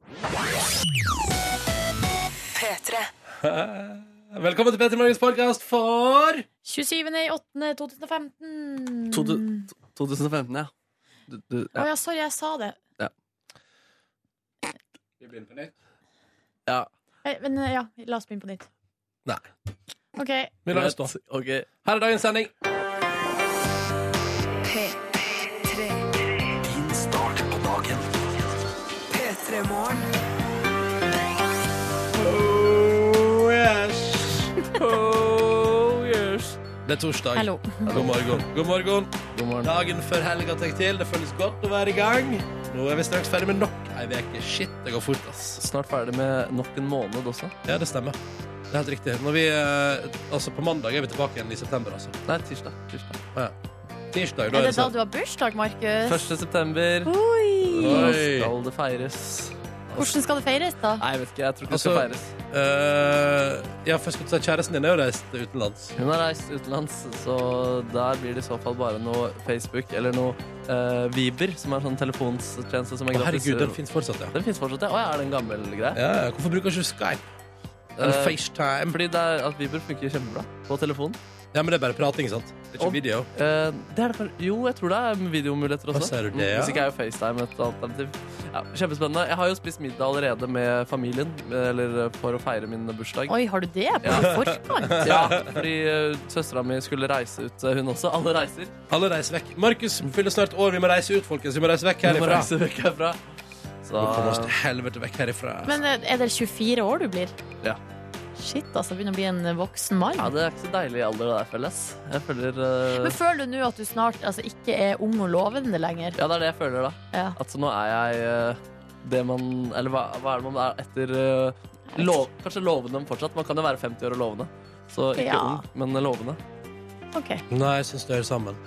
Velkommen til Petter Morgens podkast for 27.08.2015. To- to- 2015, ja. Du, du, Å ja. ja, sorry, jeg sa det. Vi begynner på nytt. ja. Eh, Men eh, ja, la oss begynne på nytt. Nei. OK. Vi lar det stå. Ok. Her er dagens sending. Oh yes. Oh yes. Det er torsdag. Hallo. God morgen. God morgen. God morgen. Dagen før helga tar til. Det føles godt å være i gang. Nå er vi straks ferdig med nok ei uke. Shit, det går fort, ass. Snart ferdig med nok en måned også. Ja, det stemmer. Det er helt riktig. Når vi, eh, altså På mandag er vi tilbake igjen i september, altså. Nei, tirsdag. tirsdag. Ja. Tirsdag, da Er er det det da sånn. du har bursdag, Markus? 1. september. Oi. Nå Oi. skal det feires. Hvordan skal det feires, da? Nei, jeg vet ikke. Jeg tror ikke det skal Altså- feires. Eh, ja, for jeg skulle si Kjæresten din er jo reist utenlands. Hun har reist utenlands, så der blir det i så fall bare noe Facebook eller noe eh, Viber, som er en sånn telefonstjeneste som er Å, gratis. herregud, den fins fortsatt, ja. Den fins fortsatt, ja. Å ja, er det en gammel greie? ja. ja. Hvorfor bruker du ikke Skype? Eller Eh, FaceTime? Fordi det er at Viber funker kjempebra på telefon. Ja, men det er bare prating, sant? Det er ikke Og- video. Eh, det er det for, jo, jeg tror det er videomuligheter også. Hva ser du det, Mm, ja? Hvis ikke er jo FaceTime et alternativ. Ja, kjempespennende. Jeg har jo spist middag allerede med familien eller eh, for å feire min bursdag. Oi, har du det på forkant? Ja, fordi uh, søstera mi skulle reise ut, eh, hun også. Alle reiser. Alle reiser vekk. Markus fyller snart år. Vi må reise ut, folkens. Vi må reise vekk Hun må herifra. reise vekk herfra. Vi må komme oss Så til helvete vekk herifra. Men eh, er det 24 år du blir? Ja. Shit, altså. Begynner å bli en voksen mann. ja, det er ikke så deilig alder, det der, føles. Jeg føler eh, Men føler du nå at du snart altså, ikke er ung og lovende lenger? Ja, det er det jeg føler, da. Ja. At så nå er jeg eh, det man Eller hva, hva er det man er etter eh, lov, Kanskje lovende fortsatt. Man kan jo være 50 år og lovende. Så ikke Ja. ung, men lovende. OK. Nei, jeg syns det hører sammen.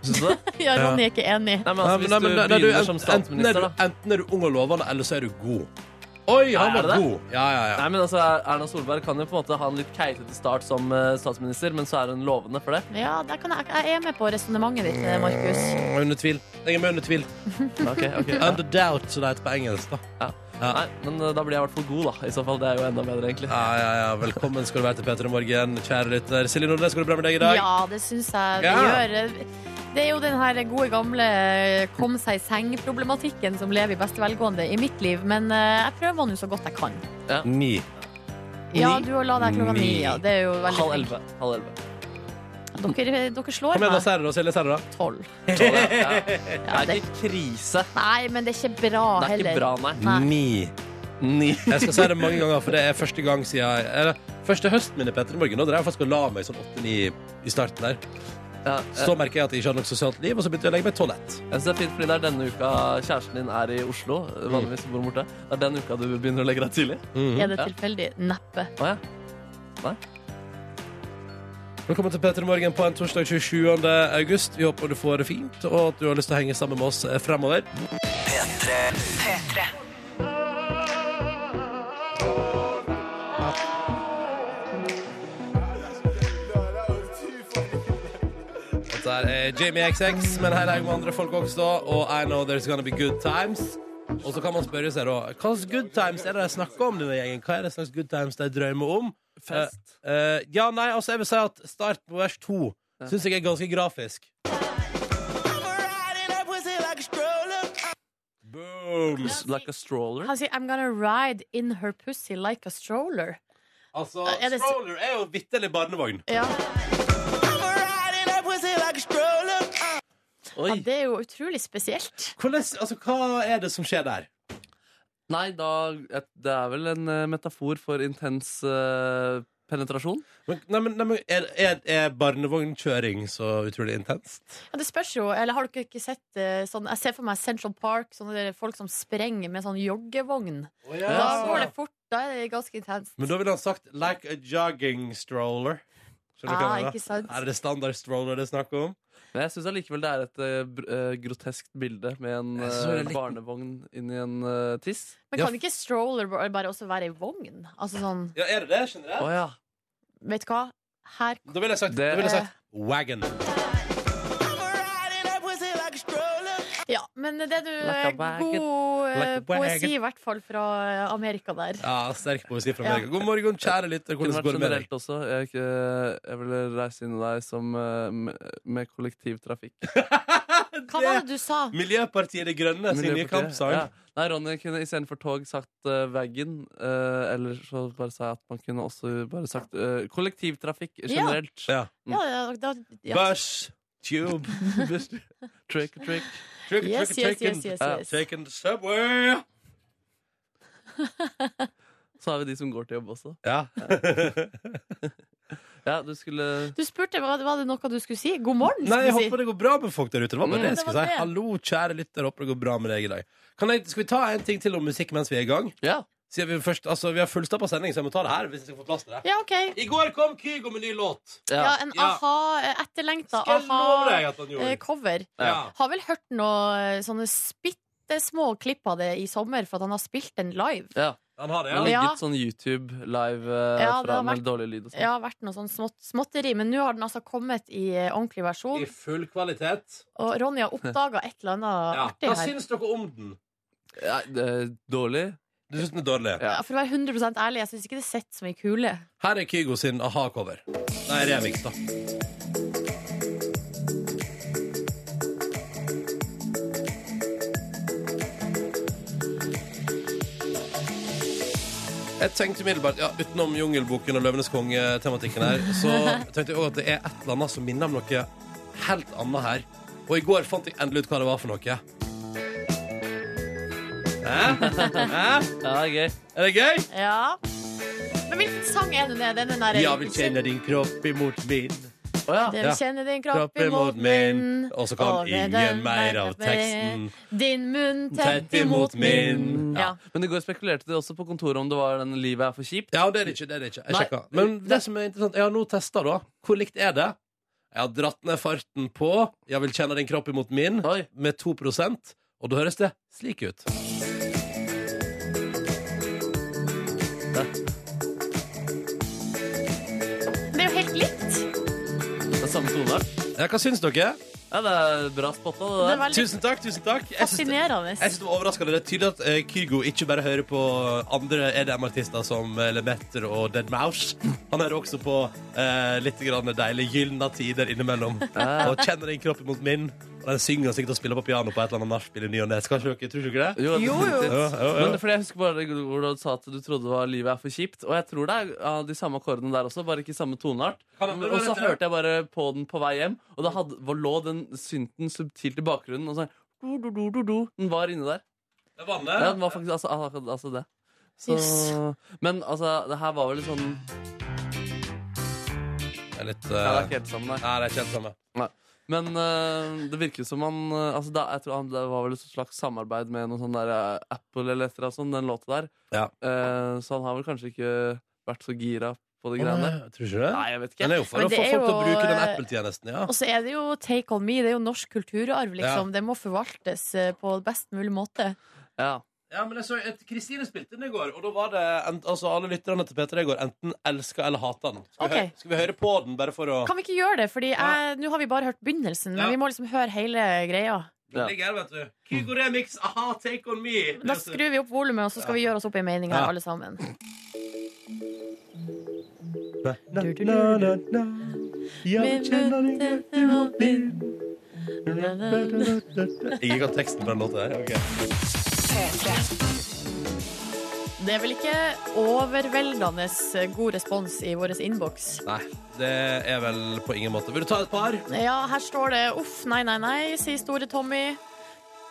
Syns du det? Ja, Ronny er ikke enig. Nei, men altså, Nei, men- hvis nei, du men- nei, begynner ent- som enten, er statsminister, du, da. enten er du ung og lovende, eller så er du god. Oi, Nei, han er var det det? god! Ja, ja, ja. Nei, men altså, Erna Solberg kan jo på en måte ha en litt keitete start som eh, statsminister, men så er hun lovende for det. Ja, der kan jeg, jeg er med på resonnementet ditt, eh, Markus. Mm, Under tvil. Jeg er med under tvil. Ok, ok. Ja. Under doubt, som det heter på engelsk. da Ja. Nei, men eh, da blir jeg i hvert fall god, da. I så fall, Det er jo enda bedre, egentlig. Ja, ja, ja. Velkommen skal du være til Peter i morgen, kjære lytter. Silje Nordnes, går det bra med deg i dag? Ja, det syns jeg det Ja. gjør. Det er jo den her gode gamle kom seg i seng-problematikken som lever i beste velgående i mitt liv, men eh, jeg prøver nå så godt jeg kan. Ni. Ja, Ni? du la deg klokka ni, Ni. ja. Det er jo veldig Halv elleve. Halv elleve. flink. Dere, eh, dere slår Kom igjen, da, meg Serre, da. Silje, Serre, da. tolv. Tolv, ja. Ja. Ja, Det det, er ikke krise. nei, men det er ikke bra Det er heller. ikke bra, nei. Nei. Ni. Ni. Jeg skal si det mange ganger, for det er første gang siden eller, Første høsten min i Petter i morgen. Nå drev jeg faktisk og la meg sånn åtte-ni i starten der. Ja, eh, Så merker jeg at jeg ikke har noe sosialt liv, og så begynte jeg å legge meg i toalett. Jeg synes det er fint, fordi det er denne uka kjæresten din er i Oslo. Vanligvis bor hun borte. Det er den uka du begynner å legge deg tidlig. Mhm. Er det Ja. tilfeldig? Neppe. Å ja. Velkommen til Petter i morgen på en torsdag 27. august. Vi håper du får det fint, og at du har lyst til å henge sammen med oss eh, fremover. Og Der er eh, Jamie XX med en hel haug med andre folk også, og I know there's gonna be good times. Og så kan man spørre seg da, hva slags good times er det de snakker om, denne gjengen? Hva er det slags good times de drømmer om? Fest. Eh, eh, ja, nei, altså, jeg vil si at start på vers to syns jeg er ganske grafisk. Boom! Like a stroller. Han sier 'I'm gonna ride in her pussy like a stroller'. Altså, Er det s- stroller er jo vitterlig barnevogn. Ja, Oi. ja Det er jo utrolig spesielt. Hvordan, altså, hva er det som skjer der? Nei, da et- Det er vel en eh, metafor for intens eh, penetrasjon. Men, nei, men, nei, men, er, er, er barnevognkjøring så utrolig intenst? Ja, det spørs jo, eller har dere ikke sett eh, sånn, Jeg ser for meg Central Park, sånne der folk som sprenger med sånn joggevogn. Da Ja. går det fort. Da er det ganske intenst. Men da ville han sagt 'like a jogging stroller'. Skjønner du hva Ah, jeg mener? ikke sant. Er det standard stroller det er snakk om? Men jeg syns allikevel det er et eh, br- eh, groteskt bilde med en Jeg synes det er eh, litt- barnevogn inni en eh, tiss. Men kan ikke stroller bare bare også være ei vogn? Altså sånn, Ja, er det det? Generelt? Å ja. vet du hva? Her Da ville jeg sagt, Det- da ville jeg sagt wagon. Ja, Men det du Like a wagon. God eh, Like a wagon. poesi, i hvert fall fra eh, Amerika der. Ja, sterk poesi fra Amerika. God morgen, kjære lytter. Kunne Hvordan vært går det med deg? generelt også. Jeg, er ikke- jeg ville reist inn i deg som eh, med, med kollektivtrafikk. Hva var det du sa? Miljøpartiet De Grønne sin nye Miljøpartiet. kampsang. Ja. Nei, Ronny kunne istedenfor tog sagt uh, vaggen. eh, eller så bare sa jeg at man kunne også bare sagt eh, kollektivtrafikk generelt. Ja. Ja, ja, da, ja. Bush, tube, Trick or trick. trick, Yes, trick, yes, chicken, yes, yes, Ja, yes. chicken subway. Så har vi de som går til jobb også. Ja. Ja, du skulle Du spurte hva var det noe du skulle si. God morgen, Nei, jeg skulle du si. håper det går bra med folk der ute. Det var bare Mm. det jeg skulle Det var si. det. Hallo, kjære lytter, håper det går bra med deg i dag. Kan jeg, skal vi ta en ting til om musikk mens vi er i gang? Ja. Siden vi, først, altså, vi har fullstappa sending, så jeg må ta det her hvis jeg skal få plass til det. Ja, OK. I går kom Kygo med ny låt. Ja, ja. en Ja. aha, eh, etterlengta Skal jeg love deg at han gjorde. aha-cover. Ja. Har vel hørt noe eh, sånne spittesmå klipp av det i sommer, for at han har spilt den live. ja. Han har det, Det ja. har Ja. ligget sånn YouTube live eh, Ja, det fra, har vært- med dårlig lyd og sånn. Det har vært noe sånn smått, småtteri, men nå har den altså kommet i eh, ordentlig versjon. I full kvalitet. Og Ronny har oppdaga et eller annet Ja. artig Hva her. syns dere om den? Ja, det er dårlig? Du syns den er dårlig? Ja. Ja, for å være 100 ærlig, jeg syns ikke det sitter så mye kule. Her er Kygo sin aha-cover. Nei, remix, da. Jeg tenkte umiddelbart, ja, Utenom Jungelboken og Løvenes konge-tematikken her, så tenkte jeg òg at det er et eller annet som minner om noe helt annet her. Og i går fant jeg endelig ut hva det var for noe. Hæ? Hæ? Ja, det er gøy. Er det gøy? Ja. Men hvilken sang er det det? er? Det er Den der, Jeg vil kjenne din kropp imot min. Å ja. Jeg Ja. vil kjenne din kropp Kropp imot min, og så kan Og med ingen den mer av verden med teksten. Din munn Tett imot min. Ja. Men i går spekulerte de også på kontoret om det var den 'Livet er for kjipt'. Ja, det er det ikke. det er det ikke Jeg Nei. sjekka. Men det som er interessant, jeg har nå testa, da. Hvor likt er det? Jeg har dratt ned farten på 'Jeg vil kjenne din kropp imot min' Oi. med 2 og da høres det slik ut. Det er jo helt likt. Det er samme tone. Ja, hva syns dere? Ja, det er bra spotta, det Det der. er veldig Tusen takk. tusen takk Jeg syns det, fascinerende. jeg syns det var overraskende. Det er tydelig at eh, Kygo ikke bare hører på andre EDM-artister som eh, Lemaitre og Dead Mouse. Han hører også på eh, litt grann deilige gylne tider innimellom. Ja. Og kjenner din kropp imot min. Og den synger sikkert og spiller på piano på et eller annet nachspiel i ny og ne. Skal ikke dere- Tror ikke dere det? Jo, Jo, jo. definitivt. Ja, ja, ja. Men fordi jeg husker bare hvor du sa at du trodde det var 'Livet er for kjipt'. Og jeg tror det er ja, de samme akkordene der også, bare ikke samme toneart. Kan det være Og så dette? hørte jeg bare på den på vei hjem, og da hadde, var- lå den synten subtilt i bakgrunnen. Og så du, du, du, du, du. Den var inni der. Det var det. Ja, den var faktisk altså, altså, altså det. Så, men altså, det her var vel litt sånn Det er litt Ja, det er eh, ikke helt sammen, nei. Nei, det er ikke helt samme. Men eh, det virker som han eh, altså, da, Jeg tror han, Det var vel et slags samarbeid med noen sånn der eh, Apple eller et eller annet sånt, den låta der. Ja. Eh, så han har vel kanskje ikke vært så gira på de greiene. Å, nei, Tror ikke det? Nei, jeg vet ikke. Den er jo for Men å det få er folk til å jo, bruke den eh, Apple-tjenesten, ja. Og så er det jo Take On Me. Det er jo norsk kulturarv, liksom. Det må forvaltes eh, på best mulig måte. Ja. Ja, men jeg så et- Kristine spilte den i går, og da var det en, altså, alle lytterne til P3 i går enten elska eller hata den. Skal, vi Ok. hø- skal vi høre på den, bare for å Kan vi ikke gjøre det? Fordi jeg, nå har vi bare hørt begynnelsen, men Ja. vi må liksom høre hele greia. Den ligger her, vet du. Kygo Remix, aha, take on me. Da skrur vi opp volumet, og så skal vi gjøre oss opp en mening her, Ja. alle sammen. Na, na, na, na. Ja, vi kjenner din kropp imot min. Jeg kan teksten på den låta her. ok. Det er vel ikke overveldende god respons i vår innboks. Nei, det er vel på ingen måte. Vil du ta et par? Ja, her står det 'uff, nei, nei, nei', sier store Tommy.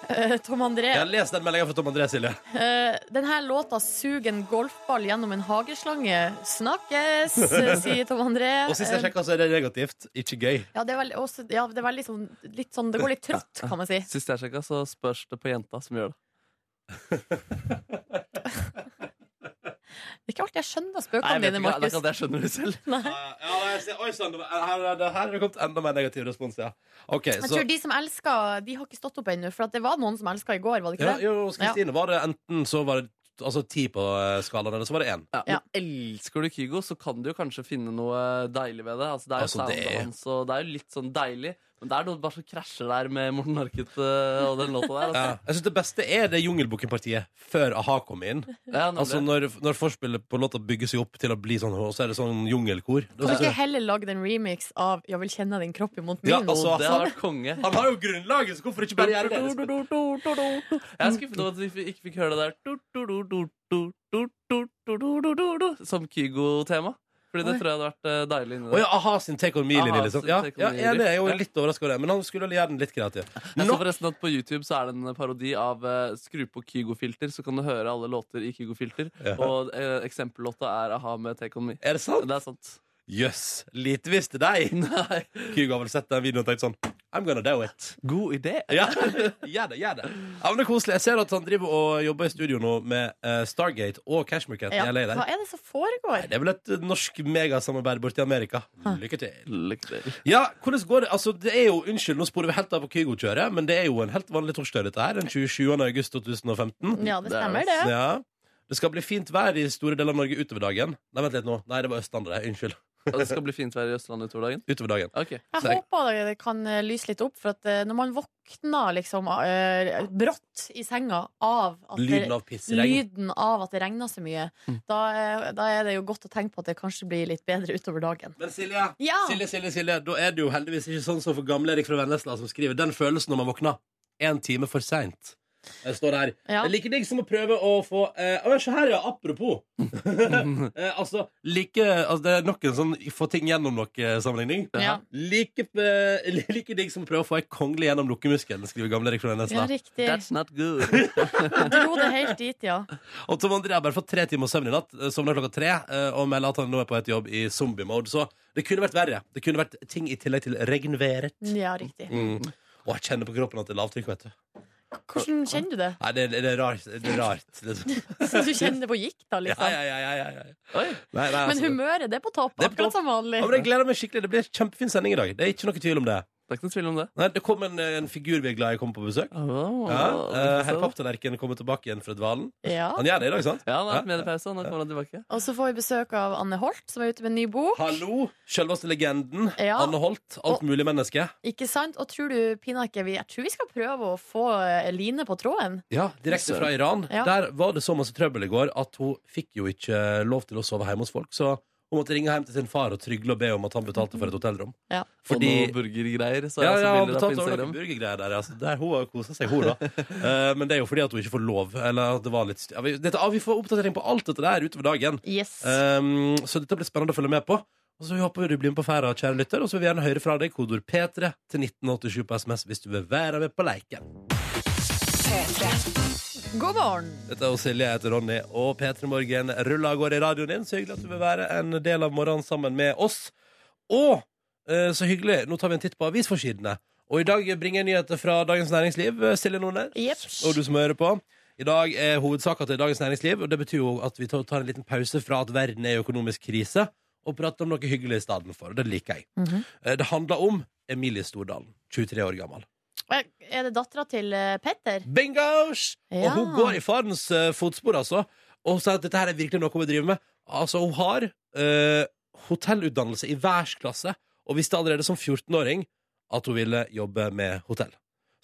Eh, Tom André. Jeg har lest den meldinga fra Tom André Silje. Eh, den her låta 'Sug en golfball gjennom en hageslange'. Snakkes, sier Tom André. Og sist jeg sjekka, så er det negativt. Ikke gøy. Eh, ja, det er veldig, også, ja, det er veldig sånn, litt sånn Det går litt trått, kan man si. Sist jeg sjekka, så spørs det på jenta som gjør det. Det er ikke alltid jeg skjønner Nei, spøkene jeg dine, vet ikke, det er Markus. ikke at jeg skjønner det selv. Nei. Ja, jeg ser, oi sann, det var- her, her, her er det kommet enda mer negativ respons, ja. OK, Jeg så tror de som elsker, de har ikke stått opp ennå. For at det var noen som elska i går, var det ikke ja, det? Jo, hos Kristine var det enten så var det altså ti på eh, skalaen, eller så var det én. Ja, Ja. men elsker du Kygo, så kan du jo kanskje finne noe deilig ved det. Altså, det er jo Altså, det soundet er- hans, og det er jo litt sånn deilig. Men det er noe bare som krasjer der med Morten Harket eh, og den låta der. Ja. Altså. Jeg synes Det beste er det Jungelbukken-partiet før a-ha kom inn. Ja, nemlig. Altså Når, når forspillet på låta bygger seg opp til å bli sånn, og så er det sånn jungelkor. Da Kan synes du ikke jeg- heller lage en remix av 'Jeg vil kjenne din kropp imot min'? Ja, altså, det hadde vært konge. han har jo grunnlaget, så hvorfor ikke bare gjøre det? Lisbeth? Jeg er skuffet over at vi ikke fikk høre det der du, du, du, du, du, du, du, du, du, du, du, som Kygo-tema. Fordi det Oi. tror jeg hadde vært eh, deilig inni Å der. ja, a-ha sin Take On Me-linje, A-ha liksom. sin Ja, Take On ja, Me jeg er enig, jeg er jo riff. litt overraska over det, men han skulle gjøre den litt kreativ. Jeg så Nok- forresten at På YouTube så er det en parodi av eh, Skru på Kygo-filter, så kan du høre alle låter i Kygo-filter. Ja. Og eh, eksempellåta er A-ha med Take On Me. Er det sant? Det er sant. Jøss, lite visste de! Nei. Kygo har vel sett den videoen og tenkt sånn I'm gonna do it. God idé. Ja, gjør det, gjør det. Ja, men det er koselig. Jeg ser at han driver og jobber i studio nå med eh, Stargate og Cashmere Cat Ja, i LA der. hva er det som foregår? Det er vel et norsk megasamarbeid borti Amerika. Lykke til. Lykke til. Ja, hvordan går det? Altså, det er jo, unnskyld, nå sporer vi helt av på Kygo-kjøret, men det er jo en helt vanlig torsdag, dette her. Den 27. august 2015. Ja, det Det er stemmer, Ja. det. Det skal bli fint vær i store deler av Norge utover dagen. Nei, vent litt nå. Nei, det var Østlandet. det. Unnskyld. Og det skal bli fint vær i Østlandet utover dagen. Utover dagen. Ok. Jeg Nei. håper det kan eh, lyse litt opp, for at eh, når man våkner liksom eh, brått i senga av at det, Lyden av pissregn. lyden av at det regner så mye, Mm. da, eh, da er det jo godt å tenke på at det kanskje blir litt bedre utover dagen. Men Silje, Ja! Silje, Silje, Silje, da er det jo heldigvis ikke sånn som for gamle Erik fra Vennesla som skriver den følelsen når man våkner en time for seint. Jeg står der. Ja. Det er like digg som å prøve å få eh, å, Se her, ja. Apropos. eh, altså, like, altså, det er nok en sånn få ting gjennom nok-sammenligning. Ja. Like, eh, like digg som å prøve å få ei kongle gjennom lukkemuskelen, skriver gamle Erik fra Ja, Vennesla. riktig. That's not good. Dro det helt dit, ja. Og Tom André har bare fått tre timer søvn i natt, eh, sovna klokka tre, eh, og melder at han nå er på et jobb i zombie-mode. Så det kunne vært verre. Det kunne vært ting i tillegg til regnværet. Ja, riktig. Mm. Og jeg kjenner på kroppen at det er lavtrykk, vet du. Hvordan kjenner du det? Nei, det, det, det er rart. Det er rart. liksom. Så du kjenner det på gikk, da, Ja, liksom? ja, ja, ja, ja, ja. sånn. Oi. Nei, nei, Men altså, det- humøret, det er på topp, Det er på topp. akkurat som vanlig. Ja, men jeg gleder meg skikkelig. Det blir en kjempefin sending i dag. Det er ikke noe tvil om det. Det er ikke noen tvil om det. Nei, det kom en, eh, en figur vi er glad i kom på besøk. Oh, Ja, eh, Herr Papptallerken kommer tilbake igjen fra dvalen. Ja. Han gjør det i dag, sant? Ja, han har vært med i pausen. Nå kommer han tilbake. Og så får vi besøk av Anne Holt, som er ute med en ny bok. Hallo, selveste legenden. Ja. Anne Holt. Alt Og- mulig menneske. Ikke sant? Og tror du, Pinake, vi, jeg tror vi skal prøve å få eh, Line på tråden. Ja, Direkte fra Iran. Ja. Der var det så masse trøbbel i går at hun fikk jo ikke lov til å sove hjemme hos folk. Så hun måtte ringe hjem til sin far og trygle og be om at han betalte for et hotellrom. Ja. Fordi Og noe burgergreier. Så ja, jeg ja, så han bilder av på betalte over Instagram. noen burgergreier der. Altså. Der hun har kosa seg, hun, da. Eh, men det er jo fordi at hun ikke får lov. Eller at det var litt st- ja, vi, dette, ja, vi får oppdatering på alt dette der utover dagen. Yes. Um, så dette blir spennende å følge med på. Og så håper vi du blir med på ferda, kjære lytter. Og så vil vi gjerne høre fra deg. Kodord P3 til 1987 på SMS hvis du vil være med på leiken. God morgen! Dette er jo Silje, jeg heter Ronny, og P3 Morgen ruller av gårde i radioen din. Så hyggelig at du vil være en del av morgenen sammen med oss. Og eh, så hyggelig, nå tar vi en titt på avisforsidene. Og i dag bringer jeg nyheter fra Dagens Næringsliv. eh, Silje Nordnes. Jeps. Og du som hører på. I dag er hovedsaka til Dagens Næringsliv, og det betyr jo at vi tar tar en liten pause fra at verden er i økonomisk krise, og prater om noe hyggelig i stedet for. Og det liker jeg. Mhm. Eh, Det handler om Emilie Stordalen, 23 år gammel. Eh, Er det dattera til eh, Petter? Bingos! Ja. Og hun går i farens eh, fotspor, altså. Og hun sier at dette her er virkelig noe hun vil drive med. Altså, hun har eh, hotellutdannelse i verdensklasse, og visste allerede som 14-åring at hun ville jobbe med hotell.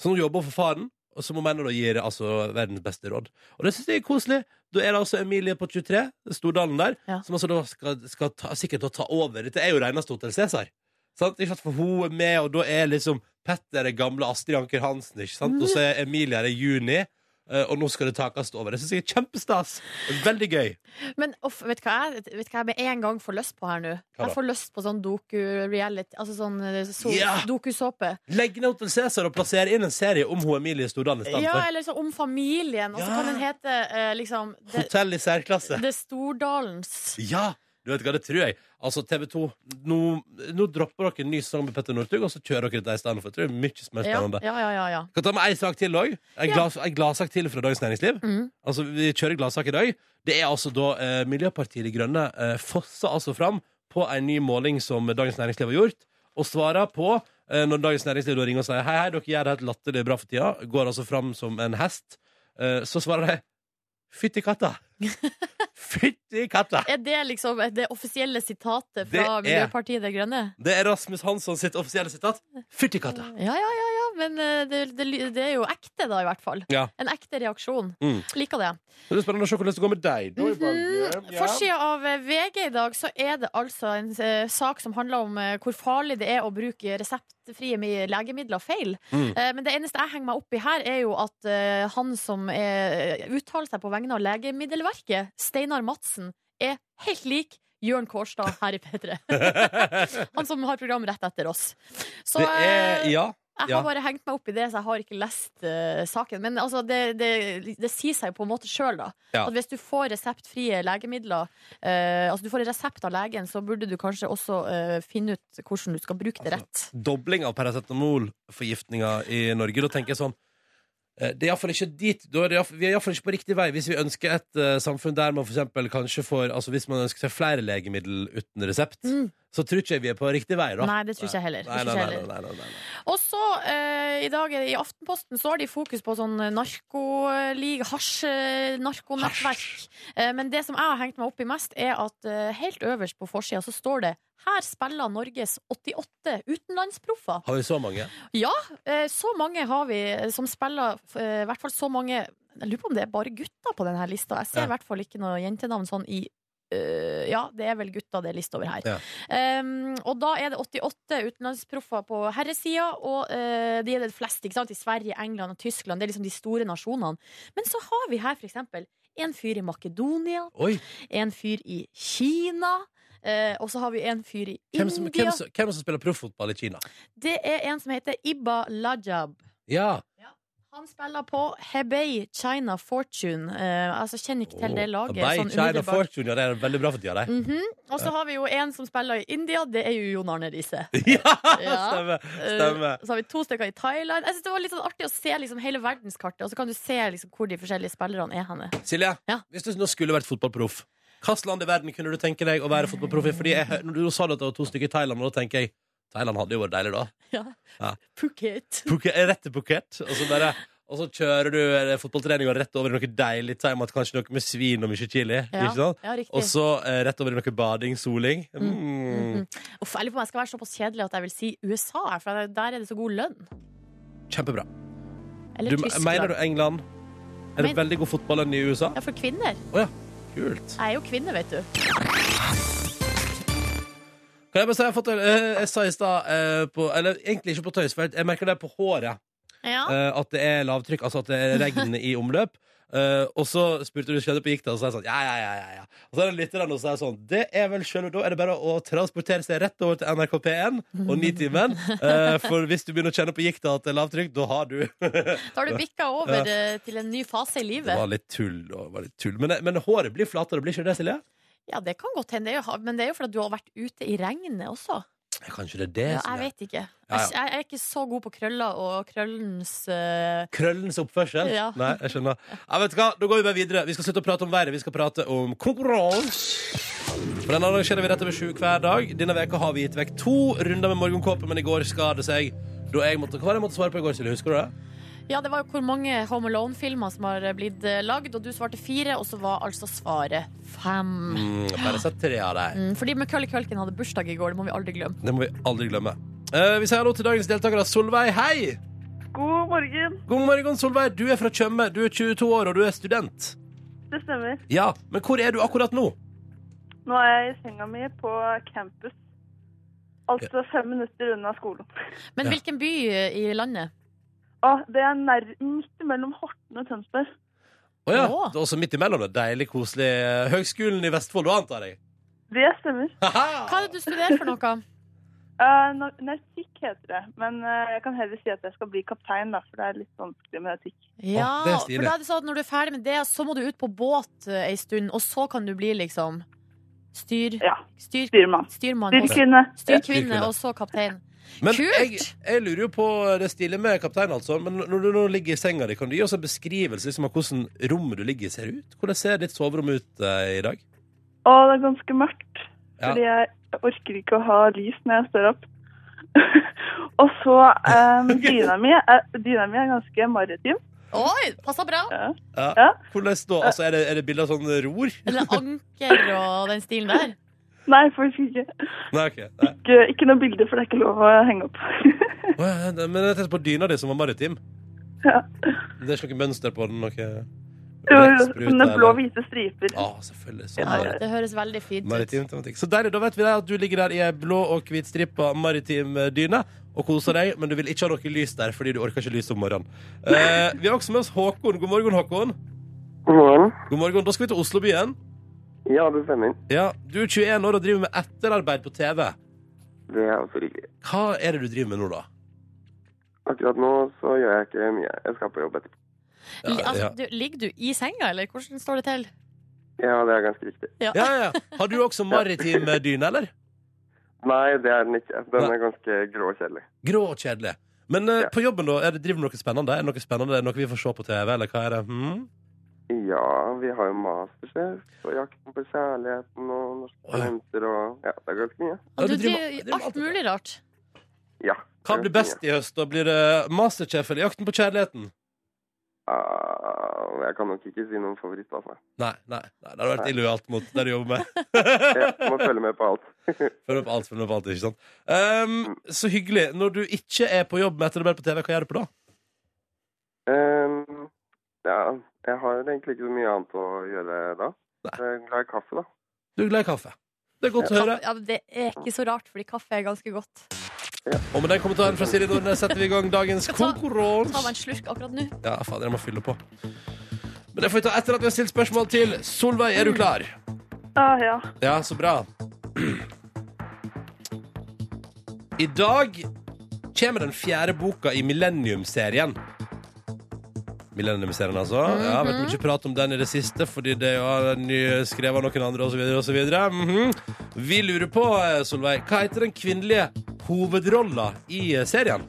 Så nå jobber hun for faren, og som hun mener da gir altså verdens beste råd. Og det syns jeg er koselig. Da er det altså Emilie på 23, Stordalen der, Ja. som altså da skal, skal ta, sikkert da ta over. Dette er jo reneste Hotell Cæsar. Sant? Ikke sant? For hun er med, og da er liksom Petter er gamle Astrid Anker Hansen, ikke sant? Og så er Emilie her i juni, eh, og nå skal det takes over. Det syns jeg er kjempestas. Veldig gøy. Men off, vet du hva jeg vet du hva jeg med en gang får lyst på her nå? da? Jeg får lyst på sånn doku-reality Altså sånn eh, so Ja! dokusåpe. Legg ned Hotell Cæsar og plasser inn en serie om hun Emilie Stordalen i stedet Ja, for. eller sånn om familien. Og så Ja. kan den hete eh, liksom det, Hotell i særklasse. det Stordalens. Ja! Du vet hva, det tror jeg. Altså, TV 2, nå, nå dropper dere en ny sang med Petter Northug, og så kjører dere det i stedet for. Jeg tror det er mye mer Ja, spennende. ja, ja. ja, ja. Kan ta med ei sak til òg. Ei Ja. glas- ei gladsak til fra Dagens Næringsliv. Mm. Altså, Vi kjører gladsak i dag. Det er altså da eh, Miljøpartiet De Grønne eh, fosser altså fram på en ny måling som Dagens Næringsliv har gjort, og svarer på eh, når Dagens Næringsliv da ringer og sier hei, hei, dere gjør det helt latterlig bra for tida, går altså fram som en hest, eh, så svarer de fytti katta. Fytti katta! Er det liksom det offisielle sitatet Det fra er- Miljøpartiet De Grønne? Det er Rasmus Hansson sitt offisielle sitat. Fytti katta! Ja, ja, ja, ja. men eh, det, det, ly- det er jo ekte, da, i hvert fall. Ja. En ekte reaksjon. Mm. Liker det. Det er spennende å se hvordan det går med deg. da. Mhm. Forsida av eh, VG i dag så er det altså en eh, sak som handler om eh, hvor farlig det er å bruke reseptfrie mi- legemidler feil. Mm. Eh, men det eneste jeg henger meg opp i her, er jo at eh, han som eh, uttaler seg på vegne av Legemiddelverket, Steinar Madsen, er helt lik Jørn Kårstad her i P3. Han som har program rett etter oss. Så Det er eh, Ja. jeg ja. har bare hengt meg opp i det, så jeg har ikke lest eh, saken. Men altså, det, det, det sier seg jo på en måte sjøl, da. Ja. At hvis du får reseptfrie legemidler, eh, altså du får en resept av legen, så burde du kanskje også eh, finne ut hvordan du skal bruke Altså, det rett. dobling av paracetamolforgiftninga i Norge. Da tenker jeg sånn eh, det er i hvert fall ikke dit, da er det i hvert fall- Vi er iallfall ikke på riktig vei hvis vi ønsker et eh, samfunn der man for eksempel kanskje får altså Hvis man ønsker seg flere legemiddel uten resept, Mm. så tror ikke jeg vi er på riktig vei, da. Nei, det tror ikke jeg heller. Det Nei, tror nei, ikke jeg nei, heller. nei, nei, nei, nei. Og så eh, i dag i Aftenposten så har de fokus på sånn narkoliga, hasj-narkonettverk. Eh, men det som jeg har hengt meg opp i mest, er at eh, helt øverst på forsida så står det her spiller Norges 88 utenlandsproffer. Har vi så mange? Eh, Så mange har vi eh, som spiller eh, I hvert fall så mange Jeg lurer på om det er bare gutter på denne lista. Jeg ser Ja. i hvert fall ikke noe jentenavn sånn i eh, ja, det er vel gutta det er lista over her. Ja. Um, og da er det 88 utenlandsproffer på herresida, og eh, de er det fleste ikke sant? i Sverige, England og Tyskland. Det er liksom de store nasjonene. Men så har vi her for eksempel en fyr i Makedonia, Oi! en fyr i Kina, eh, og så har vi en fyr i Hvem som, hvem India. som, hvem som spiller profffotball i Kina? Det er en som heter Ibba Lajab. Ja! Han spiller på Hebei China Fortune. Eh, altså Kjenner ikke til det laget. Nei, sånn China umiddelbart. Fortune, ja, det er veldig bra for tida, det. Mhm. Og så har vi jo en som spiller i India. Det er jo Jon Arne Riise. Ja! Ja. Stemmer. Eh, stemmer. Så har vi to stykker i Thailand. Jeg synes Det var litt sånn artig å se liksom hele verdenskartet, og så kan du se liksom hvor de forskjellige spillerne er henne. Silje, Ja. hvis du nå skulle vært fotballproff, hvilket land i verden kunne du tenke deg å være fotballproff i? Fordi jeg, hø- når du sa det at det var to stykker i Thailand, og da tenker jeg Thailand hadde jo vært deilig, da. Ja. Ja. Phuket. Pukke, rett til Phuket, og så bare og så kjører du eh, fotballtreninga rett over i noe deilig thaimat, kanskje noe med svin og mye chili. Ja, Ikke sant? ja, riktig. Og så eh, rett over i noe bading, soling. Mm. Mhm. Uff, jeg lurer på om jeg skal være såpass kjedelig at jeg vil si USA, her, for der er det så god lønn. Kjempebra. Eller Du, mener Tyskland. du England? Er det Men- veldig god fotballønn i USA? Ja, for kvinner. Å ja. Kult. Jeg er jo kvinne, vet du. Kan jeg bare si, jeg, har fått, en- eh, jeg sa i stad eh, på Eller egentlig ikke på tøys, for jeg- jeg merker det på håret. Ja. eh, at det er lavtrykk, altså at det er regn i omløp. Eh, og så spurte du skjedde på gikk det, og så er jeg sånn ja, ja, ja, ja, ja. Og så er det litt rann, og så er jeg sånn Det er vel sjøl, da er det bare å transportere seg rett over til NRK P1 og Nitimen. Uh, for hvis du begynner å kjenne på gikta at det er lavtrykk, da har du Det Da har du bikka over eh, til en ny fase i livet. var litt tull og var litt tull. Men, men håret blir flatere, blir ikke det, Silje? Ja, det kan godt hende, det er jo- men det er jo fordi at du har vært ute i regnet også. Kanskje det er det Ja, som jeg er vet ikke. Ja, ja. Jeg, jeg er ikke så god på krøller og krøllens eh, Krøllens oppførsel? Ja. Nei, jeg skjønner. Ja, vet du hva? Da går vi bare videre. Vi skal slutte å prate om været. Vi skal prate om konkurranse. For Den arrangerer vi rett over sju hver dag. Denne veka har vi gitt vekk to runder med morgenkåpe, men i går skar det seg. Da jeg måtte, hva var det jeg måtte svare på i går, Silje? Husker du det? Ja, det var jo hvor mange Home Alone-filmer som har eh, blitt eh, lagd, og du svarte fire, og så var altså svaret fem. Mm, bare sett tre av deg. Mm, Fordi McCully Culkin hadde bursdag i går, det må vi aldri glemme. Det må vi aldri glemme. Eh, vi sier hallo til dagens deltakere. Solveig, hei! God morgen. God morgen, Solveig. Du er fra Tjøme. Du er 22 år, og du er student. Det stemmer. Ja, men hvor er du akkurat nå? Nå er jeg i senga mi på campus. Altså fem minutter unna skolen. Men Ja. hvilken by eh, i landet? Å, det er nær, midt mellom Horten og Tønsberg. Å ja, Å. det er også midt imellom. Det deilig, koselig. eh, Høgskolen i Vestfold, da antar jeg? Det stemmer. Hva er det du studerer for noe? Eh, na- nautikk heter det, men eh, jeg kan heller si at jeg skal bli kaptein, da, for det er litt vanskelig med nautikk. Ja, det er for stilig. da er det sånn at når du er ferdig med det, så må du ut på båt eh, ei stund, og så kan du bli liksom styr... Ja. Styr, Styrmann. styrmann. og så- Styrkvinne. Styrkvinne, Styrkvinne. og så kaptein. Men Kult! jeg, jeg lurer jo på det stille med kaptein, altså. Men når du nå ligger i senga di, kan du gi oss en beskrivelse liksom, av hvordan rommet du ligger i, ser ut? Hvordan ser ditt soverom ut eh, i dag? Og det er ganske mørkt, Ja. fordi jeg orker ikke å ha lys når jeg står opp. og så eh, dyna mi er, dyna mi er ganske maritim. Oi, passa bra. Ja. Ja. Ja. Hvordan da? Altså, er det, er det bilde av sånn ror? Eller anker og den stilen der. Nei, faktisk ikke. Nei, ok. Nei. Ikke, ikke noe bilde, for det er ikke lov å henge opp. Å, ja, det- Men jeg tenkte på dyna di som var maritim. Ja. Det er ikke noe mønster på den? Noe Jo, jo, Blekksprut, sånne blå, eller? hvite striper. Ja, selvfølgelig. Sånn Ja, er det. det høres veldig fint ut. Maritim tematikk. Så deilig. Da vet vi det at du ligger der i ei blå og hvitstrippa maritim eh, dyne og koser deg, men du vil ikke ha noe lys der fordi du orker ikke lys om morgenen. Eh, vi har også med oss Håkon. God morgen, Håkon. God morgen. God morgen. Da skal vi til Oslobyen. Ja, det stemmer. Ja, du er 21 år og driver med etterarbeid på TV. Det er også riktig. Hva er det du driver med nå, da? Akkurat nå så gjør jeg ikke mye. Jeg skal på jobb etterpå. Li- Ja, ja. Altså, du, ligger du i senga, eller hvordan står det til? Ja, det er ganske riktig. Ja. Ja, ja, ja. Har du også maritim dyne, eller? Nei, det er den ikke. Den Nei. er ganske grå og kjedelig. Grå og kjedelig. Men eh, Ja. på jobben, da? Er det, driver du noe spennende? Er det noe spennende? Er det noe vi får se på TV, eller hva er det? Hmm? Ja, vi har jo Masterchef og Jakten på kjærligheten og Oi. Norske talenter og Ja, det er ganske mye. Ja, Og du du driver- driver med driver alt alt det mulig rart. Ja. Hva blir best i høst? Da blir det Masterchef eller Jakten på kjærligheten? Ah, jeg kan nok ikke si noen favoritt, altså. Nei, nei, nei det hadde vært Nei. illojalt mot det du jobber med. Jeg må følge med på alt. Mm. Følg med på alt, følg med på alt, ikke sant? Ehm, så hyggelig. Når du ikke er på jobb med etterarbeid på TV, hva gjør du på da? Ehm, ja, jeg har egentlig ikke så mye annet å gjøre da. Jeg er glad i kaffe, da. Du er glad i kaffe. Det er godt å høre. Ja, men det er ikke så rart, fordi kaffe er ganske godt. Og med den kommentaren fra Siri Nordnes setter vi i gang dagens Skal ta- konkurranse. Ta meg en slurk akkurat nå. Ja, fader, jeg må fylle på. Men det får vi ta etter at vi har stilt spørsmål til Solveig. Er du klar? Ah, ja. Ja, så bra. I dag kommer den fjerde boka i Millennium-serien. Millennium-serien, altså. Ja, har Mhm. vært mye prat om den i det siste, fordi det er jo en ny skrevet av noen andre, osv., osv. Mm Vi lurer på, eh, Solveig, hva heter den kvinnelige hovedrolla i eh, serien?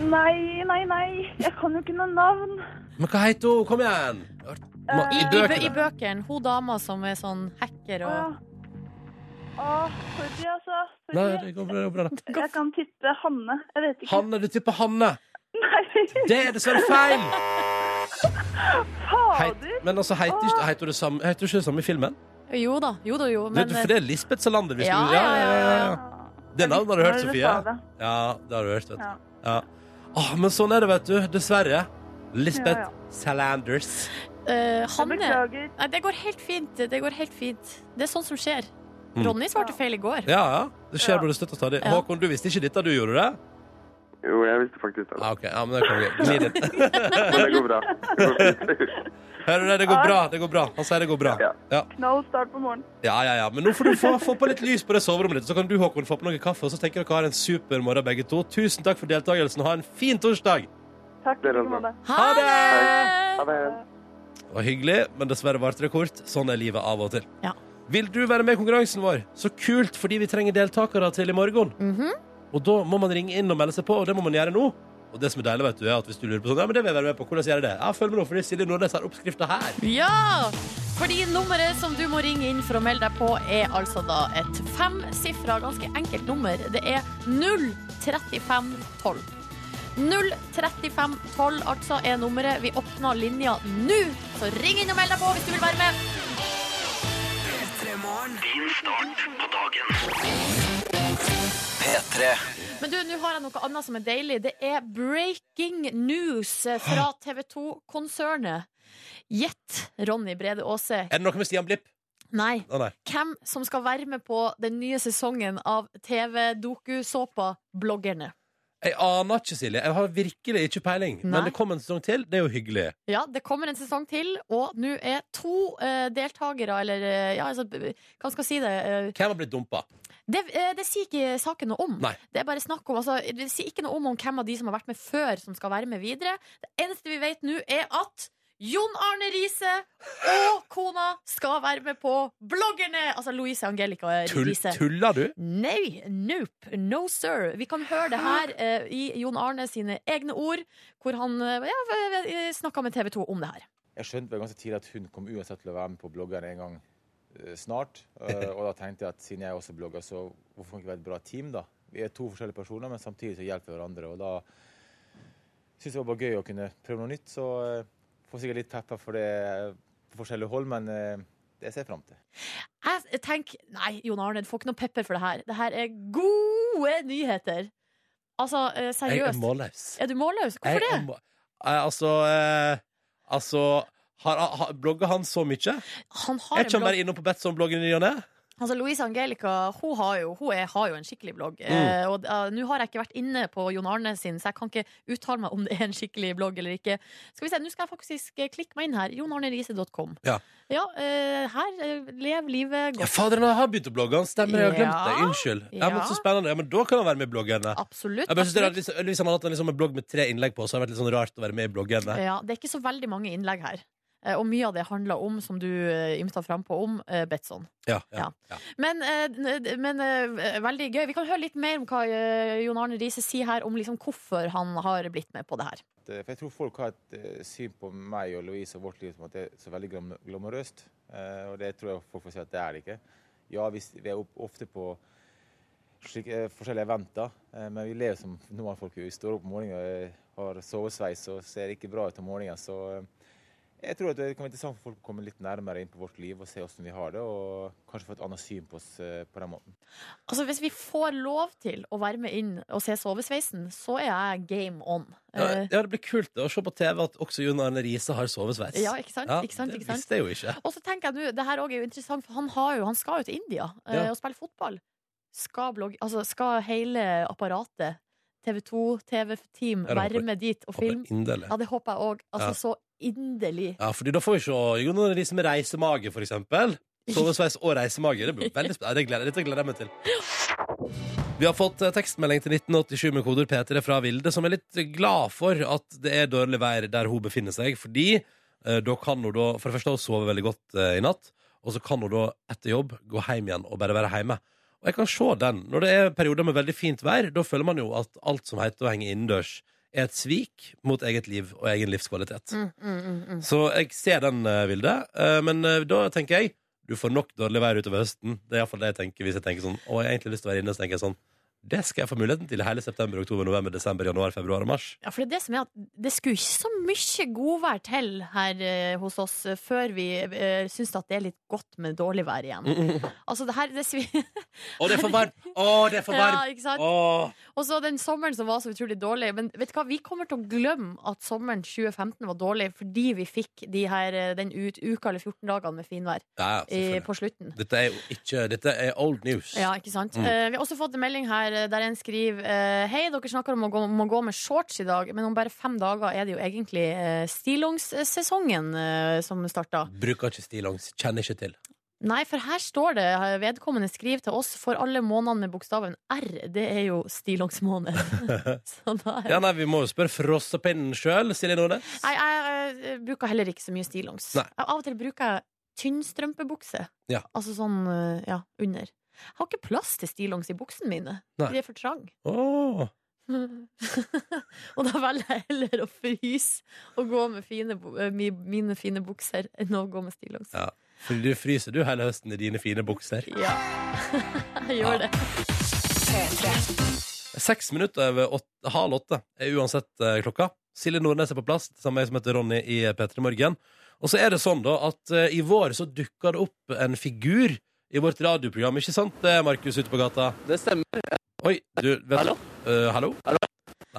Nei, nei, nei. Jeg kan jo ikke noe navn. eh, Men hva heter hun? Kom igjen! Ma- I, I Eh, i, bø I bøkene. bøkene. Hun dama som er sånn hacker Å, og Åh, sorry, altså. Nei, Sorry. det går bra. det går bra da. Jeg kan tippe Hanne. Jeg vet ikke. Hanne, du tipper Hanne. Nei, Det er dessverre feil! Heit, fader! men altså, heter ikke- heter hun det samme, heter hun ikke det samme i filmen? Jo da, jo da, jo. Men, Men eh, for det er Lisbeth Salander vi Ja, skulle ja, ja, ja, ja. Det navnet har du hørt, Når Sofie? sa det. Ja, det har du hørt, vet du. Ja. Ja. Åh, men sånn er det, vet du. Dessverre. Lisbeth Ja, ja. Salanders. eh, Jeg Hanne beklager. Nei, det går helt fint. Det går helt fint. Det er sånn som skjer. Mm. Ronny svarte feil i går. Ja, ja. Det skjer Ja. bare støtt og stadig. Ja. Håkon, du visste ikke dette, du gjorde det? Jo, jeg visste faktisk det. Ja, da. ok. Ja, men det kan vi Gni litt. Men det går bra. Det går fint. Hører du det? Det går Ja. bra. det går bra. Han sier det går bra. Ja. Ja, Knall start på morgenen. ja, ja. ja. Men nå får du få, få på litt lys på det soverommet ditt, så kan du, Håkon, få på noe kaffe, og så tenker dere har en super morgen, begge to. Tusen takk for deltakelsen. Ha en fin torsdag! Takk. Dere i også. like måte. Ha Ha det! Ha det! det. Det var hyggelig, men dessverre varte det kort. Sånn er livet av og til. Ja. Vil du være med i konkurransen vår? Så kult, fordi vi trenger deltakere til i morgen. Mhm. Og da må man ringe inn og melde seg på, og det må man gjøre nå. Og det som er deilig, vet du, er at hvis du lurer på sånn, ja, men det vil jeg være med på, hvordan gjør jeg det? Ja, følg med nå, fordi Silje Nordnes har oppskrifta her. Ja! Fordi nummeret som du må ringe inn for å melde deg på, er altså da et femsifra, ganske enkelt nummer. Det er 03512. 03512 altså er nummeret. Vi åpner linja nå, så ring inn og meld deg på hvis du vil være med. Men du, nå har jeg noe annet som er deilig. Det er breaking news fra TV 2-konsernet. Gjett Ronny Brede Aase. Er det noe med Stian Blipp? Nei. Å nei. Hvem som skal være med på den nye sesongen av TV-dokusåpa Bloggerne. Jeg aner ikke, Silje. Jeg har virkelig ikke peiling. Men Nei. det kom en sesong til. Det er jo hyggelig. Ja, det kommer en sesong til, og nå er to eh, deltakere, eller eh, ja, altså, b- b- hva skal jeg si det? eh, Hvem har blitt dumpa? Det, eh, det sier ikke saken noe om. Nei. Det er bare snakk om altså, Det sier ikke noe om, om hvem av de som har vært med før, som skal være med videre. Det eneste vi vet nå, er at Jon Arne Riise og kona skal være med på Bloggerne! Altså Louise Angelica Tull, Riise. tuller du? Nei, nope, no sir. Vi kan høre det her eh, i Jon Arne sine egne ord, hvor han eh, ja, v- v- snakka med TV 2 om det her. Jeg skjønte vel ganske tidlig at hun kom uansett til å være med på bloggerne en gang eh, snart. Eh, Og da tenkte jeg at siden jeg også blogger, så hvorfor kan vi ikke være et bra team, da? Vi er to forskjellige personer, men samtidig så hjelper vi hverandre. Og da syntes jeg det var bare gøy å kunne prøve noe nytt. Så eh, Får sikkert litt pepper for det på forskjellige hold, men eh, det ser jeg fram til. Jeg tenker Nei, Jon Arne, du får ikke noe pepper for det her. Det her er gode nyheter. Altså, eh, Jeg er seriøst. målløs. Er du målløs? Jeg Hvorfor det? er må- Eh, Altså eh, Altså har, har, Blogger han så mye? Han Er har en ikke han blogg. bare innom på Betson-bloggen i ny og ne? Altså, Louise Angelica hun har jo, hun er, har jo en skikkelig blogg. Eh, Mm. og eh, Nå har jeg ikke vært inne på Jon Arne sin, så jeg kan ikke uttale meg om det er en skikkelig blogg eller ikke. Skal vi se, Nå skal jeg faktisk eh, klikke meg inn her. jonarnerise.com. Ja. ja eh, her eh, lev livet Ja, godt. faderen, han har begynt å blogge. Han stemmer, jeg har glemt det. Ja. Unnskyld. Ja, men Ja. Så spennende. Ja, men da kan han være med i bloggerne. Absolutt. Jeg bare synes det absolutt. er litt, Hvis han hadde hatt en liksom, en blogg med tre innlegg på, så hadde det vært litt sånn rart å være med i bloggerne. Ja, det er ikke så veldig mange innlegg her. Eh, Og mye av det handler om, som du eh, ymta frampå, om eh, Betson. Ja, ja. Men, eh, n- d- men eh, veldig gøy. Vi kan høre litt mer om hva eh, Jon Arne Riise sier her, om liksom hvorfor han har blitt med på det her. Eh, For jeg tror folk har et eh, syn på meg og Louise og vårt liv som at det er så veldig glam- glamorøst. Eh, og det tror jeg folk får si at det er det ikke. Ja, vi, s- vi er opp- ofte på slik, eh, forskjellige eventer, eh, men vi lever som noen folk vi står opp om morgenen og eh, har sovesveis og ser ikke bra ut om morgenen. Så eh, jeg tror at det kan være interessant for folk å komme litt nærmere inn på vårt liv og se hvordan vi har det, og kanskje få et annet syn på oss eh, på den måten. Altså Hvis vi får lov til å være med inn og se Sovesveisen, så er jeg game on. Ja, Eh, ja, det blir kult det, å se på TV at også Jon Arne Riise har sovesveis. Ja, ikke sant? Ikke sant, det ikke sant? visste jeg jo ikke. Og så tenker jeg nå, det her også er jo interessant, for han, har jo, han skal jo til India eh, Ja. og spille fotball. Skal, blogg, altså, skal hele apparatet, TV2, TV-team, Ja, det håper være jeg. med dit og Håper filme? Inderlig. Ja, det håper jeg òg. Altså, Ja. så inderlig. Ja, fordi da får vi se Jon Arne Riise med reisemage, for eksempel. Sovesveis og reisemage. Det blir veldig spennende. Det gleder, dette gleder jeg meg til. Vi har fått eh, tekstmelding til 1987 med koder P3 fra Vilde, som er litt glad for at det er dårlig vær der hun befinner seg, fordi eh, da kan hun da For det første, hun sover veldig godt eh, i natt, og så kan hun da etter jobb gå hjem igjen og bare være hjemme. Og jeg kan se den. Når det er perioder med veldig fint vær, da føler man jo at alt som heter å henge innendørs, er et svik mot eget liv og egen livskvalitet. Så jeg ser den, eh, Vilde. Eh, Men eh, da tenker jeg du får nok dårlig vær utover høsten. Det er i hvert fall det jeg tenker hvis jeg tenker sånn. Og jeg har egentlig lyst til å være inne, så tenker jeg sånn Det skal jeg få muligheten til i hele september, oktober, november, desember, januar, februar og mars. Ja, for det er det som er at det skulle ikke så mye godvær til her eh, hos oss eh, før vi eh, syns at det er litt godt med dårlig vær igjen. Altså, det her det svir. Å, det er for varmt! Å, det er for Ja, varmt! ikke sant? Å, Og så den sommeren som var så utrolig dårlig. Men vet du hva, vi kommer til å glemme at sommeren 2015 var dårlig fordi vi fikk de her, eh, den ut, uka eller 14 dagene med finvær ja, i, selvfølgelig. på slutten. Dette er jo ikke Dette er old news. Ja, ikke sant? Mm. Eh, vi har også fått en melding her eh, der en skriver eh, Hei, dere snakker om å gå, om å gå med shorts i dag, men om bare fem dager er det jo egentlig eh, stillongssesongen eh, som starter. Bruker ikke stillongs. Kjenner ikke til. Nei, for her står det eh, vedkommende skriver til oss for alle månedene med bokstaven R. Det er jo stillongsmåned. så da er Ja, nei, vi må jo spørre frossepinnen sjøl, Silje Nordnes. Nei, jeg, eh, bruker heller ikke så mye stillongs. Nei. Jeg- Av og til bruker jeg tynnstrømpebukse. Ja. Altså sånn eh, ja, under. Jeg har ikke plass til stillongs i buksene mine. Nei. De er for trang. Å, og da velger jeg heller å fryse og gå med fine, bu- eh, mi- mine fine bukser enn å gå med stillongs. Ja. for du fryser du hele høsten i dine fine bukser. Ja. jeg gjør det. Seks minutter over åtte, halv åtte er uansett eh, klokka. Silje Nordnes er på plass, sammen med jeg som heter Ronny i eh, P3 Morgen. Og så er det sånn da at eh, i vår så dukka det opp en figur i vårt radioprogram, ikke sant, eh, Markus ute på gata? Det stemmer. Oi, du, vet Hallo? Eh, hallo? Hallo?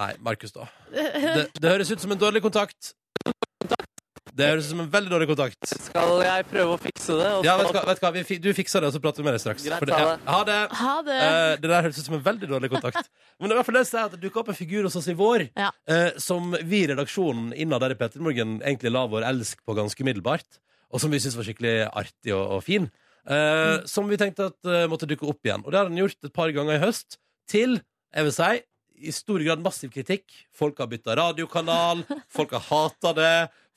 Nei, Markus, da. Det, det høres ut som en dårlig kontakt. Det høres ut som en veldig dårlig kontakt. Skal jeg prøve å fikse det? og Ja, så- vet du hva, vet du hva vi, fi- du fikser det, og så prater vi med deg straks. Greit, For det, ha det. ja. Ha det! Ha det. Eh, det der høres ut som en veldig dårlig kontakt. Men det, var i hvert fall det, jeg sier at det dukket opp en figur hos oss i vår Ja. eh, som vi i redaksjonen innad der i Petter Morgen egentlig la vår elsk på ganske umiddelbart, og som vi syntes var skikkelig artig og, og fin. Eh, Mm. Som vi tenkte at eh, måtte dukke opp igjen. Og det har den gjort et par ganger i høst, til, jeg vil si, i stor grad massiv kritikk. Folk har bytta radiokanal, folk har hata det,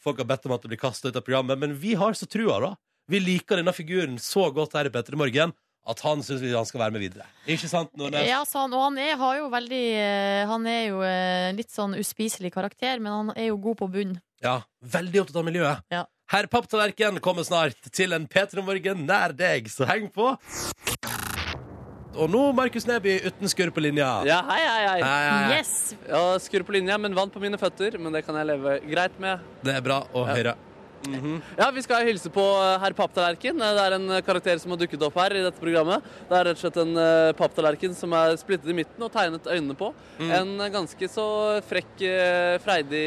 folk har bedt om at det blir kasta ut av programmet. Men vi har så trua, da. Vi liker denne figuren så godt her i Petter Morgen at han syns han skal være med videre. Ikke sant, Nordnes? Ja, sa han, og han er, har jo veldig eh, Han er jo eh, en litt sånn uspiselig karakter, men han er jo god på bunn. Ja, veldig opptatt av miljøet. Ja. Herr Papptallerken kommer snart til en P3 Morgen nær deg, så heng på. Og nå Markus Neby uten skurr på linja. Ja, hei, hei, hei. Nei, nei, nei. Yes! Ja, skrur på linja, men vann på mine føtter. Men det kan jeg leve greit med. Det er bra å høre. Ja, Vi skal hilse på eh, herr Papptallerken. Eh, Det er en eh, karakter som har dukket opp her. i dette programmet. Det er rett og slett en eh, papptallerken som er splittet i midten og tegnet øynene på. Mm. En eh, ganske så frekk, eh, freidig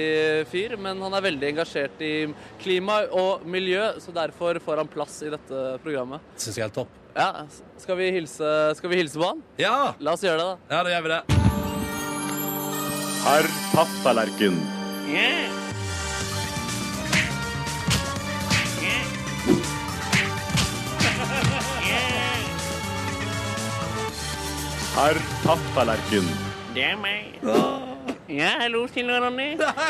fyr, men han er veldig engasjert i klima og miljø, så derfor får han plass i dette programmet. Syns jeg er helt topp. Ja, s- Skal vi hilse, skal vi hilse på han? Ja, La oss gjøre det, da. ja, da gjør vi det. Herr Papptallerken. Herr Papptallerken. Det er meg. Ja, hallo, Stine og Ronny.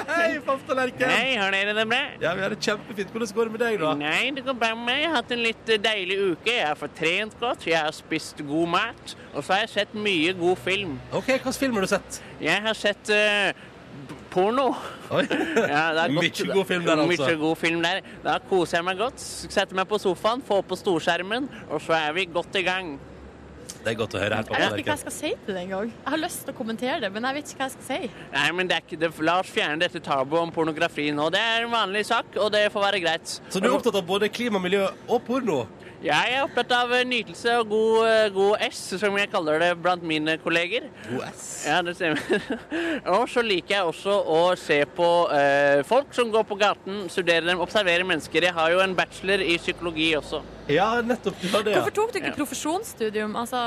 Hei, papptallerken! Hei, har dere det bra? Ja, vi har det kjempefint. Hvordan går det med deg, da? Nei, det går bra med meg. Jeg har hatt en litt eh, deilig uke. Jeg har fått trent godt, jeg har spist god mat, og så har jeg sett mye god film. OK, hvilken film har du sett? Jeg har sett eh, b- porno. Oi. Ja, det er godt. Mykje god film der, altså. Mykje god film der. Da koser jeg meg godt. Setter meg på sofaen, får på storskjermen, og så er vi godt i gang. Det er godt å høre her, Jeg vet ikke hva jeg papptallerken. skal si til det engang. Jeg har lyst til å kommentere det, men jeg vet ikke hva jeg skal si. Nei, men det er ikke, det, La oss fjerne dette tabuet om pornografi nå. Det er en vanlig sak, og det får være greit. Så du er opptatt av både klima, miljø og porno? Jeg er opptatt av eh, nytelse og god, eh, god S, som jeg kaller det blant mine kolleger. God ass. Ja, det stemmer. og så liker jeg også å se på eh, folk som går på gaten, studere dem, observere mennesker. Jeg har jo en bachelor i psykologi også. Ja, nettopp. Du har det, ja. Hvorfor tok du ikke profesjonsstudium? Altså,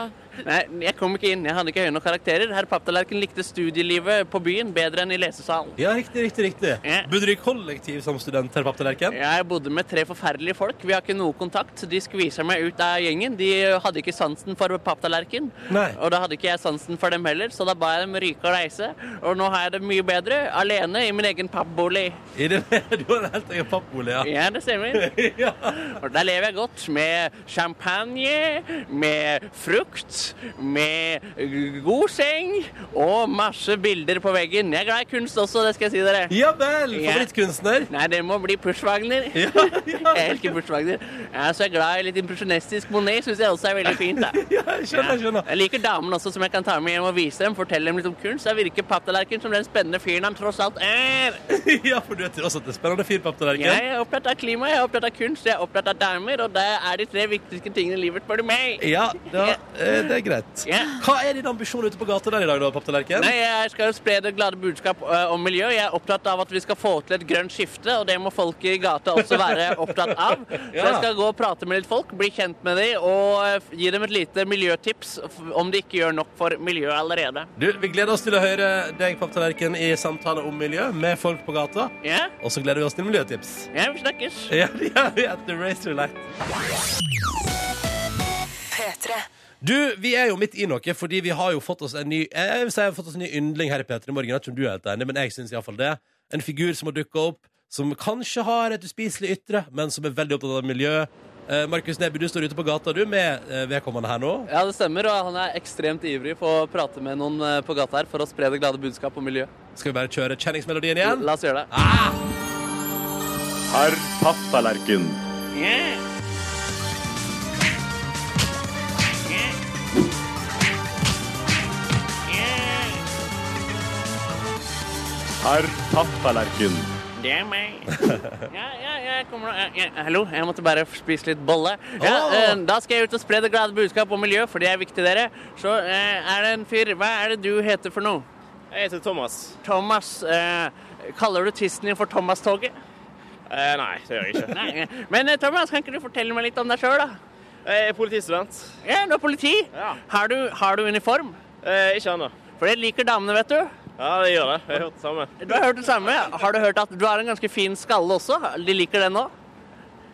Nei, jeg kom ikke inn. Jeg hadde ikke høye nok karakterer. Herr Papptallerken likte studielivet på byen bedre enn i lesesalen. Ja, riktig, riktig. riktig. Ja. Bodde du i kollektiv som student her, papptallerken? Jeg bodde med tre forferdelige folk. Vi har ikke noe kontakt. De skvisa meg ut av gjengen. De hadde ikke sansen for papptallerken. Nei. Og da hadde ikke jeg sansen for dem heller, så da ba jeg dem ryke og reise. Og nå har jeg det mye bedre alene i min egen pappbolig. I det, du har en helt egen pappbolig, ja. Ja, det stemmer. ja. Og der lever jeg godt med champagne, med frukt, med god seng og masse bilder på veggen. Jeg er glad i kunst også, det skal jeg si dere. Ja vel! Ja. Favorittkunstner? Nei, det må bli Pushwagner. Ja, Jeg ja. elsker Pushwagner. Ja, så er jeg glad i litt impresjonistisk Monet, syns jeg også er veldig fint. da. ja jeg skjønner, jeg skjønner. Jeg liker damen også, som jeg kan ta med hjem og vise dem. Fortelle dem litt om kunst. Da virker papptallerken som den spennende fyren han tross alt er. Ja, for du er tross alt en spennende fyr, Jeg papptallerken. er opptatt av klima, jeg er opptatt av kunst, jeg er opptatt av damer, og det er de tre viktigste tingene i livet, spør du meg. Ja, da, eh, det er greit. Ja. Hva er din ambisjon ute på gata der i dag, da, papptallerken? Nei, jeg skal jo spre det glade budskap ø, om miljø. Jeg er opptatt av at vi skal få til et grønt skifte, og det må folk i gata også være opptatt av. Så Ja. jeg skal gå og prate med litt folk, bli kjent med dem og ø, f- gi dem et lite miljøtips f- om de ikke gjør nok for miljøet allerede. Du, vi gleder oss til å høre deg, papptallerken, i samtale om miljø med folk på gata. Ja, Og så gleder vi oss til miljøtips. ja vi snakkes. Ja, det gjør vi etter Racer Light. Du, vi er jo midt i noe, fordi vi har jo fått oss en ny eh, Jeg vil si jeg har fått oss en ny yndling her i P3 Morgen. Jeg vet ikke om du er helt enig, men jeg syns iallfall det. En figur som har dukka opp, som kanskje har et uspiselig ytre, men som er veldig opptatt av miljø. Eh, Markus Neby, du står ute på gata, du, med eh, vedkommende her nå. Ja, det stemmer, og han er ekstremt ivrig på å prate med noen eh, på gata her for å spre det glade budskap om miljø. Skal vi bare kjøre kjenningsmelodien igjen? La oss gjøre det. Herr Papptallerken. Herr Papptallerken. Det er meg. Ja, ja, jeg kommer nå. Ja, ja, hallo, jeg måtte bare spise litt bolle. Ja, Åh! eh, da skal jeg ut og spre det glade budskap om miljø, for det er viktig, dere. Så eh, er det en fyr Hva er det du heter for noe? Jeg heter Thomas. Thomas eh, Kaller du tissen din for Thomas-toget? Eh, nei, det gjør jeg ikke. Nei, eh, Men eh, Thomas, kan ikke du fortelle meg litt om deg sjøl, da? Jeg er politistudent. Ja, du er politi. Ja. Har, du, har du uniform? Eh, ikke ennå. For det liker damene, vet du. Ja, jeg gjør det. Jeg har hørt det samme. Du har hørt det samme. Har du hørt at du har en ganske fin skalle også? De liker den òg.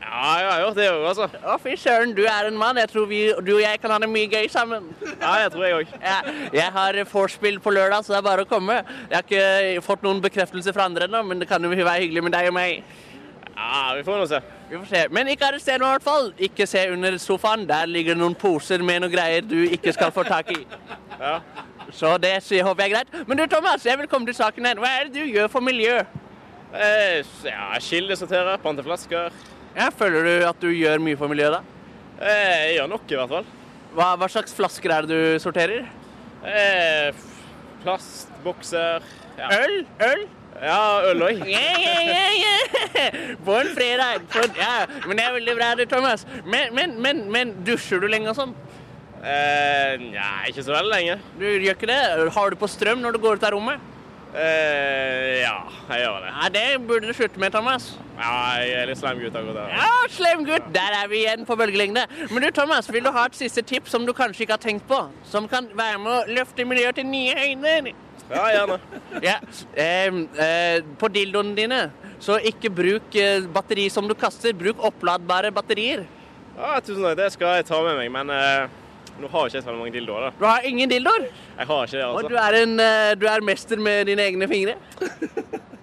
Ja, jeg har hørt det òg, altså. Å, fy søren, du er en mann. Jeg tror vi, du og jeg kan ha det mye gøy sammen. Ja, jeg tror jeg òg. Jeg, jeg har vorspiel på lørdag, så det er bare å komme. Jeg har ikke eh, fått noen bekreftelse fra andre ennå, men det kan jo være hyggelig med deg og meg. Ja, vi får nå se. Vi får se. Men ikke arrester meg, i hvert fall. Ikke se under sofaen. Der ligger det noen poser med noen greier du ikke skal få tak i. Så det sier- håper jeg er greit. Men du, Thomas, jeg vil komme til saken her. Hva er det du gjør for miljø? Eh, ja, Kildesortere, pante flasker. Ja, føler du at du gjør mye for miljøet, da? Eh, jeg gjør nok, i hvert fall. Hva, hva slags flasker er det du sorterer? Eh, plastbokser ja. Øl? Øl? Ja, øl òg. Yeah, yeah, yeah, yeah. På en fredag. På en, ja, men det er veldig bra, det, Thomas. Men, men, men, men dusjer du lenge og sånn? Eh, nei, ikke så veldig lenge. Du gjør ikke det? Har du på strøm når du går ut av rommet? Eh, ja, jeg gjør det. Nei, det burde du slutte med, Thomas. Ja, jeg er litt slem gutt akkurat der. Ja, slem gutt! Der er vi igjen på bølgelengde. Men du, Thomas, vil du ha et siste tips som du kanskje ikke har tenkt på? Som kan være med å løfte miljøet til nye høyder? Ja, gjerne. Ja. Ehm, eh, på dildoene dine, så ikke bruk eh, batteri som du kaster. Bruk oppladbare batterier. Ja, tusen takk, det skal jeg ta med meg, men eh, nå har ikke jeg så veldig mange dildoer. da. Du har ingen dildoer, Jeg har ikke det, og du altså. er, en, eh, du er mester med dine egne fingre.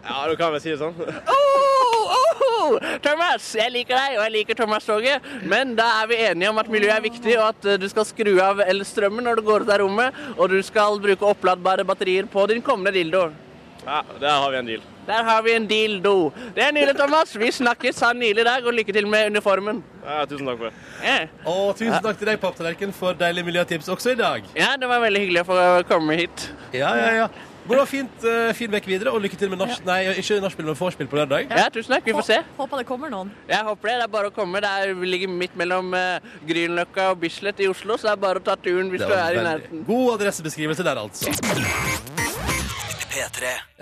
Ja, du kan vel si det sånn. Oh, oh, Thomas, jeg liker deg, og jeg liker Thomas-toget. Men da er vi enige om at miljøet er viktig, og at eh, du skal skru av elstrømmen når du går ut av rommet, og du skal bruke oppladbare batterier på din kommende dildo. Ja, der har vi en deal. Der har vi en dildo. Det er nydelig, Thomas. Vi snakkes. Ha en nydelig dag, og lykke til med uniformen. Ja, tusen takk for det. Eh. Og tusen takk til deg, Papptallerken, for deilige miljøtips også i dag. Ja, det var veldig hyggelig å få komme hit. Ja, ja, ja. Bra, fint, eh, fin vekk videre, og lykke til med nach... Nei, ikke nachspiel, men vorspiel på lørdag. Ja, tusen takk. Vi får se. Hå- Håper det kommer noen. Jeg håper det. Det er bare å komme. Det er, vi ligger midt mellom eh, Grünerløkka og Bislett i Oslo, så det er bare å ta turen hvis Det du er var i veldig- nærheten. God adressebeskrivelse der, altså. Jeg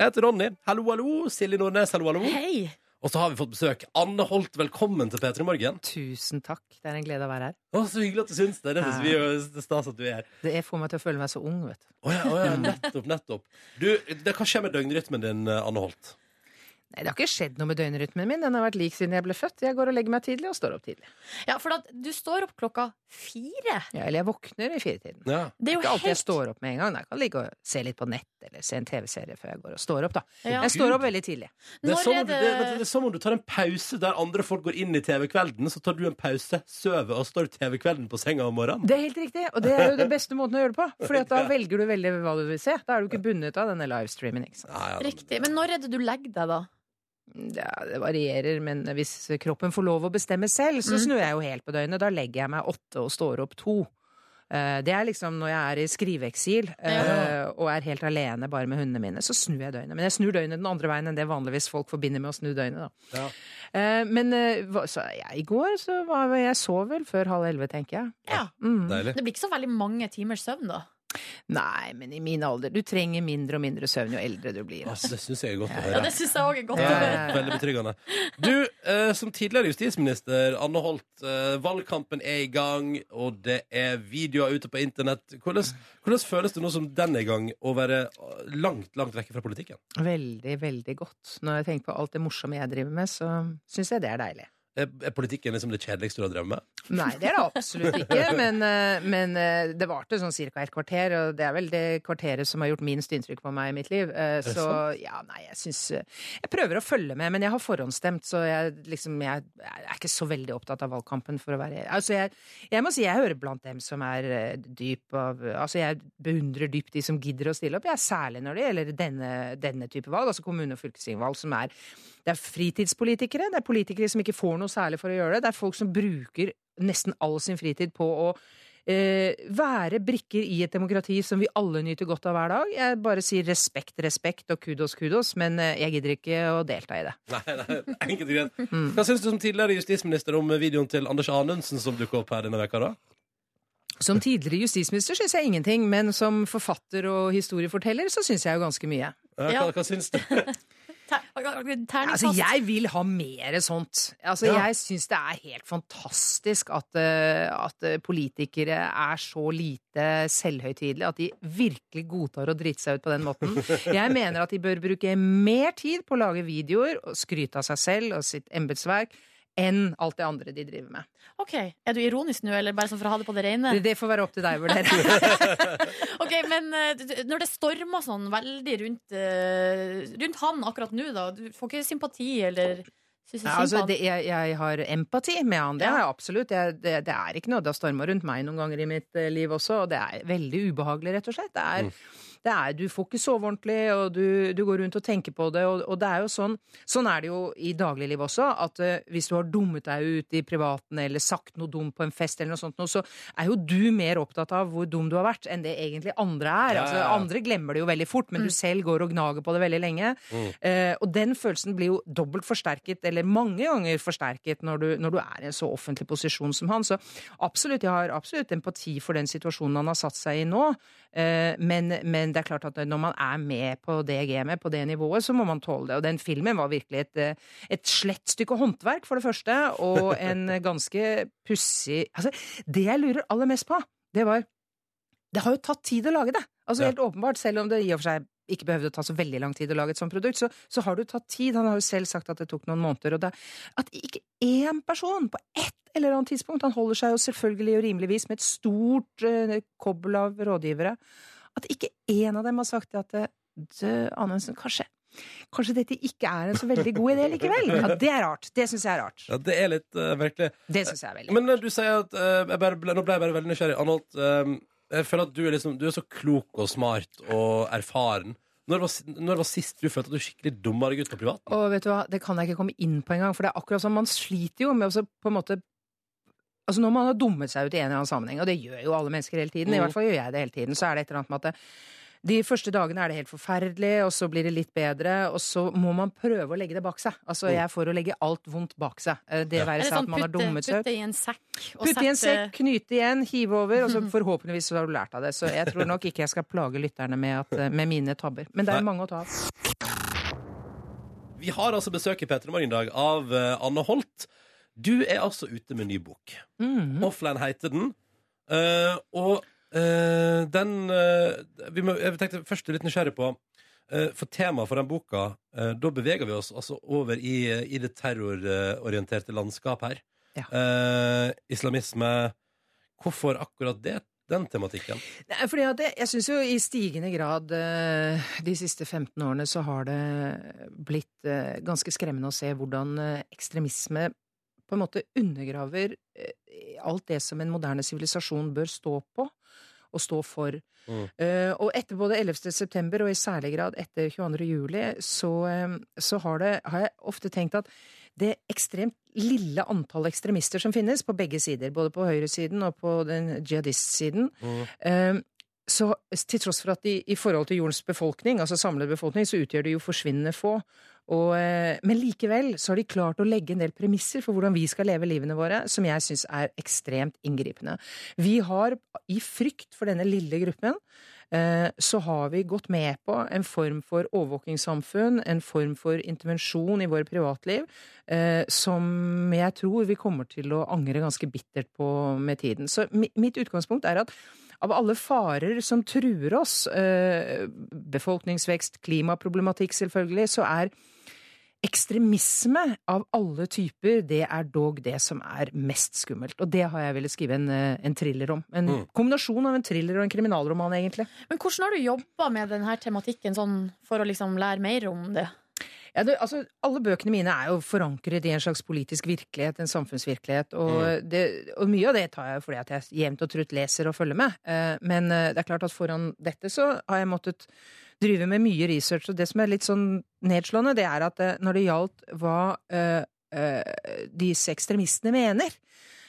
heter Ronny. Hallo, hallo. Silje Nordnes, hallo, hallo. Hei! Og så har vi fått besøk. Anne Holt, velkommen til P3 Morgen. Tusen takk. Det er en glede å være her. Å, så hyggelig at du syns det. Det syns vi er jo det er stas at du er her. Det er- får meg til å føle meg så ung, vet du. Å ja, å ja, nettopp, nettopp. Du, det, hva skjer med døgnrytmen din, eh, Anne Holt? Nei, det har ikke skjedd noe med døgnrytmen min. Den har vært lik siden jeg ble født. Jeg går og legger meg tidlig og står opp tidlig. Ja, for at du står opp klokka fire. Ja, eller jeg våkner i firetiden. Ja. Det er Ikke jo alltid jeg helt står opp med en gang. Jeg kan ligge og se litt på nett eller se en TV-serie før jeg går og står opp, da. Ja. Jeg står opp veldig tidlig. Det er, Når som, er om du- det, det- vet du, det er som om du tar en pause der andre folk går inn i TV-kvelden, så tar du en pause, sover og står i TV-kvelden på senga om morgenen. Det er helt riktig, og det er jo den beste måten å gjøre det på. For da velger du veldig hva du vil se. Da er du ikke bundet av denne livestreamen. Ikke sant? Ja, ja, men- riktig. Men når er det du legger deg, da? Ja, det varierer, men hvis kroppen får lov å bestemme selv, så Mm. snur jeg jo helt på døgnet. Da legger jeg meg åtte og står opp to. Eh, Det er liksom når jeg er i skriveeksil eh, og er helt alene bare med hundene mine, så snur jeg døgnet. Men jeg snur døgnet den andre veien enn det vanligvis folk forbinder med å snu døgnet, da. Ja. Eh, Men eh, hva- så jeg, i går så var jeg- jeg sov vel før halv elleve, tenker jeg. Ja. Mm. Deilig. Det blir ikke så veldig mange timers søvn, da. Nei, men i min alder Du trenger mindre og mindre søvn jo eldre du blir. Altså, det syns jeg er godt å Ja, høre. Det syns jeg òg er godt. Ja, å ja, høre. ja. Veldig betryggende. Du, eh, som tidligere justisminister, Anne Holt. Eh, valgkampen er i gang, og det er videoer ute på internett. Hvordan, hvordan føles det nå som den er i gang, å være eh, langt, langt vekk fra politikken? Veldig, veldig godt. Når jeg tenker på alt det morsomme jeg driver med, så syns jeg det er deilig. Er, er politikken liksom det kjedeligste du har drevet med? Nei, det er det absolutt ikke. Men, eh, men eh, det varte sånn ca. et kvarter, og det er vel det kvarteret som har gjort minst inntrykk på meg i mitt liv. Eh, det Så ja, nei, jeg syns Jeg prøver å følge med, men jeg har forhåndsstemt, så jeg liksom Jeg er ikke så veldig opptatt av valgkampen, for å være Altså, jeg, jeg må si jeg hører blant dem som er eh, dyp av Altså, jeg beundrer dypt de som gidder å stille opp, jeg, særlig når det gjelder denne, denne type valg, altså kommune- og fylkestingvalg, som er det er fritidspolitikere, det er politikere som ikke får noe særlig for å gjøre det. Det er folk som bruker nesten all sin fritid på å eh, være brikker i et demokrati som vi alle nyter godt av hver dag. Jeg bare sier respekt, respekt og kudos, kudos, men eh, jeg gidder ikke å delta i det. Nei, nei, enkelt og greit. Hva syns du som tidligere justisminister om videoen til Anders Anundsen som dukka opp her denne veka da? Som tidligere justisminister syns jeg ingenting, men som forfatter og historieforteller så syns jeg jo ganske mye. Eh, Hva, Ja. hva syns du? Ter- Terningkast Altså, jeg vil ha mer sånt. Altså, Ja. Jeg syns det er helt fantastisk at, eh, at eh, politikere er så lite selvhøytidelige at de virkelig godtar å drite seg ut på den måten. Jeg mener at de bør bruke mer tid på å lage videoer og skryte av seg selv og sitt embetsverk enn alt det andre de driver med. Ok, Er du ironisk nå, eller bare sånn for å ha det på det rene? Det, det får være opp til deg, vurderer. Ok, men eh, d- d- Når det stormer sånn veldig rundt, eh, rundt han akkurat nå, da Du får ikke sympati, eller synes Ja, synd altså, på han? det, jeg, jeg har empati med han, det har jeg absolutt. Jeg, det, det Mm. er ikke noe. Det har storma rundt meg noen ganger i mitt eh, liv også, og det er veldig ubehagelig, rett og slett. Det er, det er, du får ikke sove ordentlig, og du, du går rundt og tenker på det. Og, og det er jo sånn, sånn er det jo i dagliglivet også, at eh, hvis du har dummet deg ut i privaten eller sagt noe dumt på en fest, eller noe sånt, noe, så er jo du mer opptatt av hvor dum du har vært, enn det egentlig andre er. Ja, Altså, ja, ja. andre glemmer det jo veldig fort, men du selv går og gnager på det veldig lenge. Eh, og den følelsen blir jo dobbelt forsterket, eller mange ganger forsterket, når du, når du er i en så offentlig posisjon som han. Så absolutt, jeg har absolutt empati for den situasjonen han har satt seg i nå. Eh, men, men det er klart at når man er med på det gamet, på det nivået, så må man tåle det. Og den filmen var virkelig et, eh, et slett stykke håndverk, for det første, og en ganske pussig Altså, det jeg lurer aller mest på, det var det har jo tatt tid å lage det. Altså Ja. helt åpenbart, Selv om det i og for seg ikke behøvde å ta så veldig lang tid å lage et sånt produkt, så, så har det jo tatt tid. Han har jo selv sagt at det tok noen måneder. Og det, at ikke én person på ett eller annet tidspunkt Han holder seg jo selvfølgelig og rimeligvis med et stort eh, kobbel av rådgivere. At ikke én av dem har sagt at eh, du, Anundsen, kanskje, kanskje dette ikke er en så veldig god idé likevel. Ja, det er rart. Det syns jeg er rart. Ja, det er litt eh, virkelig. Det synes jeg er veldig Men eh, du sier at eh, jeg bare ble, Nå ble jeg bare veldig nysgjerrig. Anholt, eh, jeg føler at du er, liksom, du er så klok og smart og erfaren. Når var, si- når var sist du følte at du skikkelig dumma deg ut på privat? Og vet du hva, det kan jeg ikke komme inn på engang, for det er akkurat som man sliter jo med å så på en måte Altså Når man har dummet seg ut i en eller annen sammenheng, og det gjør jo alle mennesker hele tiden, i Mm. hvert fall gjør jeg det hele tiden, så er det et eller annet med at det, de første dagene er det helt forferdelig, og så blir det litt bedre, og så må man prøve å legge det bak seg. Altså, Mm. jeg får å legge alt vondt bak seg. Eh, Det Eller være seg sånn at man har putte- dummet seg ut. Putte i en sekk. og Putte i en sette- sekk, knyte igjen, hive over, og så forhåpentligvis så har du lært av det. Så jeg tror nok ikke jeg skal plage lytterne med, at, eh, med mine tabber. Men det er mange å ta av. Vi har altså besøk i P3 Morgen i dag av eh, Anne Holt. Du er altså ute med ny bok. Mhm. Offline heter den. Eh, og eh, den eh, vi må, Jeg tenkte først litt nysgjerrig på eh, For temaet for den boka eh, Da beveger vi oss altså over i, i det terrororienterte landskap her. Eh, islamisme Hvorfor akkurat det? Den tematikken? Nei, fordi at jeg, jeg syns jo i stigende grad eh, de siste 15 årene så har det blitt eh, ganske skremmende å se hvordan eh, ekstremisme på en måte undergraver eh, alt det som en moderne sivilisasjon bør stå på og stå for. Eh, og etter både 11. september og i særlig grad etter 22. juli, så, eh, så har, det, har jeg ofte tenkt at det ekstremt lille antallet ekstremister som finnes på begge sider, både på høyresiden og på den jihadistsiden, eh, så til tross for at de i forhold til jordens befolkning, altså samlet befolkning, så utgjør de jo forsvinnende få. Og, eh, men likevel så har de klart å legge en del premisser for hvordan vi skal leve livene våre, som jeg syns er ekstremt inngripende. Vi har, i frykt for denne lille gruppen, eh, så har vi gått med på en form for overvåkingssamfunn, en form for intervensjon i våre privatliv, eh, som jeg tror vi kommer til å angre ganske bittert på med tiden. Så mi- mitt utgangspunkt er at av alle farer som truer oss, eh, befolkningsvekst, klimaproblematikk selvfølgelig, så er ekstremisme av alle typer, det er dog det som er mest skummelt. Og det har jeg villet skrive en, eh, en thriller om. En Mm. kombinasjon av en thriller og en kriminalroman, egentlig. Men hvordan har du jobba med denne tematikken sånn, for å liksom lære mer om det? Ja, det, altså, alle bøkene mine er jo forankret i en slags politisk virkelighet, en samfunnsvirkelighet. Og, Mm. det, og mye av det tar jeg jo fordi at jeg jevnt og trutt leser og følger med. Eh, Men eh, det er klart at foran dette så har jeg måttet drive med mye research. Og det som er litt sånn nedslående, det er at eh, når det gjaldt hva eh, eh, disse ekstremistene mener,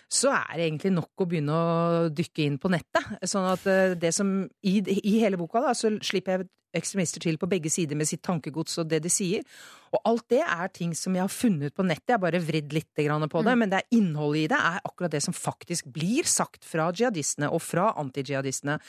så er det egentlig nok å begynne å dykke inn på nettet. Sånn at eh, det som i, i hele boka, da, så slipper jeg ekstremister til på begge sider med sitt tankegods og det de sier. Og alt det er ting som jeg har funnet på nettet, jeg har bare vridd litt grann på det, men det er innholdet i det er akkurat det som faktisk blir sagt fra jihadistene og fra antijihadistene.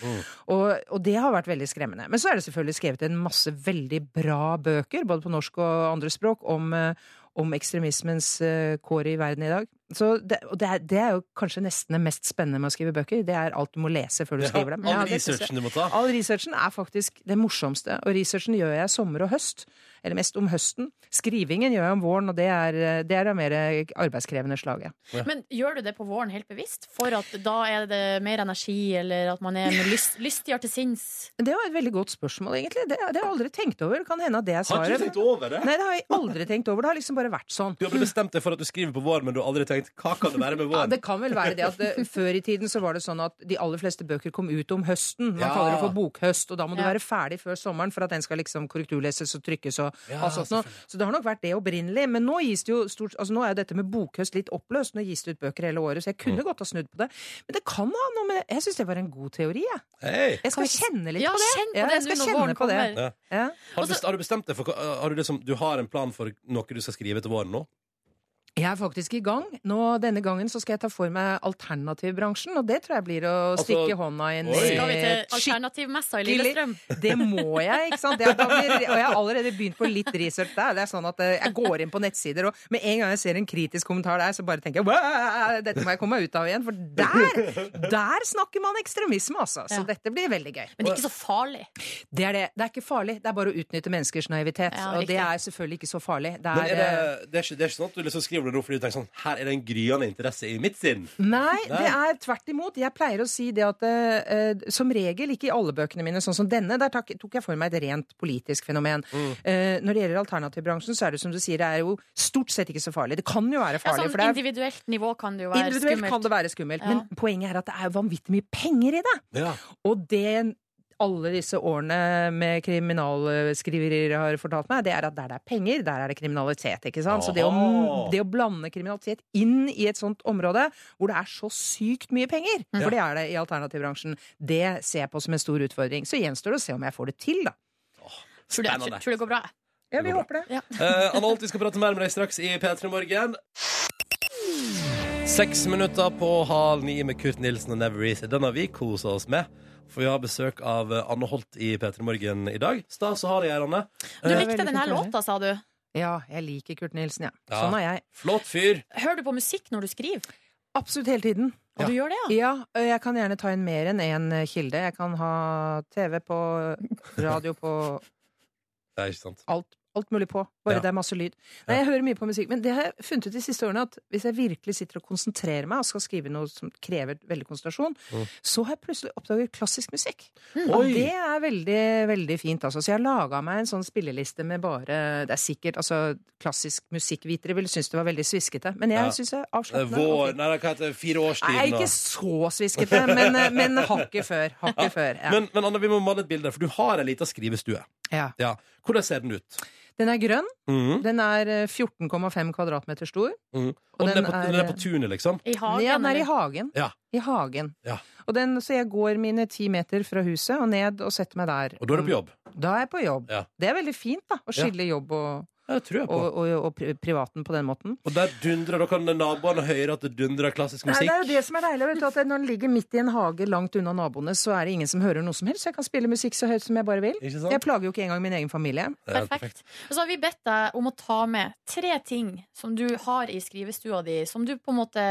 Og, og det har vært veldig skremmende. Men så er det selvfølgelig skrevet en masse veldig bra bøker, både på norsk og andre språk, om, eh, om ekstremismens eh, kår i verden i dag. Så det, og det er, det er jo kanskje nesten det mest spennende med å skrive bøker. Det er alt du må lese før du Ja, skriver dem. all det synes jeg- researchen du må ta. All researchen er faktisk det morsomste, og researchen gjør jeg sommer og høst. Eller mest om høsten. Skrivingen gjør jeg om våren, og det er eh, det, er det mer arbeidskrevende slaget. Men gjør du det på våren helt bevisst? For at da er det mer energi, eller at man er lyst, lystigere til sinns? Det var et veldig godt spørsmål, egentlig. Det, det har jeg aldri tenkt over. Det kan hende at det er svaret. Har ikke du tenkt over det? Nei, det har jeg aldri tenkt over. Det har liksom bare vært sånn. Du har bestemt deg for at du skriver på vår, men du har aldri tenkt tenkt hva kan det være med Ja, vår? det kan vel være det at eh, Før i tiden så var det sånn at de aller fleste bøker kom ut om høsten. Man Ja. kaller det for bokhøst, og da må du Ja. være ferdig før sommeren for at den skal liksom korrekturleses og trykkes. Og, Ja, alt sånt noe. Så det har nok vært det opprinnelig. Men nå, gis det jo stort, altså nå er jo dette med bokhøst litt oppløst. Nå gis det ut bøker hele året, så jeg kunne godt ha snudd på det. Men det kan ha noe med Jeg syns det var en god teori, jeg. Hei. Jeg skal kjenne litt Ja, på det. kjenn på Ja, det jeg skal nå når kjenne våren på det. kommer. Ja. Altså- Har du, best, har du bestemt deg for hva- har du, liksom, du har en plan for noe du skal skrive til våren nå? Jeg er faktisk i gang. Nå, denne gangen så skal jeg ta for meg alternativbransjen, og det tror jeg blir å Altså, stikke hånda inn i Skal vi til alternativmessa i Lillestrøm? Det må jeg, Eh, ikke sant? Det, da blir, og jeg har allerede begynt på litt research der. Det er sånn at eh, Jeg går inn på nettsider, og med en gang jeg ser en kritisk kommentar der, så bare tenker jeg «Wow, dette må jeg komme meg ut av igjen. For der, der snakker man ekstremisme, altså. Så dette blir veldig gøy. Men ikke så farlig. Det er det. Det er ikke farlig. Det er bare å utnytte menneskers naivitet. Ja, og det riktig. er selvfølgelig ikke så farlig. Det Men er, er det, det, er ikke, det er ikke sånn at du liksom skriver det nå fordi du tenker sånn Her er det en gryende interesse i mitt sinn. Nei, det Nei. er tvert imot. Jeg pleier å si det at eh, eh, som regel, ikke i alle bøkene mine, sånn som denne, der tak, tok jeg for meg et rent politisk fenomen. Eh, når det gjelder alternativbransjen, så er det som du sier, det er jo stort sett ikke så farlig. Det kan jo være Ja, farlig, sånn for det er individuelt nivå kan det jo være Individuelt skummelt. kan det være skummelt, Ja. men poenget er at det er vanvittig mye penger i det. Og det alle disse årene med kriminalskriverier har fortalt meg, det er at der det er penger, der er det kriminalitet. ikke sant? Så det å, Aha. det å blande kriminalitet inn i et sånt område hvor det er så sykt mye penger, Mm. for det er det i alternativbransjen, det ser jeg på som en stor utfordring. Så gjenstår det å se om jeg får det til, da. Tror du, Spennende. tror- tror det går bra? Ja, vi håper det. Eh, Anne Holt, vi skal prate mer med deg straks i P3 Morgen. Seks minutter på halv ni med Kurt Nilsen og Never Easy. Den har vi kosa oss med. For vi har besøk av eh, Anne Holt i P3 Morgen i dag. Stas å ha deg her, Anne. Du Eh, likte denne låta, sa du. Ja, jeg liker Kurt Nilsen, ja. Ja. Sånn er jeg. Flott fyr. Hører du på musikk når du skriver? Absolutt hele tiden. Og du gjør det, ja? Ja, og jeg kan gjerne ta inn mer enn én eh, kilde. Jeg kan ha TV på, radio på, Det er ikke sant. alt, alt mulig på. Bare Ja. det er masse lyd. Nei, jeg hører mye på musikk, men det har jeg funnet ut de siste årene at hvis jeg virkelig sitter og konsentrerer meg og skal skrive noe som krever veldig konsentrasjon, Mm. så har jeg plutselig oppdaget klassisk musikk. Hmm. Mm. Og Oi. det er veldig, veldig fint, altså. Så jeg har laga meg en sånn spilleliste med bare Det er sikkert altså Klassisk musikkvitere ville synes det var veldig sviskete, men jeg Ja. synes jeg Eh, avslappende og Vår Nei, hva heter det? Fireårstiden. Nei, og- ikke så sviskete, men, eh, men hakket før. Hakket før ja. Men, men Anne, vi må male et bilde, for du har ei lita skrivestue. Ja. Hvordan ser den ut? Den er grønn. Mhm. Den er eh, 14,5 kvadratmeter stor. Mhm. Og, Og den, den er på, er- eh, den er på tunet, liksom? ja, den er i hagen. Ja. I hagen. ja. Og den, så jeg går mine ti meter fra huset og ned og setter meg der. Og da er du på jobb? Da er jeg på jobb. Ja. Det er veldig fint, da. Å skille jobb og, Ja, det tror jeg på. og, og, og pri- privaten på den måten. Og der dundrer, da kan naboene høre at det dundrer klassisk Nei, musikk. det er jo det som er deilig. Vet du, at når den ligger midt i en hage langt unna naboene, så er det ingen som hører noe som helst. Så jeg kan spille musikk så høyt som jeg bare vil. Ikke sant? Jeg plager jo ikke engang min egen familie. Det er helt perfekt. Og så har vi bedt deg om å ta med tre ting som du har i skrivestua di, som du på en måte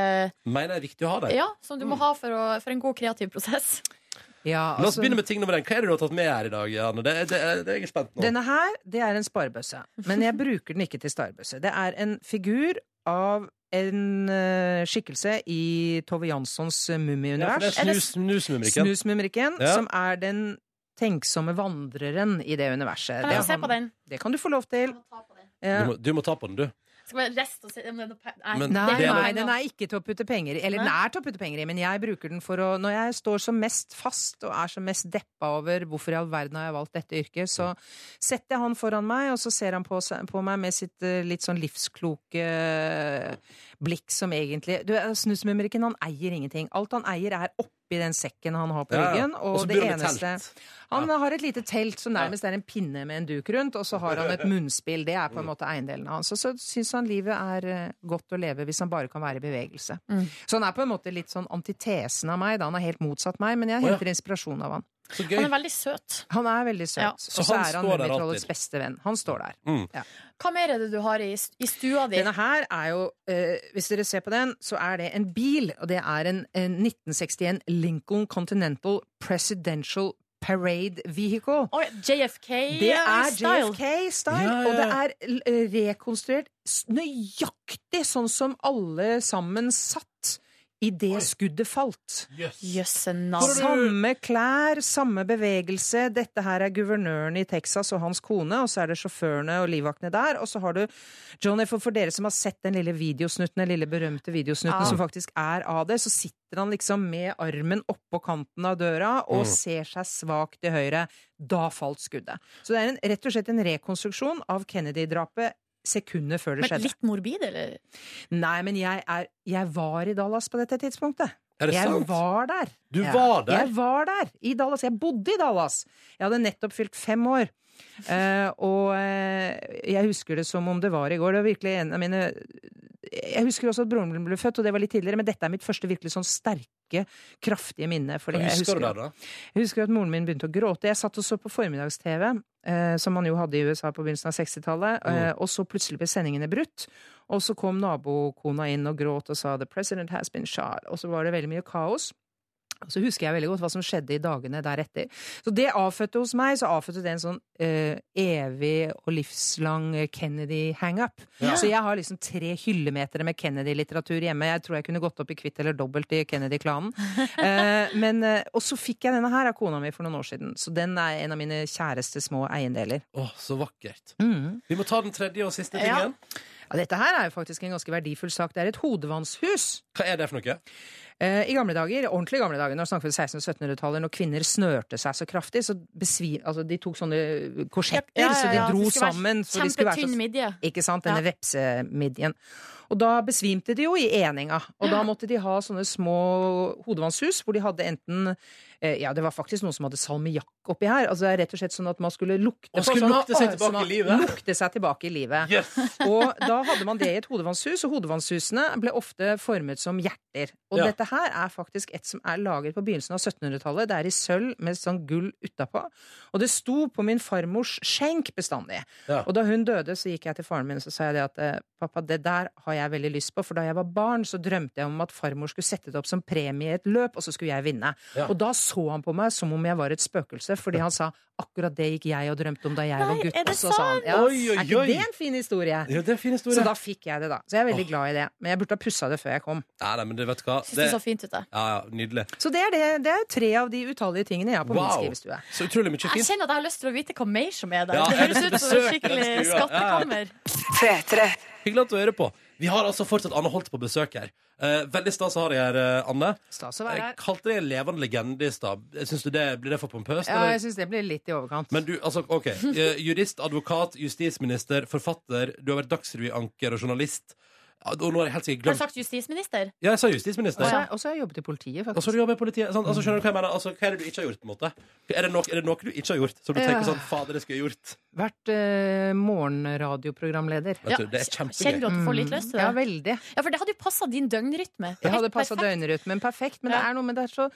Mener jeg er viktig å ha det. Mm. Ja, som du må ha for, å, for en god kreativ prosess. La altså- oss begynne med ting nummer én. Hva er det du har tatt med her i dag, Anne? Det, det, det er jeg spent nå. Denne her, det er en sparebøsse. Men jeg bruker den ikke til sparebøsse. Det er en figur av en eh, skikkelse i Tove Janssons eh, Ja, for det mumieunivers. er snus, snusmumrikken. Snusmumrikken, Ja. som er den tenksomme vandreren i det universet. Kan Det jeg er få se han- på den? Det kan du få lov til. Ja. Du, må, du må ta på den, du. Skal vi rest og se om det er noe pe- Men nei, det er nei, det- den er ikke til å putte penger i. Eller den er til å putte penger i, men jeg bruker den for å Når jeg står som mest fast og er som mest deppa over hvorfor i all verden har jeg valgt dette yrket, så Mm. setter jeg han foran meg, og så ser han på, seg- på meg med sitt eh, litt sånn livskloke eh, blikk som egentlig Du, eh, Snusmumrikken, han eier ingenting. Alt han eier, er oppi den sekken han har på Ja, ja. ryggen, Og så og det bor han i eneste telt. Han har et lite telt som nærmest er en pinne med en duk rundt, og så har han et munnspill. Det er på en Mm. måte eiendelen hans. Og så syns han livet er eh, godt å leve hvis han bare kan være i bevegelse. Mm. Så han er på en måte litt sånn antitesen av meg. Da. Han er helt motsatt meg, men jeg Å, ja. henter inspirasjon av han. Han er veldig søt. Han er veldig søt. Ja. Og Så så, han er han står der Mummitrollets alltid? beste venn. Han står der. Mm. Ja. Hva mer er det du har i, i stua di? Denne her er jo, eh, hvis dere ser på den, så er det en bil, og det er en, en 1961 Lincoln Continental Presidential Parade Vehicle. JFK-style. Det er JFK-style, og det er eh, l- rekonstruert s- nøyaktig sånn som alle sammen satt idet skuddet falt. Jøsse Samme klær, samme bevegelse. Dette her er guvernøren i Texas og hans kone, og så er det sjåførene og livvaktene der. Og så har du Johnny, for, for dere som har sett den lille videosnutten, den lille berømte videosnutten Ja. som faktisk er av det, så sitter han liksom med armen oppå kanten av døra og Mm. ser seg svakt til høyre. Da falt skuddet. Så det er en, rett og slett en rekonstruksjon av Kennedy-drapet sekunder før det Men skjedde. litt morbid, eller? Nei, men jeg, er, jeg var i Dallas på dette tidspunktet. Er det jeg sant? var der. Du var der? Jeg var der, i Dallas. Jeg bodde i Dallas. Jeg hadde nettopp fylt fem år. Eh, og eh, jeg husker det som om det var i går. Det var virkelig en av mine Jeg husker også at broren min ble født, og det var litt tidligere, men dette er mitt første virkelig sånn sterke, kraftige minne. fordi Hva jeg husker du husker- der, da? jeg husker at moren min begynte å gråte. Jeg satt og så på formiddags-TV, eh, som man jo hadde i USA på begynnelsen av 60-tallet, Mm. eh, og så plutselig ble sendingene brutt. Og så kom nabokona inn og gråt og sa 'The president has been shot', og så var det veldig mye kaos. Og så husker jeg veldig godt hva som skjedde i dagene deretter. Så det avfødte hos meg, så avfødte det en sånn eh, evig og livslang Kennedy-hangup. Ja. Så jeg har liksom tre hyllemeter med Kennedy-litteratur hjemme. Jeg tror jeg kunne gått opp i kvitt eller dobbelt i Kennedy-klanen. Eh, men, eh, og så fikk jeg denne her av kona mi for noen år siden. Så den er en av mine kjæreste små eiendeler. Å, så vakkert. Mm. Vi må ta den tredje og siste Ja. tingen. Ja, dette her er jo faktisk en ganske verdifull sak. Det er et hodevannshus. Hva er det for noe? Eh, I gamle dager, ordentlig gamle dager, når snakker vi 1600- og 1700-tallet, når kvinner snørte seg så kraftig, så besvi... Altså, de tok sånne korsetter, Ja, ja, ja, så det de dro skulle være sammen. så de skulle være så- Kjempetynn midje. Ikke sant? Denne Ja. vepsemidjen. Og da besvimte de jo i eninga. Og da måtte de ha sånne små hodevannshus hvor de hadde enten eh, Ja, det var faktisk noen som hadde salmiakk oppi her. Altså det er rett og slett sånn at man skulle lukte Og skulle sånn, lukte seg ah, tilbake sånn at- i livet. Lukte seg tilbake i livet. Og da hadde man det i et hodevannshus, og hodevannshusene ble ofte formet som hjerter. Og Ja. dette her er faktisk et som er laget på begynnelsen av 1700-tallet. Det er i sølv med sånn gull utapå. Og det sto på min farmors skjenk bestandig. Ja. Og da hun døde, så gikk jeg til faren min og så sa jeg det at eh, pappa, det der har jeg veldig lyst på, for da jeg var barn, så drømte jeg om at farmor skulle sette det opp som premie i et løp, og så skulle jeg vinne. Ja. Og da så han på meg som om jeg var et spøkelse, fordi han sa akkurat det gikk jeg og drømte om da jeg var Nei, gutt er det også, sa han. sant? Ja. Oi, oi, Er ikke oi. det en fin historie? Ja, det er en fin historie. Så da fikk jeg det, da. Så jeg er veldig glad i det. Men jeg burde ha pussa det før jeg kom. Nei, nei, men du vet hva Synes det så fint ut, da. Ja, ja, nydelig. Så det er, det, det er tre av de utallige tingene jeg har på min skrivestue. Så utrolig mye Jeg fint. kjenner at jeg har lyst til å vite hva mer som er der. Ja, det jeg høres har lyst til ut å som en besøke skikkelig den stua. skattekammer. Hyggelig at du hører på. Vi har altså fortsatt Anne Holt på besøk her. Eh, veldig stas å ha deg her, eh, Anne. Stas å være her. Jeg kalte deg en levende legende i stad. Syns du det blir det for pompøst? Ja, eller? jeg syns det blir litt i overkant. Men du, altså, ok eh, Jurist, advokat, justisminister, forfatter Du har vært dagsrevyanker og journalist Ja, Og nå har jeg helt Har sikkert du glemt sagt justisminister? Ja, jeg sa justisminister Og så- og så har jeg jobbet i politiet, Og så faktisk. har du jobbet i politiet sant? altså, Skjønner du hva jeg mener? Altså, hva er det du ikke har gjort, på en måte? Er det noe, er det noe du ikke har gjort? Som du tenker Ja. sånn, fader, det skulle jeg gjort Vært eh, morgenradioprogramleder. Mm, Vet du, det er kjempegøy. Kjenner du at du får litt lyst til det? Ja, veldig. Ja, for det hadde jo passa din døgnrytme. Jeg hadde Helt passa perfekt. døgnrytmen perfekt, men det er noe med det er så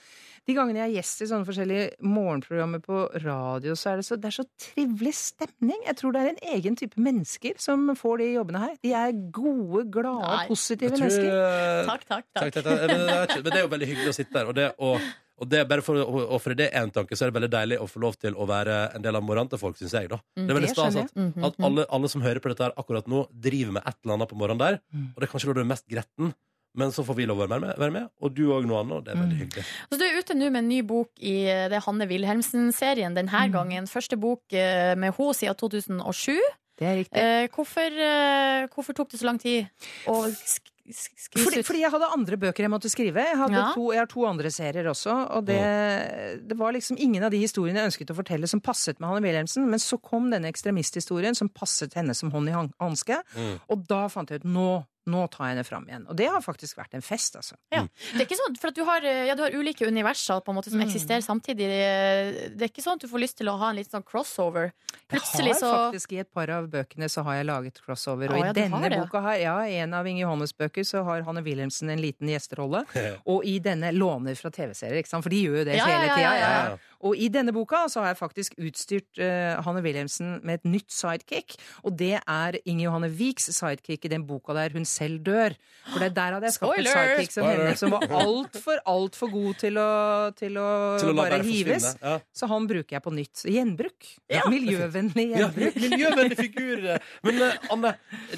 De gangene jeg er gjest i sånne forskjellige morgenprogrammer på radio, så er det så, det er så trivelig stemning. Jeg tror det er en egen type mennesker som får de jobbene her. De er gode, glade, Nei. positive Jeg tror, eh, mennesker. Takk, Men det er ikke- Men det er jo veldig hyggelig å sitte der Og det, og, og det bare for å å- ofre det en tanke Så er det veldig deilig å få lov til å være En del av morgenen til folk, synes jeg da Mm, Det er veldig det stas skjønner at, jeg. Mhm, at mhm. alle, alle som hører på dette her akkurat nå Driver med et eller annet på morgenen der Og det er kanskje da du er mest gretten Men så får vi lov å være med, være med Og du og noe annet, og det er veldig hyggelig Så Du er ute nå med en ny bok i eh, det er Hanne Wilhelmsen-serien denne Mm. gangen. Første bok eh, med henne siden 2007. Det er riktig. Eh, hvorfor, eh, hvorfor tok det så lang tid å sk sk skrive Fordi, fordi jeg hadde andre bøker jeg måtte skrive. Jeg, hadde Ja. to, jeg har to andre serier også. Og det, det var liksom ingen av de historiene jeg ønsket å fortelle som passet med Hanne Wilhelmsen. Men så kom denne ekstremisthistorien som passet henne som hånd i han- hanske. Mm. Og da fant jeg ut nå, nå tar jeg henne fram igjen. Og det har faktisk vært en fest, altså. Ja. Det er ikke sånn, for at du har, eh, ja, du har ulike universer på en Mm. måte som eksisterer samtidig. Eh, Det er ikke sånn at du får lyst til å ha en litt sånn crossover. Plutselig jeg så har faktisk I et par av bøkene så har jeg laget crossover. Å, Og ja, i du denne har det, ja. boka her, ja, en av Inge Johannes' bøker, så har Hanne Wilhelmsen en liten gjesterolle. Og i denne låner fra TV-serier, ikke sant? for de gjør jo det Ja, ja, hele ja, tida. ja, ja. Og i denne boka så har jeg faktisk utstyrt eh, Hanne Wilhelmsen med et nytt sidekick. Og det er Inge Johanne Wiiks sidekick i den boka der hun selv dør. For det der hadde jeg skapt et Spoiler! sidekick som Spoiler. henne som var altfor, altfor god til å, til å, Til å la bare være hives. forsvinne, ja. Så han bruker jeg på nytt. Så Gjenbruk. Miljøvennlig Ja, gjenbruk. miljøvennlig figur. eh. Men eh, Anne,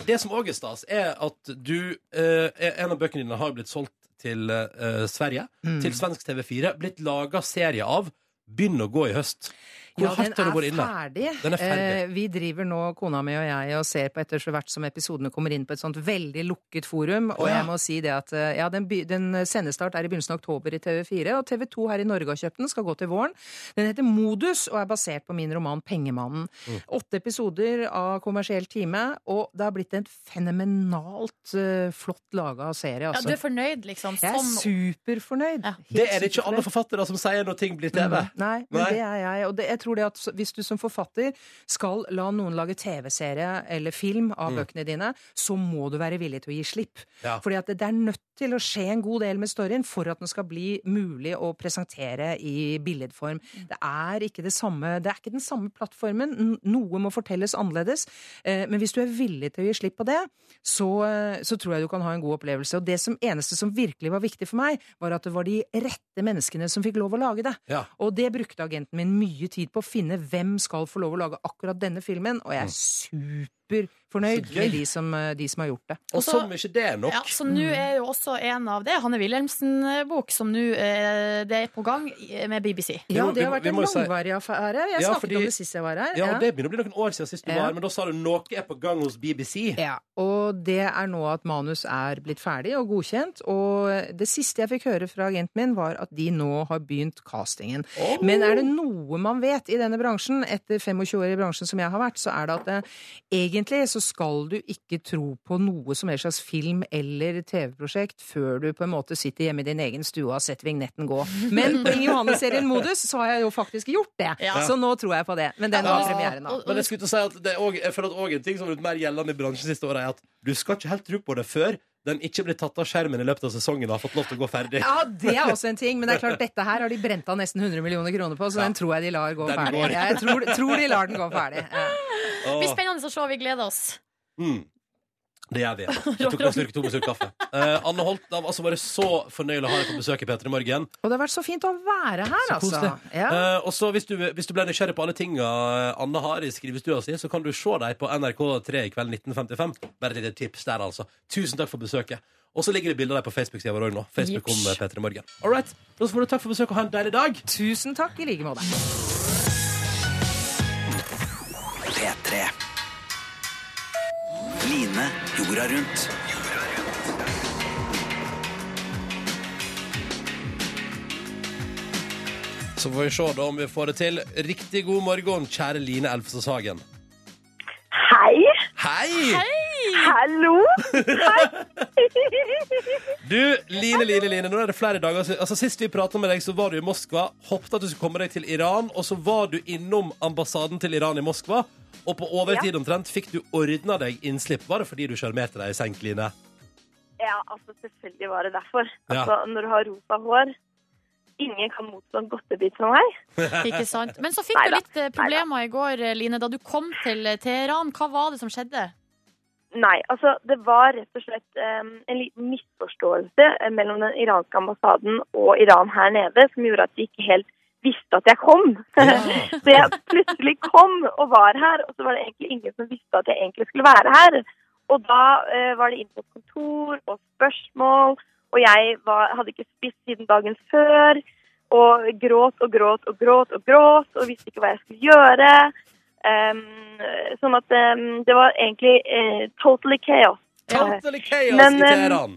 det som òg er stas, er at du eh, er- En av bøkene dine har blitt solgt til eh, Sverige, Mm. til svensk TV4, blitt laga serie av. Begynn å gå i høst. Hvor Ja, den hardt har er du vært inne? ferdig. Den er ferdig. Eh, vi driver nå, kona mi og jeg, og ser på etter så hvert som episodene kommer inn på et sånt veldig lukket forum. Og Å, ja. jeg må si det at eh, ja, den, by- den sendestart er i begynnelsen av oktober i TV4, og TV2 her i Norge har kjøpt den, skal gå til våren. Den heter Modus og er basert på min roman Pengemannen. Åtte episoder av kommersiell time, og det har blitt en fenomenalt eh, flott laga serie, Ja, altså. du er fornøyd, liksom? Jeg er som- superfornøyd. Det er det ikke alle forfattere som sier når ting blir TV. Mm. Nei, men Nei. det er jeg. Og det, jeg tror det at så- hvis du som forfatter skal la noen lage TV-serie eller film av Mm. bøkene dine, så må du være villig til å gi slipp. Ja. Fordi at det, det er nødt til å skje en god del med storyen for at den skal bli mulig å presentere i billedform. Det er ikke det samme, det er ikke den samme plattformen. N- Noe må fortelles annerledes. Eh, Men hvis du er villig til å gi slipp på det, så, eh, så tror jeg du kan ha en god opplevelse. Og det som eneste som virkelig var viktig for meg, var at det var de rette menneskene som fikk lov å lage det. Ja. Og det brukte agenten min mye tid på å finne hvem skal få lov å lage akkurat denne filmen, og jeg er superfornøyd Mm. Så gøy. med de som, eh, de som har gjort det. Og som ikke det er nok. Altså, Ja, så Mm. nå er jo også en av det er Hanne Wilhelmsen-bok som nå eh, det er på gang i- med BBC. Ja, må- det har vi vært en må jo si- langvarig affære. Jeg Ja, snakket fordi- om det sist jeg var her. Ja, og Det begynner å bli noen år siden sist du Ja. var her, men da sa du noe er på gang hos BBC. Ja, og det er nå at manus er blitt ferdig og godkjent. Og det siste jeg fikk høre fra agenten min, var at de nå har begynt castingen. Men er det noe man vet i denne bransjen, etter 25 år i bransjen som jeg har vært, så er det at eh, egentlig så skal du ikke tro på noe som helst slags film eller TV-prosjekt før du på en måte sitter hjemme i din egen stue og har sett vignetten gå. Men på Inge Johanne-serien Modus så har jeg jo faktisk gjort det. Ja. Så nå tror jeg på det. Men den har premiere nå. Men jeg skulle til å si at det er også, jeg føler at også en ting som har blitt mer gjeldende i bransjen siste året, er at du skal ikke helt tro på det før den ikke blir tatt av skjermen i løpet av sesongen og har fått lov til å gå ferdig. Ja, det er også en ting, men det er klart dette her har de brent av nesten 100 millioner kroner på, så den tror jeg de lar gå Den ferdig. går. Ja, Jeg tror, tror de lar den gå ferdig. Ja. Åh, Det blir spennende å se. Vi gleder oss. mm. Det gjør vi. Jeg tok meg en slurk, tok meg en slurk kaffe. Eh, Anne Holt, det har altså vært så fornøyelig å ha deg på besøk i P3 Morgen. Og det har vært så fint å være her, altså. koselig. Ja. Eh, og så hvis du, hvis du ble nysgjerrig på alle tinga Anne har i skrivestua si, så kan du se dem på NRK3 i kveld 1955. Bare et lite tips der, altså. Tusen takk for besøket. Og så ligger det bilder der på Facebook-sida vår òg nå. Facebook om Jips. Petre Morgen. All right. Da får du takk for besøket og ha en deilig dag. Tusen takk i like måte. P3. Line jorda rundt. Så får vi se da om vi får det til. Riktig god morgen, kjære Line Elfsås Hagen. Hei! Hei! Hallo! Du, Line, Line, Line, nå er det flere dager siden altså, Sist vi pratet med deg, så var du i Moskva Håpet at du skulle komme deg til Iran Og så var du innom ambassaden til Iran i Moskva Og på overtid omtrent fikk du ordnet deg innslipp Var det fordi du sjarmerte deg i senk, Line? Ja, altså selvfølgelig var det derfor. Ja. Altså, når du har rosa hår Ingen kan motstå en godtebit som meg. Ikke sant? Men så fikk du Neida, litt eh, problemer i går, eh, Line, da du kom til eh, Teheran. Hva var det som skjedde? Nei, altså det var rett og slett eh, en liten misforståelse eh, mellom den iranske ambassaden og Iran her nede, som gjorde at de ikke helt visste at jeg kom. så jeg plutselig kom og var her, og så var det egentlig ingen som visste at jeg egentlig skulle være her. Og da eh, var det inn på kontor og spørsmål, og jeg var, hadde ikke spist siden dagen før, og gråt og gråt og gråt og gråt, og visste ikke hva jeg skulle gjøre. Ehm, sånn at ehm, det var egentlig eh, totally chaos. Totally chaos Men, i ehm, Teheran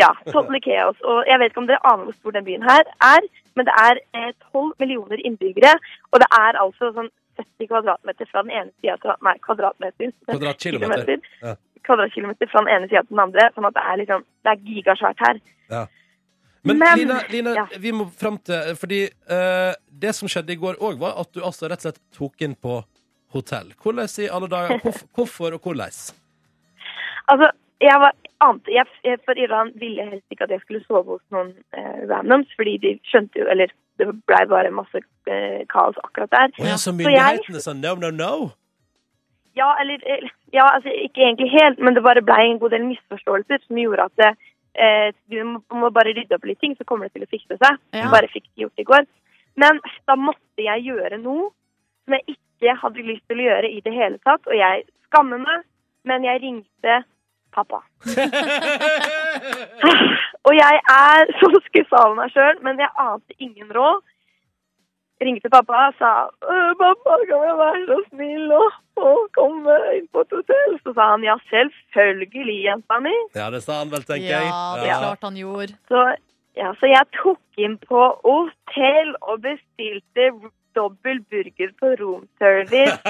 Ja, totally chaos. Og jeg vet ikke om dere aner hvor stor den byen her er, men det er eh, tolv millioner innbyggere, og det er altså sånn 70 kvadratmeter fra den ene sida til Nei, kvadratmeter. Kvadratkilometer ja. Kvadratkilometer fra den ene sida til den andre. Sånn at det er liksom Det er gigasvært her. Ja. Men, Men- Line, Line vi må frem til Fordi eh, det som skjedde i går også var At du altså rett og slett tok inn på hotell Hvordan i alle dager? Hvorf, hvorfor og hvordan? Altså, jeg var ante, jeg, jeg, For Iran ville jeg helst ikke at jeg skulle sove hos noen eh, randoms, fordi de skjønte jo Eller det blei bare masse eh, kaos akkurat der. Åja, så jeg myndighetene sa no, no, no ja, eller eller- Ja, altså ikke egentlig helt, men det bare blei en god del misforståelser som gjorde at det, eh, vi må, må bare rydde opp litt ting, så kommer det til å fikse seg. Ja. Bare fikk det gjort i går. Men da måtte jeg gjøre noe som jeg ikke hadde lyst til å gjøre i det hele tatt, og jeg skammer meg, men jeg ringte pappa. Og jeg er så skuffa over meg sjøl, men jeg ante ingen råd. Ringte pappa og sa «Øh, 'Pappa, kan jeg være så snill å, å komme inn på et hotell?' Så sa han 'Ja, selvfølgelig, jenta mi'. Ja, det sa han vel, tenker jeg. Ja, det er klart han gjorde. Så, ja, så jeg tok inn på hotell og bestilte dobbel burger på roomservice.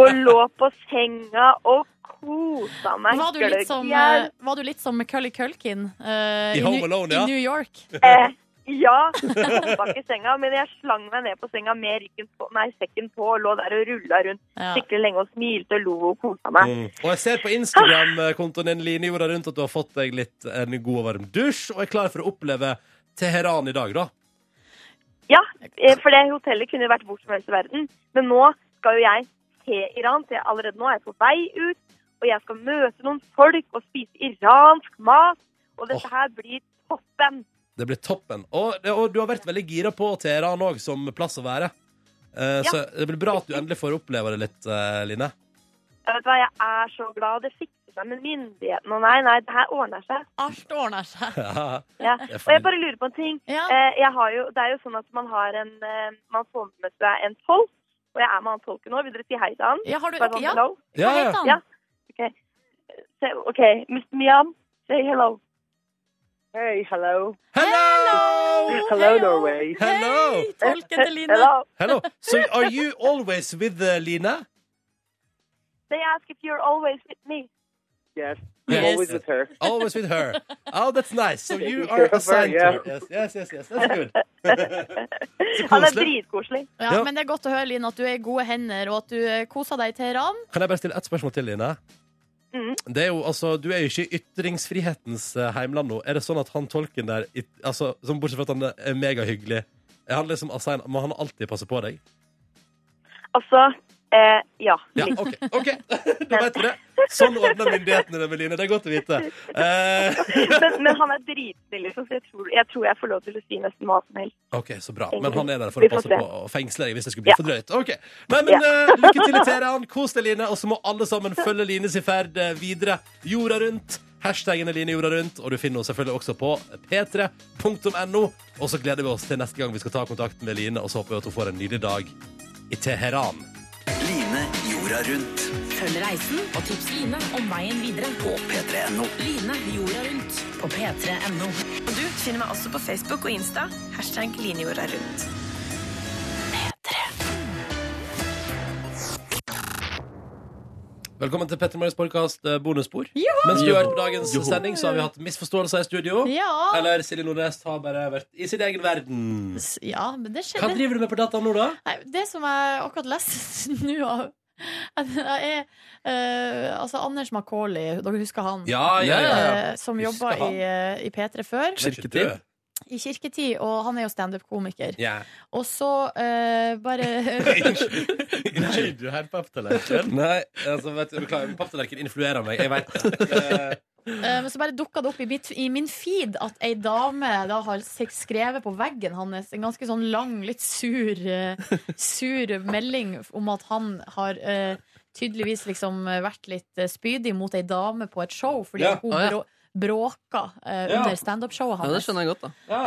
og lå på senga og kosa meg. Var du litt som, gløgg. eh, var du litt som Macaulay Culkin eh, I i, Home New- Alone, i ja. New York? Eh, Ja, jeg hoppa ikke i senga, men jeg slang meg ned på senga med ryggen på, nei, sekken på og lå der og rulla rundt Ja. skikkelig lenge og smilte og lo og kosa meg. Mm. Og jeg ser på Instagram-kontoen din Line Jorda rundt at du har fått deg litt en god og varm dusj, og er klar for å oppleve Teheran i dag, da. Ja, eh, for det hotellet kunne jo vært hvor som helst i verden, men nå skal jo jeg til Iran, så jeg, allerede nå er jeg på vei ut, og jeg skal møte noen folk og spise iransk mat, og dette her blir toppen. Det blir toppen. Og, og du har vært veldig gira på Teheran òg, som plass å være. Eh, Ja. Så det blir bra at du endelig får oppleve det litt, eh, Line. Jeg vet hva, jeg er så glad, det fikser seg med myndighetene, og nei, nei, det her ordner seg. Alt ordner seg. Ja. Ja. Det er Og jeg bare lurer på en ting. Eh, Jeg har jo, det er jo sånn at man har en eh, Man får med seg en tolk, og jeg er med han tolken nå. Vil dere si hei til han? Ja, har du- Bare sånn ja. hello? Hva Ja, heter ja. han? Ja. Ok. Say- OK. Mr. Miam, say hello. Hey, hello. Hello! Hello, Norway. Hello! tolken til Line. Eh, Hello. Hello. So are you always with uh, Line? They ask if you're always with me. Yes. Yes. Always with her. Always with her. Oh, that's nice. So you Taking are care of her, assigned to her. yeah. Yes, yes, yes, yes. That's good. Han er koselig. dritkoselig. Ja, Ja. Men det er godt å høre, Line, at du er i gode hender, og at du eh, koser deg i Teheran. Kan jeg bare stille ett spørsmål til, Line? Mm. Det er jo, altså, du er jo ikke i ytringsfrihetens eh, heimland nå. Er det sånn at han tolken der, i- altså, som bortsett fra at han er megahyggelig, er han liksom assign, må han alltid passe på deg? Altså eh, ja. Ja, OK. ok. da vet du det. Sånn ordner myndighetene det med Line. Det er godt å vite. Eh, men, men han er dritsnill, liksom, så jeg tror, jeg tror jeg får lov til å si nesten hva som helst. OK, så bra. Men han er der for Vi å får passe se. på og fengsle deg hvis det skulle bli Ja. for drøyt. Ok. Nei, men Ja. eh, Lykke til i Teheran. Kos deg, Line. Og så må alle sammen følge Lines i ferd eh, videre. Jorda rundt. Hashtaggen er Line jorda rundt, og du finner henne selvfølgelig også på p3.no. Og så gleder vi oss til neste gang vi skal ta kontakt med Line, og så håper vi at hun får en nydelig dag i Teheran. Line jorda rundt. Følg reisen og tips Line om veien videre på p3.no. Line jorda rundt på p3.no. Og du finner meg også på Facebook og Insta. Hashtag Line jorda rundt. Velkommen til Petter Morgens podkast eh, bonusspor. Joho! Mens du har hørt på dagens Joho. sending, så har vi hatt misforståelser i studio. Ja. Eller Silje Nordnes har bare vært i sin egen verden. Ja, men det skjedde. Hva driver du med på dataen nå, da? Nei, det som jeg akkurat leste nå av er, eh, altså Anders Macauley, dere husker han? Ja, ja, ja, ja. Eh, som Husker jobba i, han. eh, i P3 før. I kirketid, og han er jo standup-komiker. Ja. Og så eh, bare Nei, du har papptallerken. Nei, altså, vet du, beklager, papptallerken influerer meg. Jeg vet det. Eh, Men så bare dukka det opp i, mitt, i min feed at ei dame da har sek- skrevet på veggen hans en ganske sånn lang, litt sur, eh, sur melding om at han har eh, tydeligvis liksom vært litt eh, spydig mot ei dame på et show fordi Ja. at hun Å, ja. brå, bråka eh, Ja. under standup-showet Ja, det hans. skjønner jeg godt, da.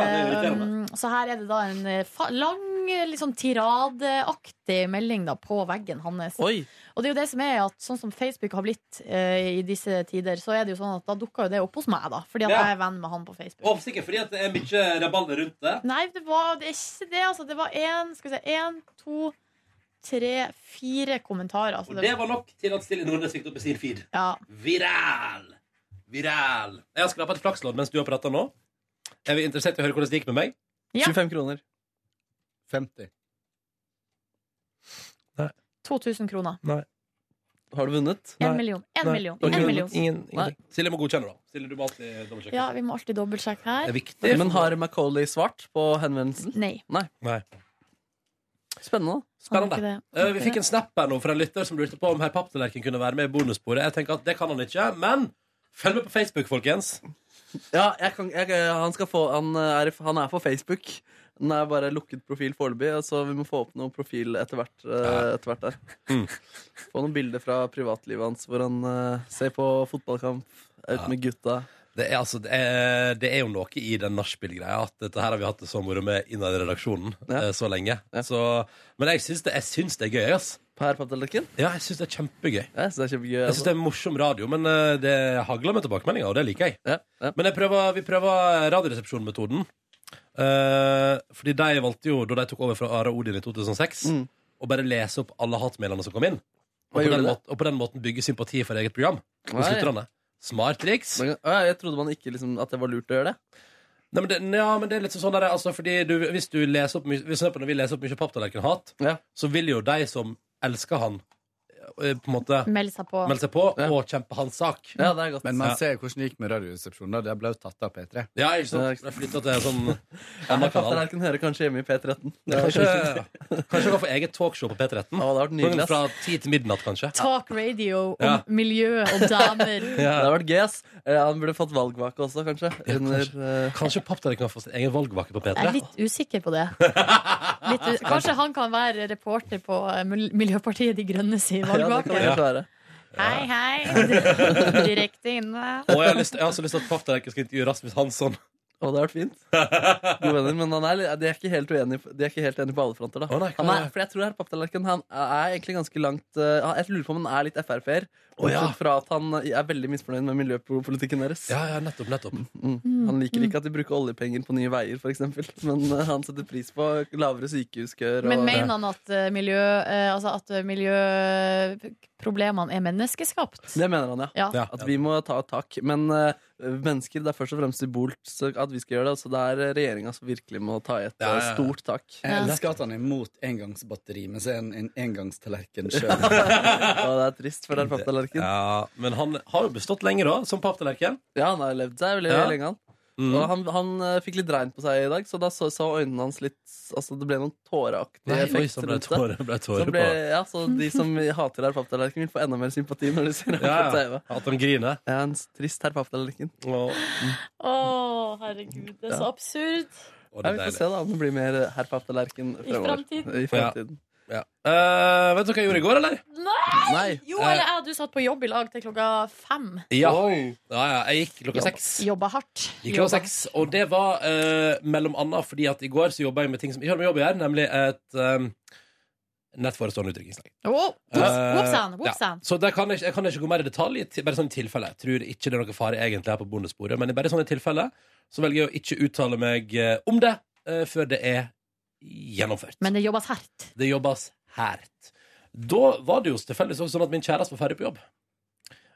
Um, så her er det da en eh, fa lang, eh, litt sånn tiradeaktig melding da, på veggen hans. Oi. Og det er jo det som er at sånn som Facebook har blitt eh, i disse tider, så er det jo sånn at da dukker jo det opp hos meg, da. Fordi at Ja. jeg er venn med han på Facebook. Og sikkert fordi at det er mye rabalder rundt det. Nei, det var det er ikke det, altså. Det var én, skal vi se, én, to, tre, fire kommentarer. Altså, Og det var nok til at Silje Nordnes gikk opp i sin feed. Ja. Viral! Viral. Jeg har skrapa et flakslodd mens du har prata nå. Er vi interessert i å høre hvordan det gikk med meg? 25 kroner. 50. 2000 kroner. Nei. Har du vunnet? En million. En million. En million. Nei. Silje må godkjenne, da. Silje, du må alltid dobbeltsjekke. Ja, vi må alltid dobbeltsjekke her. Men har Macauley svart på henvendelsen? Nei. Nei. Spennende. Spennende. Han har ikke det. Eh, vi fikk en snap her nå fra en lytter som lurte på om herr Papptallerken kunne være med i bonussporet. Jeg tenker at det kan han ikke, men følg med på Facebook, folkens. Ja, jeg kan, jeg, han, skal få, han, er, han er på Facebook. Den er bare lukket profil foreløpig, og så vi må få opp noe profil etter hvert, eh, etter hvert der. Mm. Få noen bilder fra privatlivet hans hvor han eh, ser på fotballkamp, er ute med gutta. Det er, altså, det, er, det er jo noe i den nachspiel-greia at dette her har vi hatt det så moro med innad i redaksjonen eh, så lenge. Så, men jeg syns det, jeg syns det er gøy, ass. Per papptallerken? Ja, jeg syns det er kjempegøy. Jeg syns det er kjempegøy Jeg synes det er morsom radio, men eh, det hagler med tilbakemeldinger, og det liker jeg. Men jeg prøver, vi prøver Radioresepsjon-metoden. Eh, fordi de valgte jo, da de tok over fra Are Odin i 2006, å bare lese opp alle hatmailene som kom inn. Og Mm. Hva på, gjorde den det? måten, og på den måten bygge sympati for eget program. Hos Nei. lytterne. Smart triks. Men, å, ja, jeg trodde man ikke liksom, at det var lurt å gjøre det. Nei, men det, ja, men det er litt sånn der, altså, fordi du, hvis du leser opp mye, hvis for eksempel når vi leser opp mye papptallerkenhat, så vil jo de som elsker han, eh, på en måte Meld seg på. melde seg på og kjempe hans sak. Men man Ja. ser hvordan det gikk med Radioresepsjonen. da. Det ble jo tatt av P3. Ja, ikke sant? Jeg flytta til en sånn annen kanal. Papptallerken hører kanskje hjemme i P13. Ja, kanskje, kanskje gå for eget talkshow på P13. Ja, det vært nydelig, ass. Fra ti til midnatt, kanskje. Talk radio om Ja. miljø og damer. Det hadde vært gøy, ass. Eh, Han burde fått valgvake også, kanskje. Ja, Under, eh, kanskje kanskje papptallerken kan få sin egen valgvake på Jeg er P3. litt usikker på det. Litt u Kanskje han kan være reporter på eh, Mil- Miljøpartiet De Grønne sin valgvake. Hei, hei. Direkte inne. Og jeg har, lyst, jeg har så lyst til at papptallerken skal intervjue Rasmus Hansson. Å, det har vært fint. Gode venner, men han er, litt- de, er ikke helt uenige, de er ikke helt enige på alle fronter, da. han er, for jeg tror herr Papptallerken han er egentlig ganske langt eh, Jeg lurer på om han er litt Frp-er. Bortsett fra at han eh, er veldig misfornøyd med miljøpolitikken deres. Ja, ja, nettopp, nettopp. Mm. Han liker ikke at de bruker oljepenger på nye veier, for eksempel Men eh, han setter pris på lavere sykehuskøer. Men mener han at eh, miljø, eh, altså at eh, miljøproblemene er menneskeskapt? Det mener han, ja. Ja. Ja. At vi må ta tak. Men eh, mennesker, det er først og fremst symbolsk at vi skal gjøre det. Så det er regjeringa som virkelig må ta i et Ja, ja, eh, ja. stort tak. Jeg elsker at han er imot engangsbatteri, men så er han en engangstallerken sjøl. Ja, det er trist for den papptallerken. Ja, men han har jo bestått lenge, da, som papptallerken. Ja, han har levd seg veldig Ja. Mm. lenge, han. Og han, han eh, fikk litt regn på seg i dag, så da så, så øynene hans litt Altså, det ble noen tåreaktige Nei, oi, effekt så ble det tårer- ble det tårer så, ble, på. ja, så de som hater herr papptallerken, vil få enda mer sympati når de ser ham Ja, på ja. TV. At de griner. Ja, en trist herr papptallerken. Å, herregud, det er så Ja. absurd. Ja, vi får se da om det blir mer herr papptallerken fremover. fremtiden. I fremtiden. Ja. Eh, vet du hva jeg gjorde i går, eller? Nei! Nei. Jo, eller jeg og du satt på jobb i lag til klokka fem. Eh. Ja. ja, ja. Jeg gikk klokka seks. Jobba hardt. Gikk klokka Jobba- seks, og det var eh, mellom annet fordi at i går så jobba jeg med ting som ikke hadde med jobb å gjøre, nemlig et eh, nettforestående utdrikningslag. Å, Eh, whoops- Whoopsan, whoopsan. Så der kan jeg, ikke- jeg kan ikke gå mer i detalj, i ti- bare sånn i tilfelle. Jeg tror ikke det er noe fare egentlig her på bondesporet, men i bare sånne tilfelle så velger jeg å ikke uttale meg eh, om det eh, før det er gjennomført. Men det jobbes hardt. Det jobbes hardt. Da var det jo tilfeldigvis også sånn at min kjæreste var ferdig på jobb.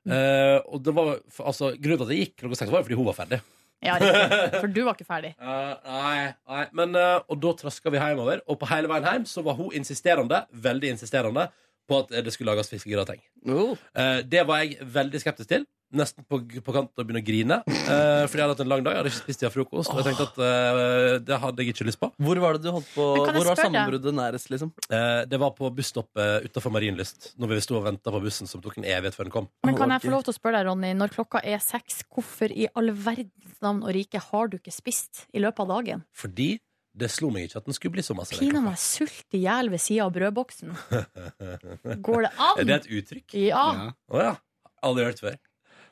Mm. Eh, og det var, for- altså, grunnen til at jeg gikk klokka seks, var jo fordi hun var ferdig. Ja, riktig. For du var ikke ferdig. Eh, nei, nei. Men, eh, og da traska vi hjemover, og på hele veien hjem så var hun insisterende, veldig insisterende på at eh, det skulle lages fiskegrateng. Oh. Eh, det var jeg veldig skeptisk til. Nesten på, på kanten av å begynne å grine. eh, fordi jeg hadde hatt en lang dag, jeg hadde ikke spist til frokost. Og jeg tenkte at eh, det hadde jeg ikke lyst på. Hvor var det du holdt på Men kan jeg Hvor var spørre deg? sammenbruddet nærest, liksom? Eh, det var på busstoppet utenfor Marienlyst, når vi sto og venta på bussen som tok en evighet før den kom. Men kan jeg få lov til å spørre deg, Ronny, når klokka er seks, hvorfor i all verdens navn og rike har du ikke spist i løpet av dagen? Fordi det slo meg Altså, ikke at den skulle bli så masse. Pina meg sult i hjel ved sida av brødboksen. Går Går det an? Er det et uttrykk? Ja. Å ja. Aldri hørt før.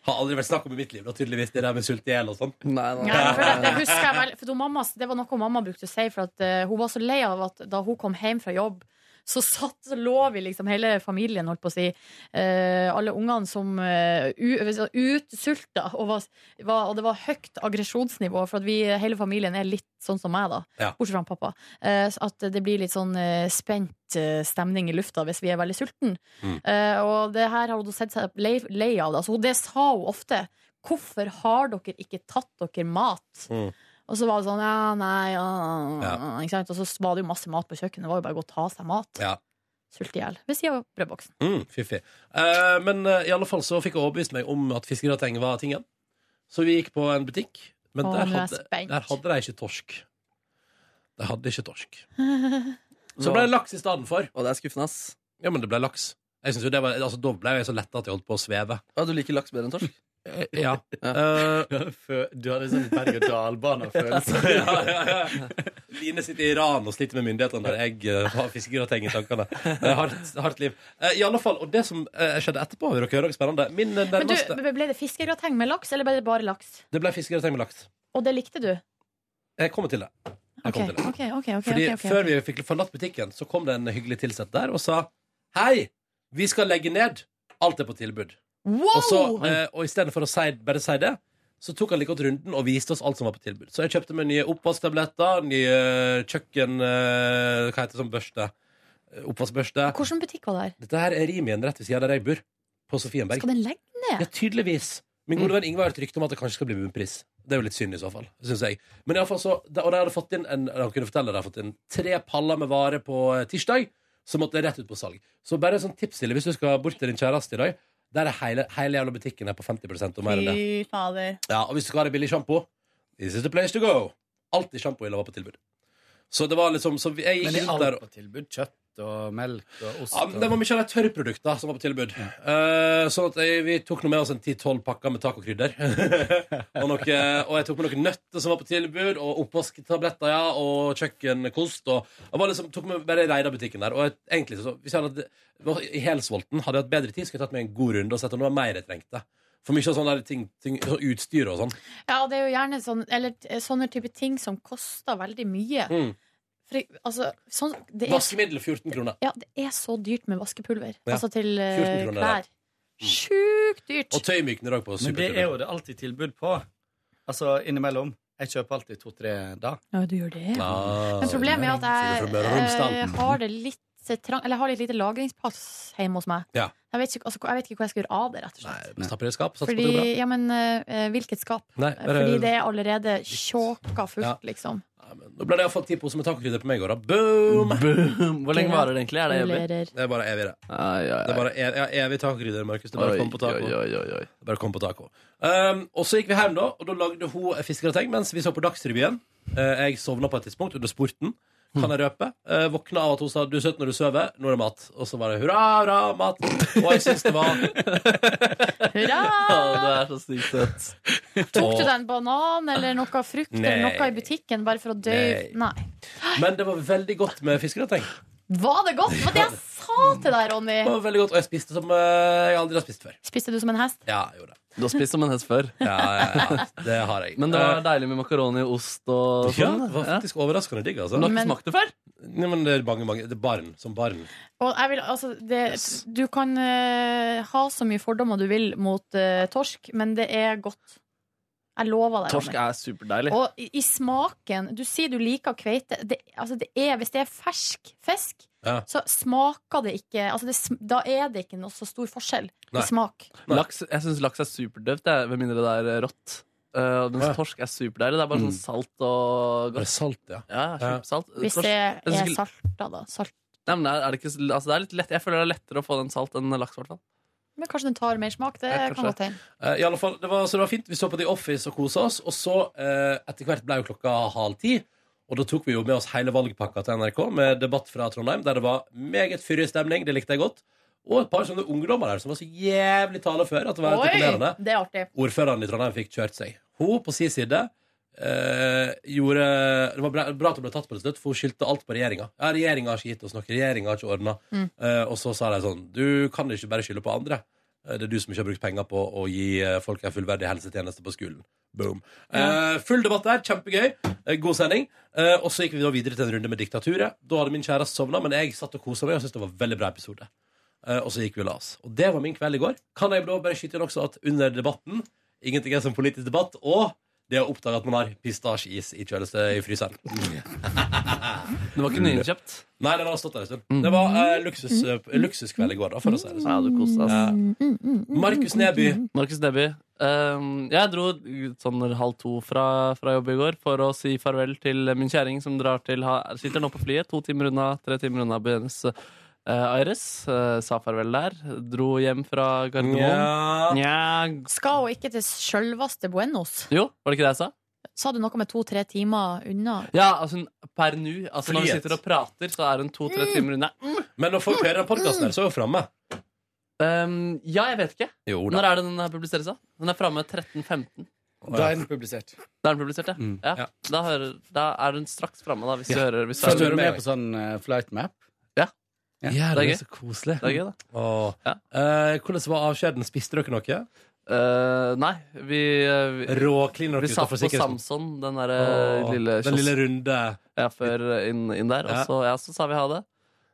Har aldri vært snakk om i mitt liv, da, tydeligvis, det der med sult i hjel og sånn. Nei, for det, det husker jeg vel for da mamma, Det var noe mamma brukte å si, for at eh, hun var så lei av at da hun kom hjem fra jobb, så satt så lå vi liksom hele familien, holdt på å si, eh, alle ungene som eh, u- så utsulta, og, var, var, og det var høyt aggresjonsnivå, for at vi, hele familien er litt sånn som meg, da, Ja. bortsett fra han pappa, eh, så at det blir litt sånn eh, spent eh, stemning i lufta hvis vi er veldig sulten. Mm. Eh, og det her har hun sett seg lei, lei av. Da. Så hun- det sa hun ofte. Hvorfor har dere ikke tatt dere mat? Og så var det sånn ja, nei, ja, Ja. Ikke sant? Og så var det jo masse mat på kjøkkenet. Det var jo bare å gå og ta seg mat. Ja. Sulte i hjel. Ved sida av brødboksen. Mm, fiffig. Eh, men eh, i alle fall så fikk jeg overbevist meg om at fiskegratenget var tingen. Så vi gikk på en butikk, men Å, der, nå er jeg hadde, spent. der hadde de ikke torsk. De hadde ikke torsk. Så ble det laks i stedet for. Og det er skuffende, ass. Ja, men det ble laks. Jeg synes jo det var, altså, da ble jeg så letta at jeg holdt på å sveve. Ja, du liker laks bedre enn torsk? Eh, Ja. Fø- Du hadde sånn berg-og-dal-bane-følelse. ja, ja, ja. Line sitter i Iran og sliter med myndighetene når jeg eh, har fiskegrateng i tankene. Det er hardt, hardt liv. Eh, I alle fall, Og det som eh, skjedde etterpå, vil dere høre noe spennende. Min eh, Men du, nærmeste Ble det fiskegrateng med laks, eller ble det bare laks? Det ble fiskegrateng med laks. Og det likte du? Jeg kommer til det. Jeg Ok, kommer til det. ok, ok, ok, Fordi ok, ok. Før vi fikk forlatt butikken, så kom det en hyggelig tilsett der og sa Hei, vi skal legge ned. Alt er på tilbud. Wow! Og, så, eh, og i stedet for å si, bare si det, så tok han like godt runden og viste oss alt som var på tilbud. Så jeg kjøpte meg nye oppvasktabletter, nye kjøkken... Eh, hva heter det sånn børste? Eh, Oppvaskbørste. Hvilken butikk var det her? Dette her er Rimien rett ved siden av der jeg bor, på Sofienberg. Skal den legge ned? Ja, tydeligvis. Min Mm. gode venn Ingvar har et rykte om at det kanskje skal bli bunnpris. Det er jo litt synd i så fall, synes jeg. Men i alle fall så, da- og de hadde fått inn en, han kunne fortelle, de hadde fått inn tre paller med vare på eh, tirsdag, som måtte rett ut på salg. Så bare sånn tips til, hvis du skal bort til din kjæreste i dag, der er hele, hele jævla butikken er på 50% og mer enn det. Fy fader. Ja, og hvis du skal ha deg billig sjampo, this is the place to go. Alltid sjampohylla var på tilbud. Så det var liksom så vi- jeg gikk Men det er rundt der alt på tilbud. Kjøtt og melk og ost. ja, men det var mye av de tørrproduktene som var på tilbud. Eh, sånn at jeg, vi tok nå med oss en 10-12 pakker med taco og krydder. og, noe, og jeg tok med noen nøtter som var på tilbud, og oppvasktabletter ja, og kjøkkenkost. Og jeg var liksom, tok med bare reida butikken der. Og jeg, egentlig, så, hvis jeg hadde, var I Helsvolten hadde jeg hatt bedre tid, skulle jeg tatt meg en god runde og sett om det var mer jeg trengte. For mye av sånne der ting, ting, sånn utstyr og sånn. Ja, og det er jo gjerne sånn, eller, eh, sånne type ting som koster veldig mye. Mm. For, jeg- altså, sånn, det er Vaskemiddel 14 kroner. Ja, det er så dyrt med vaskepulver. Ja. Altså til eh, 14 kroner, ja. klær. Sjukt dyrt. Og tøymykner òg på Men det supertilbud. er jo det alltid tilbud på. Altså innimellom. Jeg kjøper alltid to-tre da. Ja, du gjør det. ja. Ah, Men problemet er Sier du at fra Møre og jeg Romsdal? eh, har det litt trang, eller jeg har litt lite lagringsplass hjemme hos meg. Ja. Jeg vet, ikke, altså, jeg vet ikke hva jeg skal gjøre av det, rett og slett. Stapper i et skap, satser på at det går bra. Fordi, ja, men eh, hvilket skap? Nei, Fordi det er allerede tjåka fullt, Ja. liksom. Nå ble det iallfall ti poser med tacokrydder på meg i går, da. Boom! Hvor lenge varer det egentlig? Er det evig? Gratulerer. Det er bare evig, det. Det er bare ev ja, evig tacokrydder, Markus. Det er bare Oi, å komme på taco. oi, Det er Bare å komme på taco. Um, og så gikk vi hjem, da, og da lagde hun fiskegrateng mens vi så på Dagsrevyen. Eh, jeg sovna på et tidspunkt under sporten. Kan jeg røpe? Eh, våkna av at hun sa 'du er søt når du sover', nå er det mat. Og så var det hurra, hurra, mat. Og jeg syns det var Hurra! Du er så sykt søt. Tok du deg en banan eller noe frukt eller Nei. noe i butikken bare for å dø? Nei. Men det var veldig godt med fiskegrateng. Var det godt? Var det jeg sa til deg, Ronny? Det var veldig godt, Og jeg spiste som eh, jeg aldri har spist før. Spiste du som en hest? Ja, jeg gjorde det. Du har spist som en hest før. ja, ja, det har jeg. Eh, Men det var deilig med makaroni og ost og Ja, sånn. det var faktisk overraskende digg, altså. Du har ikke Men- smakt det før? Nei, men det er mange, mange Det er barn. Som barn. Og jeg vil, altså, det, Du kan eh, ha så mye fordommer du vil mot eh, torsk, men det er godt. Jeg lover deg. Torsk Ronny. er superdeilig. Og i, i smaken Du sier du liker kveite. Det, altså, det er, hvis det er fersk fisk, Ja. så smaker det ikke altså, det, sm- Da er det ikke noe så stor forskjell i smak. Laks, jeg syns laks er superdøvt, jeg, med mindre det er eh, rått. Uh, mens torsk er superdeilig. Det er bare sånn salt og godt. Er det Mm. salt, ja? kjempesalt. Hvis Torsk- det jeg synes er ikke- salta, da. Salt. Nei, men er er det ikke, s- altså det er litt lett, jeg føler det er lettere å få den salt enn laks, i hvert fall. Men kanskje den tar mer smak. Det Ja, kanskje. kan godt hende. Eh, I alle fall, det var, så det var fint. Vi så på The Office og kosa oss. Og så, eh, etter hvert ble jo klokka halv ti. Og da tok vi jo med oss hele valgpakka til NRK med debatt fra Trondheim, der det var meget fyrig stemning. Det likte jeg godt. Og et par sånne ungdommer der som var så jævlig taleføre at det var helt imponerende. det er artig. Ordføreren i Trondheim fikk kjørt seg. Hun på sin side eh, gjorde Det var bra, bra at hun ble tatt på det til slutt, for hun skyldte alt på regjeringa. Ja, regjeringa har ikke gitt oss noe. Regjeringa har ikke ordna. Mm. Eh, og så sa de sånn Du kan ikke bare skylde på andre. Eh, Det er du som ikke har brukt penger på å gi eh, folk en fullverdig helsetjeneste på skolen. Boom. Eh, full debatt der. Kjempegøy. Eh, god sending. Eh, og så gikk vi da videre til en runde med Diktaturet. Da hadde min kjæreste sovna, men jeg satt og kosa meg og syntes det var en veldig bra episode. Eh, og så gikk vi og la oss. Og det var min kveld i går. Kan jeg da bare skyte inn også at under debatten Ingenting er som politisk debatt, og det å oppdage at man har pistasjeis i kjøleste i fryseren. det var ikke nyinnkjøpt? Nei, den har stått der en stund. Mm. Det var eh, luksus, eh, Mm. luksuskveld i går, da, for å si det sånn. Ja, du koste deg. Markus Neby. Markus Neby. Ehm, jeg dro sånn halv to fra, fra jobb i går for å si farvel til min kjæring som drar til ha, sitter nå på flyet, to timer unna, tre timer unna Buenos eh, Aires. Eh, sa farvel der. Dro hjem fra Gardermoen. Nja. Skal hun ikke til sjølveste Buenos? Jo, var det ikke det jeg sa? Sa du noe med to-tre timer unna? Ja, altså hun- per nu. Altså når vi Frihet. Mm. sitter og prater, så er hun to-tre timer unna. Men når folk hører den podkasten, så er hun framme. Ehm, ja, jeg vet ikke. Jo da. Når er det den her publiseres, da? Den er framme 13.15. Da er den publisert. Da er den publisert, ja. ja. Da, hører, da er den straks framme, da, hvis du hører hvis du Følger du hører med. med på sånn eh, flight map? Ja. Ja, det er det gøy. er så koselig. Det er gøy, da. Åh. Eh, hvordan var avskjeden? Spiste dere noe? Eh, nei, vi, eh, vi Råklin dere Vi satt utenfor på sikkerheten. Samson, den derre Åh, lille den lille runde Ja, før eh, inn, inn der. Ja. Og så, ja, så sa vi ha det.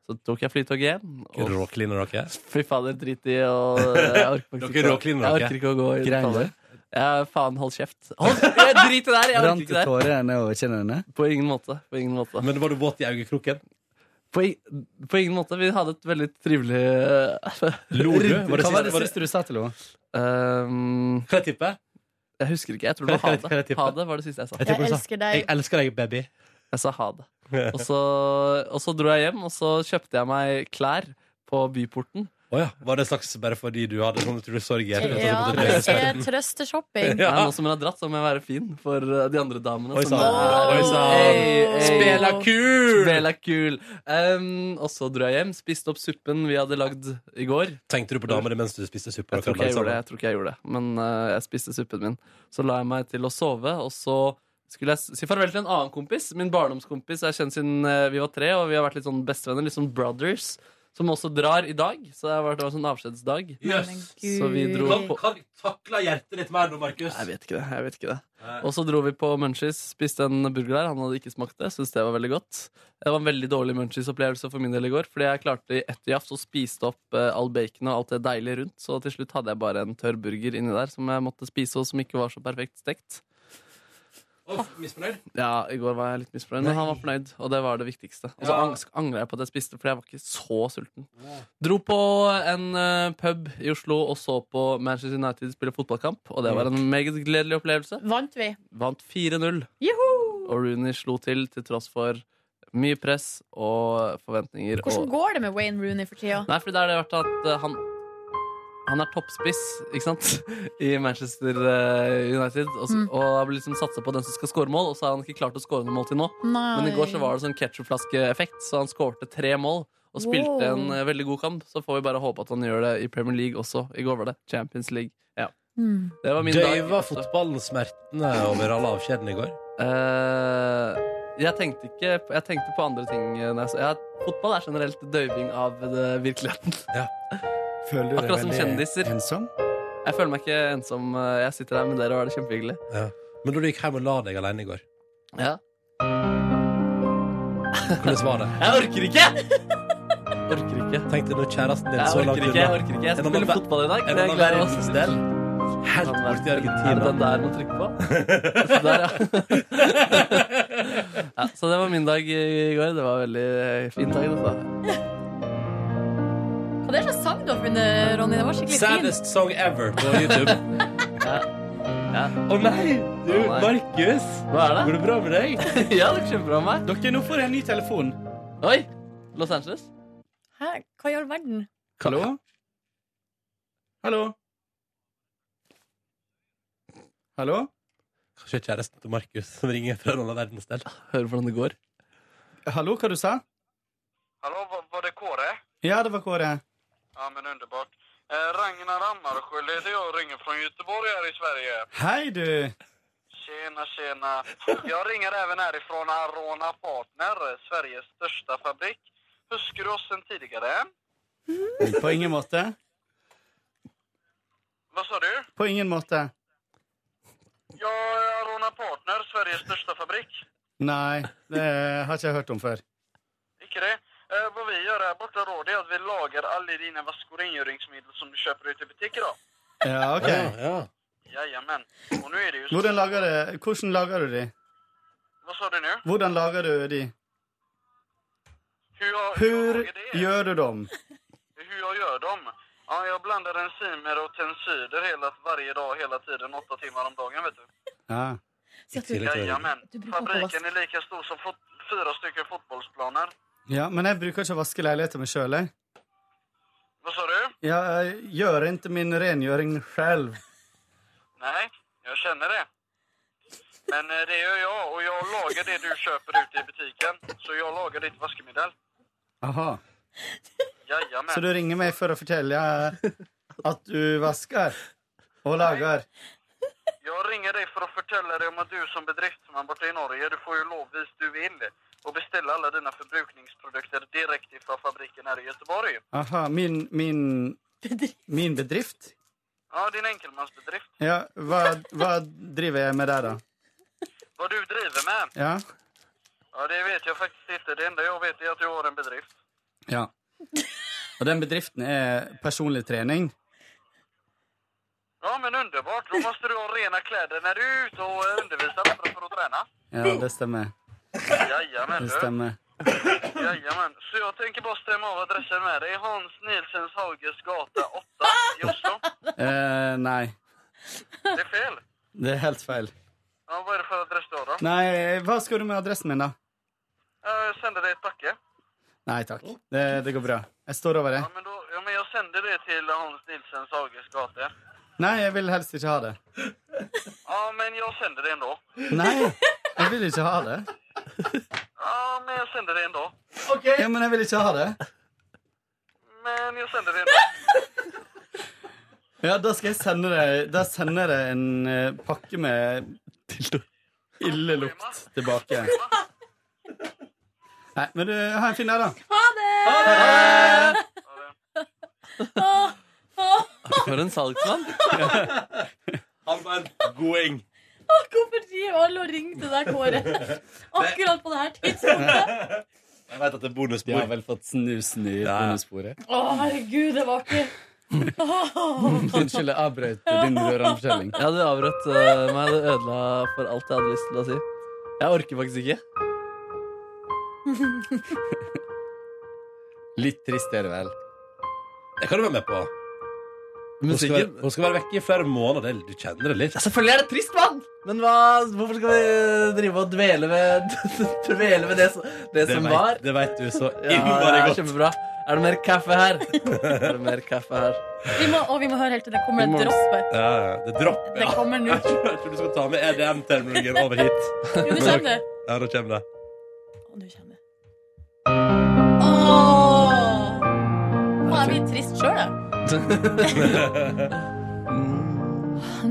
Så tok jeg flytoget hjem. Og Råkliner dere? fy fader, drit i og jeg orker faktisk Dere ikke å- råkliner Jeg dere. orker ikke å gå i Grein detaljer. dere? Ja, faen, hold kjeft. Hold, jeg drit i det her! Jeg orker Rant ikke det det her. tårer nedover kinnene? På ingen måte. På ingen måte. Men var du våt i øyekroken? På, ing- på ingen måte. Vi hadde et veldig trivelig eh, Lo du? ryddig- Ehm, Var det Hva siste- var det- du sa til henne? Kan jeg tippe? Jeg husker ikke. Jeg tror Kan det jeg- var kan ha jeg- kan jeg det. tippe? Ha det var det siste jeg sa. Jeg tipper du sa, Jeg elsker deg, baby. Jeg sa ha det. Og så, og så dro jeg hjem, og så kjøpte jeg meg klær på Byporten. Å ja. Var det slags bare fordi du hadde sånn utrolig sorg i hjertet? Ja, eh, at du måtte det drøye er seg? trøsteshopping. Nei, nå som hun har dratt, så må jeg være fin for uh, de andre damene. Oi som sann. er- Oi sann. Hey, hey. Spela kul! Spela kul. Um, og så dro jeg hjem, spiste opp suppen vi hadde lagd i går. Tenkte du på damer mens du spiste suppe? altså? Jeg tror ikke jeg gjorde det, jeg tror ikke jeg gjorde det. men uh, jeg spiste suppen min. Så la jeg meg til å sove, og så skulle jeg s- si farvel til en annen kompis. Min barndomskompis. Jeg har kjent siden uh, vi var tre, og vi har vært litt sånn bestevenner. Litt sånn brothers. Som også drar i dag. Så det har vært det var sånn avskjedsdag. Jøss. Så vi dro Kan- på Kan du takle hjertet ditt mer nå, Markus? Jeg vet ikke det. jeg vet ikke det Nei. Og så dro vi på Munchies, spiste en burger der. Han hadde ikke smakt det. Synes det var veldig godt Det var en veldig dårlig Munchies-opplevelse for min del i går. Fordi jeg klarte i ett jafs å spise opp eh, all bacon og alt det deilige rundt. Så til slutt hadde jeg bare en tørr burger inni der som jeg måtte spise, og som ikke var så perfekt stekt. Uff, misfornøyd? Ja, i går var jeg litt misfornøyd, men han var fornøyd, og det var det viktigste. Og så Ja. ang angra jeg på at jeg spiste, for jeg var ikke så sulten. Dro på en eh, pub i Oslo og så på Manchester United spille fotballkamp, og det var en meget gledelig opplevelse. Vant vi? Vant 4-0, Juhu! og Rooney slo til til tross for mye press og forventninger. Hvordan og... går det med Wayne Rooney for tida? Nei, for det er det vært at eh, han han er toppspiss ikke sant? i Manchester eh, United. Og, så- Mm. og har liksom satsa på den som skal score mål, og så har han ikke klart å score noe mål til nå. Nei. Men i går så var det sånn ketchupflaskeeffekt, så han skårte tre mål. Og spilte Wow. en eh, veldig god kamp. Så får vi bare håpe at han gjør det i Premier League også. I går var det Champions League. Ja. Mm. Det var min dag. Døyva fotballen smertene over all avskjeden i går? Eh, jeg tenkte ikke Jeg tenkte på andre ting. eh, når jeg så- Ja, fotball er generelt døyving av det, virkeligheten. Føler du Akkurat deg som veldig kjendiser. ensom? Jeg føler meg ikke ensom. eh, Jeg sitter her med dere og har det kjempehyggelig. Ja. Men da du gikk hjem og la deg alene i går, Ja. hvordan var det? Jeg orker ikke! Orker ikke. Tenk deg når kjæresten din Jeg så langt orker ikke. Jeg orker ikke Jeg skal spille fotball i dag. En men jeg annen gleder meg verdensdel. Helt Annen borti Er det den Argentina. der man trykker på? Så der, ja. ja. Så det var min dag i går. Det var en veldig eh, fin dag. altså. Dette. Hva er det slags sang du har funnet, Ronny? Det var skikkelig fin. Saddest song ever på YouTube. Ja. Ja. Å nei! Du, Å nei. Markus! Hva er Går det? det bra med deg? Ja, det går kjempebra med meg. Dere, nå får jeg en ny telefon. Oi! Los Angeles? Hæ? Hva i all verden? Hallo? Hallo? Hallo? Kanskje kjæresten til Markus som ringer fra en annen verdensdel. Hører hvordan det går. Hallo, hva du sa? Hallå, var, var det Kåre? Ja, det var Kåre. Ja, men underbart. Eh, Ragnar Hammarsjö, det är jag ringer från Göteborg här i Sverige. Hei, du. Tjena, tjena. Jag ringer även härifrån Arona Partner, Sveriges största fabrik. Husker du oss sen tidigare? På ingen måte. Vad sa du? På ingen måte. Ja, Arona Partner, Sveriges största fabrik. Nei, det har ikke jeg hørt om før. Icke det? Eh, vad vi gör här borta då, det är att vi lagar alla dina vaskorengöringsmedel som du köper ute i butiker då. Ja, OK. Jajamän. Och nu är det ju... Hvordan lager, det? Hvordan lager du de? Vad sa du nu? Hvordan lager du de? Hur jag, Hvor gjør du dem? hur jag gör dem. Ja, jag blandar enzymer och tensider hela, varje dag, hela tiden, åtta timmar om dagen, vet du. Ja. Jajamän. Du brukar Fabriken är lika stor som fot fyra stycken fotbollsplaner. ja, men jeg bruker ikke å vaske leiligheten min sjøl, jeg. Vad sa du? Jeg gjør ikke min rengjøring selv. Nej, jag känner det. Men eh, det gör jag och jag lagar det du köper ute i butiken. Så jag lagar ditt vaskemedel. Aha. Jajamän. Så du ringer meg for å fortelle eh, at du vasker og lager? Jag ringer dig för att förtälla dig om att du som bedriftsman borta i Norge, du får ju lov vis du vill och beställa alla dina förbrukningsprodukter direkt ifrån fabriken här i Göteborg. Aha, min, min, min bedrift? Ja, din enkelmansbedrift. Ja, hva, hva driver jeg med der, da? Vad du driver med? Ja? Ja, det vet jag faktiskt inte. Det enda jag vet är att du har en bedrift. Ja. Og den bedriften er personlig trening? Ja, men underbart. Då måste du ha rena kläder när du är ute och eh, undervisar andra för att träna. Ja, det stemmer. Jajamän, Det du. stemmer. Jajamän. Så jag tänker bara stämma av adressen med dig. Hans Nilsens Hauges gata 8 i Oslo. Eh, nei, Det är fel. det er helt feil. Ja, vad är det för adress du har då? Nei, hva skal du med adressen min, da? Jag sände dig ett packe. Nei takk. Det, det går bra. Jeg står over det. Ja men, då, ja, men jag sände det till Hans Nilsens Hauges gata. Nei, jeg vil helst ikke ha det. Ja, men jag sände det ändå. Nei, jeg vil ikke ha det. Ja, men jag sände det ändå. Ja, men jeg vil ikke ha det. Men jag sände det ändå. Ja, da skal jeg sende deg Da sender jeg en eh, pakke med ille lukt tilbake. Nei, men du, ha en fin dag, da. Ha det! For en salgsmann. Han var en goding. Åh, Hvorfor driver alle og ringer til deg, Kåre? Akkurat på det her tidspunktet. Jeg vet at det er De bonusbord. har vel fått snusen i bonussporet. Å, herregud, det var ikke Unnskyld, jeg avbrøt din rørende fortelling. Ja, du avbrøt eh, meg. Det ødela for alt jeg hadde lyst til å si. Jeg orker faktisk ikke. Litt trist er det vel. Det kan du være med på. Hun skal, være, hun skal være vekke i flere måneder. det- Du kjenner det litt. Selvfølgelig er det trist, mann! Men hva, hvorfor skal vi drive og dvele ved, dvele ved det, som- det som vet- var? Det vet du så Ja, det innmari er godt. kjempebra. Er det mer kaffe her? Er det mer kaffe her? vi må, Og vi må høre helt til det kommer en Vi må- dråpe. Ja, ja, det dropper. Det kommer nå. Jeg tror jeg tror du skal ta med EDM-terminologien over hit. Jo, nå kommer det. Ja, nå kommer det. Å, nå kommer det. Åh! Å, jeg blir trist sjøl, jeg.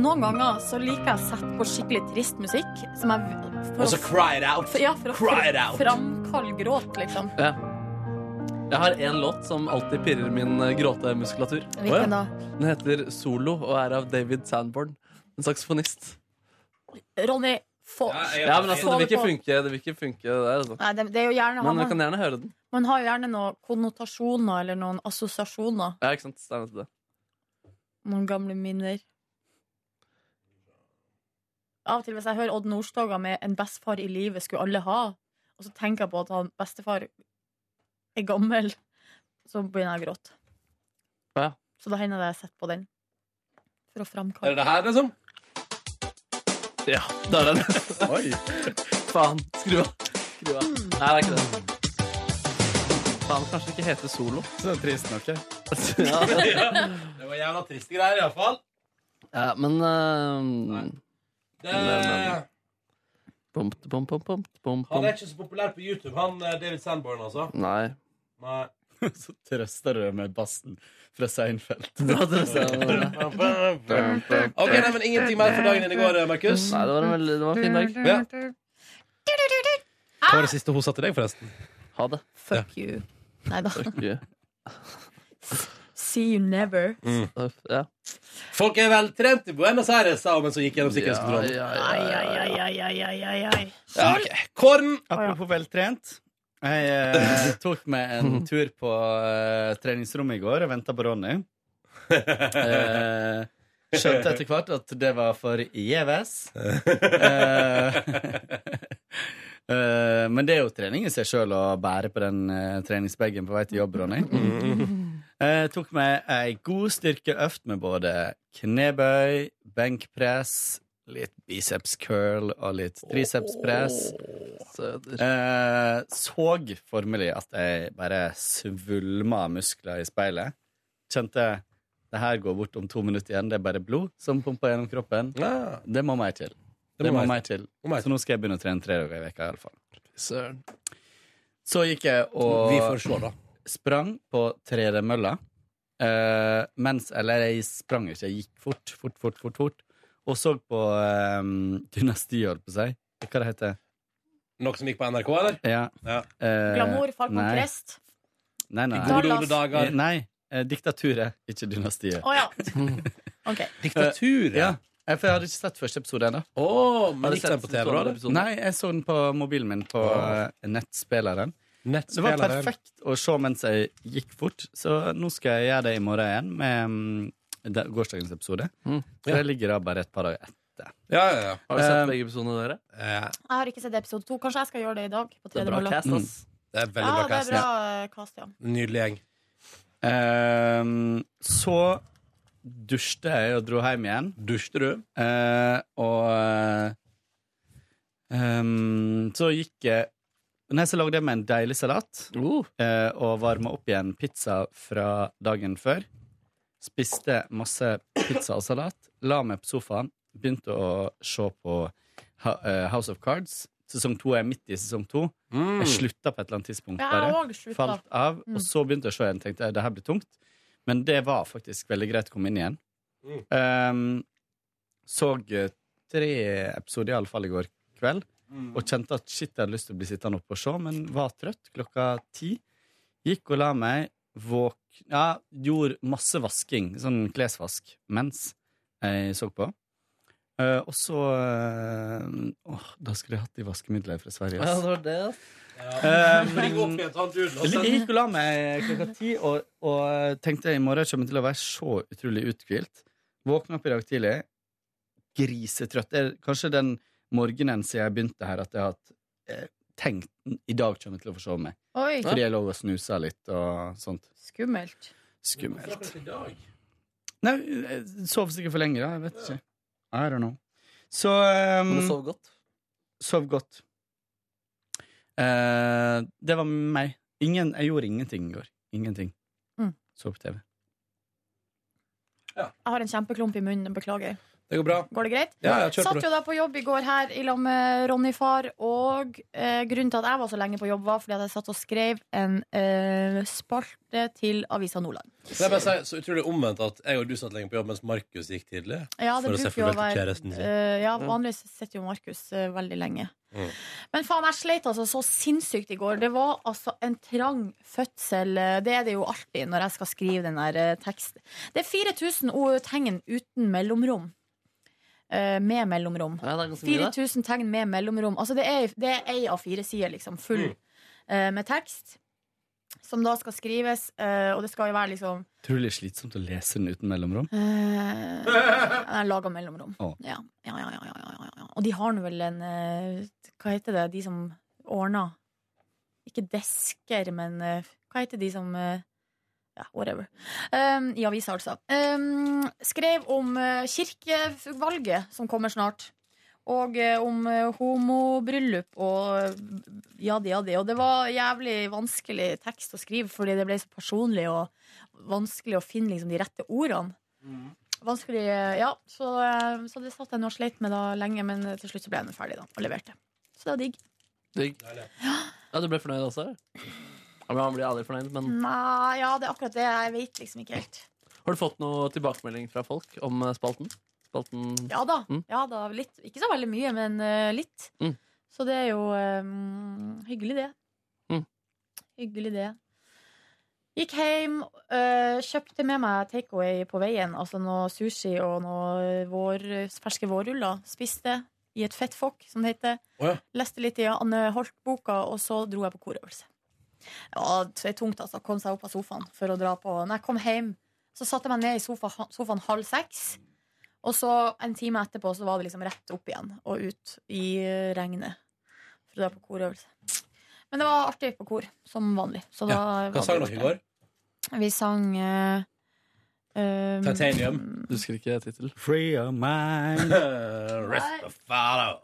Noen ganger så liker jeg å sette på skikkelig trist musikk. Som jeg, for Og så å- cry it out. For, ja, for å Cry it out. framkalle gråt, liksom. Ja. Jeg har en låt som alltid pirrer min eh, gråtemuskulatur. Hvilken da? Den heter Solo og er av David Sandborn, en saksofonist. Ronny, få Ja, men altså, få det vil ikke på. funke, det vil ikke funke det der, altså. Nei, det, det er jo gjerne Men jeg man, kan gjerne høre den. man har jo gjerne noen konnotasjoner eller noen assosiasjoner. Ja, ikke sant? Det er nettopp det. Noen gamle minner. Av og til hvis jeg hører Odd Nordstoga med 'En bestefar i livet skulle alle ha', og så tenker jeg på at han bestefar er gammel, så begynner jeg å gråte. Ja. Så da hender det jeg setter på den. For å Er framkalle det det her, liksom? Ja, der er den. Faen. Skru av. Skru av. Nei, det er ikke det. Faen, kanskje det ikke heter Solo. Så trist nok, ja. Det var jævla triste greier, iallfall. ja, men ehm, Det... Bom, bom, bom, bom, bom, Han bom. er ikke så populær på YouTube, han eh, David Sandborn, altså. Nei. Nei. Så trøster du deg med bassen fra Seinfeld. Da trøster jeg meg med det. Ok, nei, men Ingenting mer for dagen din i går, eh, Markus? Nei, det var en, veldig, det var en fin dag. Ja. Ah! Hva var det siste hun sa til deg, forresten? Ha det. Fuck you. Nei da. Fuck you. See you never. Ja. Mm. Folk er veltrent i Buenos Aires, sa hun mens hun gikk gjennom sikkerhetskontrollen. Ja, Ai, ai, ai, ai, ai, ai, ai, ai. ok. Kåren! Apropos veltrent. Jeg eh, tok meg en tur på eh, treningsrommet i går og venta på Ronny. Eh, skjønte etter hvert at det var for gjeves. Eh, eh, men det er jo trening i seg sjøl å bære på den eh, treningsbagen på vei til jobb, Ronny. Eh, tok meg ei god styrkeøft med både knebøy, benkpress, litt biceps curl og litt tricepspress. Eh, såg formelig at jeg bare svulma av muskler i speilet. Kjente det her går bort om to minutter igjen. Det er bare blod som pumper gjennom kroppen. Det må meg til. Det, må meg til. Så nå skal jeg begynne å trene tre dager i veka, iallfall. Søren. Så gikk jeg og Vi får se, da. sprang på tredemølla. eh, mens Eller jeg sprang ikke, jeg gikk fort, fort, fort. fort, fort og så på eh, Dynasti, holdt på å si. Hva det heter Noe som gikk på NRK, eller? Ja. Eh, Glamour, Falcon nei. Crest. Nei, nei. Gode Dallas. gamle dager. Eh, Nei. eh, Diktaturet, ikke dynastiet. Å ja. OK. Diktaturet? Ja. eh, For jeg hadde ikke sett første episode ennå. Oh, men gikk den på TV da, eller? Nei, jeg så den på mobilen min på Åh. eh, nettspilleren. Det Nettspilleren. var perfekt å se mens jeg gikk fort, så nå skal jeg gjøre det i morgen igjen med mm, de- gårsdagens episode. Så Mm. Ja. det ligger da bare et par dager etter. Har du sett Eh, begge episodene dere? Jeg har ikke sett episode to. Kanskje jeg skal gjøre det i dag. På Det er bra tredemølla. cast, ass. Mm. Mm. Det er Ja, det er bra eh, cast, ja. Nydelig gjeng. Ehm, så dusjte jeg og dro hjem igjen. Dusjte du? og eh, ehm, så gikk jeg Nei, så lagde jeg meg en deilig salat Oh. eh, og varma opp igjen pizza fra dagen før. Spiste masse pizza og salat, la meg på sofaen, begynte å se på Ha- eh, House of Cards. Sesong to er midt i sesong to. Mm. Jeg slutta på et eller annet tidspunkt. Ja, bare. jeg også slutta. Falt av. Mm. Og så begynte jeg å se igjen. Tenkte jeg, det her blir tungt. Men det var faktisk veldig greit å komme inn igjen. Mm. Ehm, så eh, tre episoder iallfall i går kveld, Mm. og kjente at shit, jeg hadde lyst til å bli sittende oppe og se, men var trøtt klokka ti. Gikk og la meg, våk... Ja, gjorde masse vasking, sånn klesvask, mens jeg så på. Eh, og så eh, Åh, da skulle jeg hatt de vaskemidlene fra Sverige. ass. var det, ass. Um, Jeg gikk og la meg klokka ti og, og tenkte i morgen kommer jeg til å være så utrolig uthvilt. Våkna opp i dag tidlig, grisetrøtt. Det er kanskje den morgenen siden jeg begynte her, at jeg har hatt, eh, tenkt i dag kommer jeg til å forsove meg. Oi. Fordi jeg lå og snusa litt og sånt. Skummelt. Skummelt. Nei, jeg sov sikkert for lenge, da. Jeg vet ikke. I don't know. Så um, Men du sov godt? Sov godt. Eh, det var meg. Ingen, jeg gjorde ingenting i går. Ingenting. Mm. Så på TV. Jeg har en kjempeklump i munnen. Beklager. Det går bra. Går det greit? Ja, ja, kjør på Satt du. jo da på jobb i går her i lag med Ronny far, og eh, grunnen til at jeg var så lenge på jobb, var fordi at jeg satt og skrev en eh, spalte til Avisa Nordland. Det er bare å si, så utrolig omvendt at jeg og du satt lenge på jobb mens Markus gikk tidlig. Ja, det for å se bruker jo å farvel til være kjæresten sin. eh, Ja, vanligvis sitter jo Markus eh, veldig lenge. Mm. Men faen, jeg sleit altså så sinnssykt i går. Det var altså en trang fødsel. Det er det jo alltid når jeg skal skrive den der eh, teksten. Det er 4000 o- tegn uten mellomrom. Eh, med mellomrom. ganske mye, det. 4000 tegn med mellomrom. Altså det er, det er ei av fire sider, liksom. Full Mm. eh, med tekst. Som da skal skrives, eh, og det skal jo være liksom Tror du det er slitsomt å lese den uten mellomrom? eh, Jeg laga mellomrom. Å. Ja. Ja, ja, ja, ja, ja, ja. Og de har nå vel en eh, Hva heter det, de som ordner Ikke desker, men eh, hva heter de som eh, Ja, whatever. Um, I avisa, altså. Um, skrev om eh, kirkevalget som kommer snart. Og eh, om eh, homobryllup og eh, ja, det, ja, det. Og det var jævlig vanskelig tekst å skrive, fordi det ble så personlig og vanskelig å finne liksom, de rette ordene. Vanskelig, eh, ja. Så, eh, så det satt jeg nå og sleit med da lenge, men eh, til slutt så ble jeg nå ferdig da, og leverte. Så det var digg. Digg. Ja, du ble fornøyd også? Ja, men han blir aldri fornøyd, men Nei, ja, det er akkurat det. Jeg vet liksom ikke helt. Har du fått noe tilbakemelding fra folk om eh, spalten? Spalten Ja da. Mm. Ja, da litt. Ikke så veldig mye, men eh, litt. Mm. Så det er jo eh, hyggelig, det. Mm. Hyggelig, det. Gikk hjem, eh, kjøpte med meg takeaway på veien. Altså noe sushi og noe vår, ferske vårruller. Spiste i et fettfokk, som det heter. Å ja. Leste litt i Anne Holt-boka, og så dro jeg på korøvelse. Ja, det er tungt, altså. Kom seg opp av sofaen for å dra på Når jeg kom hjem, så satte jeg meg ned i sofa, sofaen halv seks. Og så en time etterpå så var det liksom rett opp igjen og ut i eh, regnet. For å dra på korøvelse. Men det var artig på kor, som vanlig. Så da var Hva det sang artig. dere i går? Vi sang eh, eh, Du husker ikke tittel? Free of mind. Rest of follow.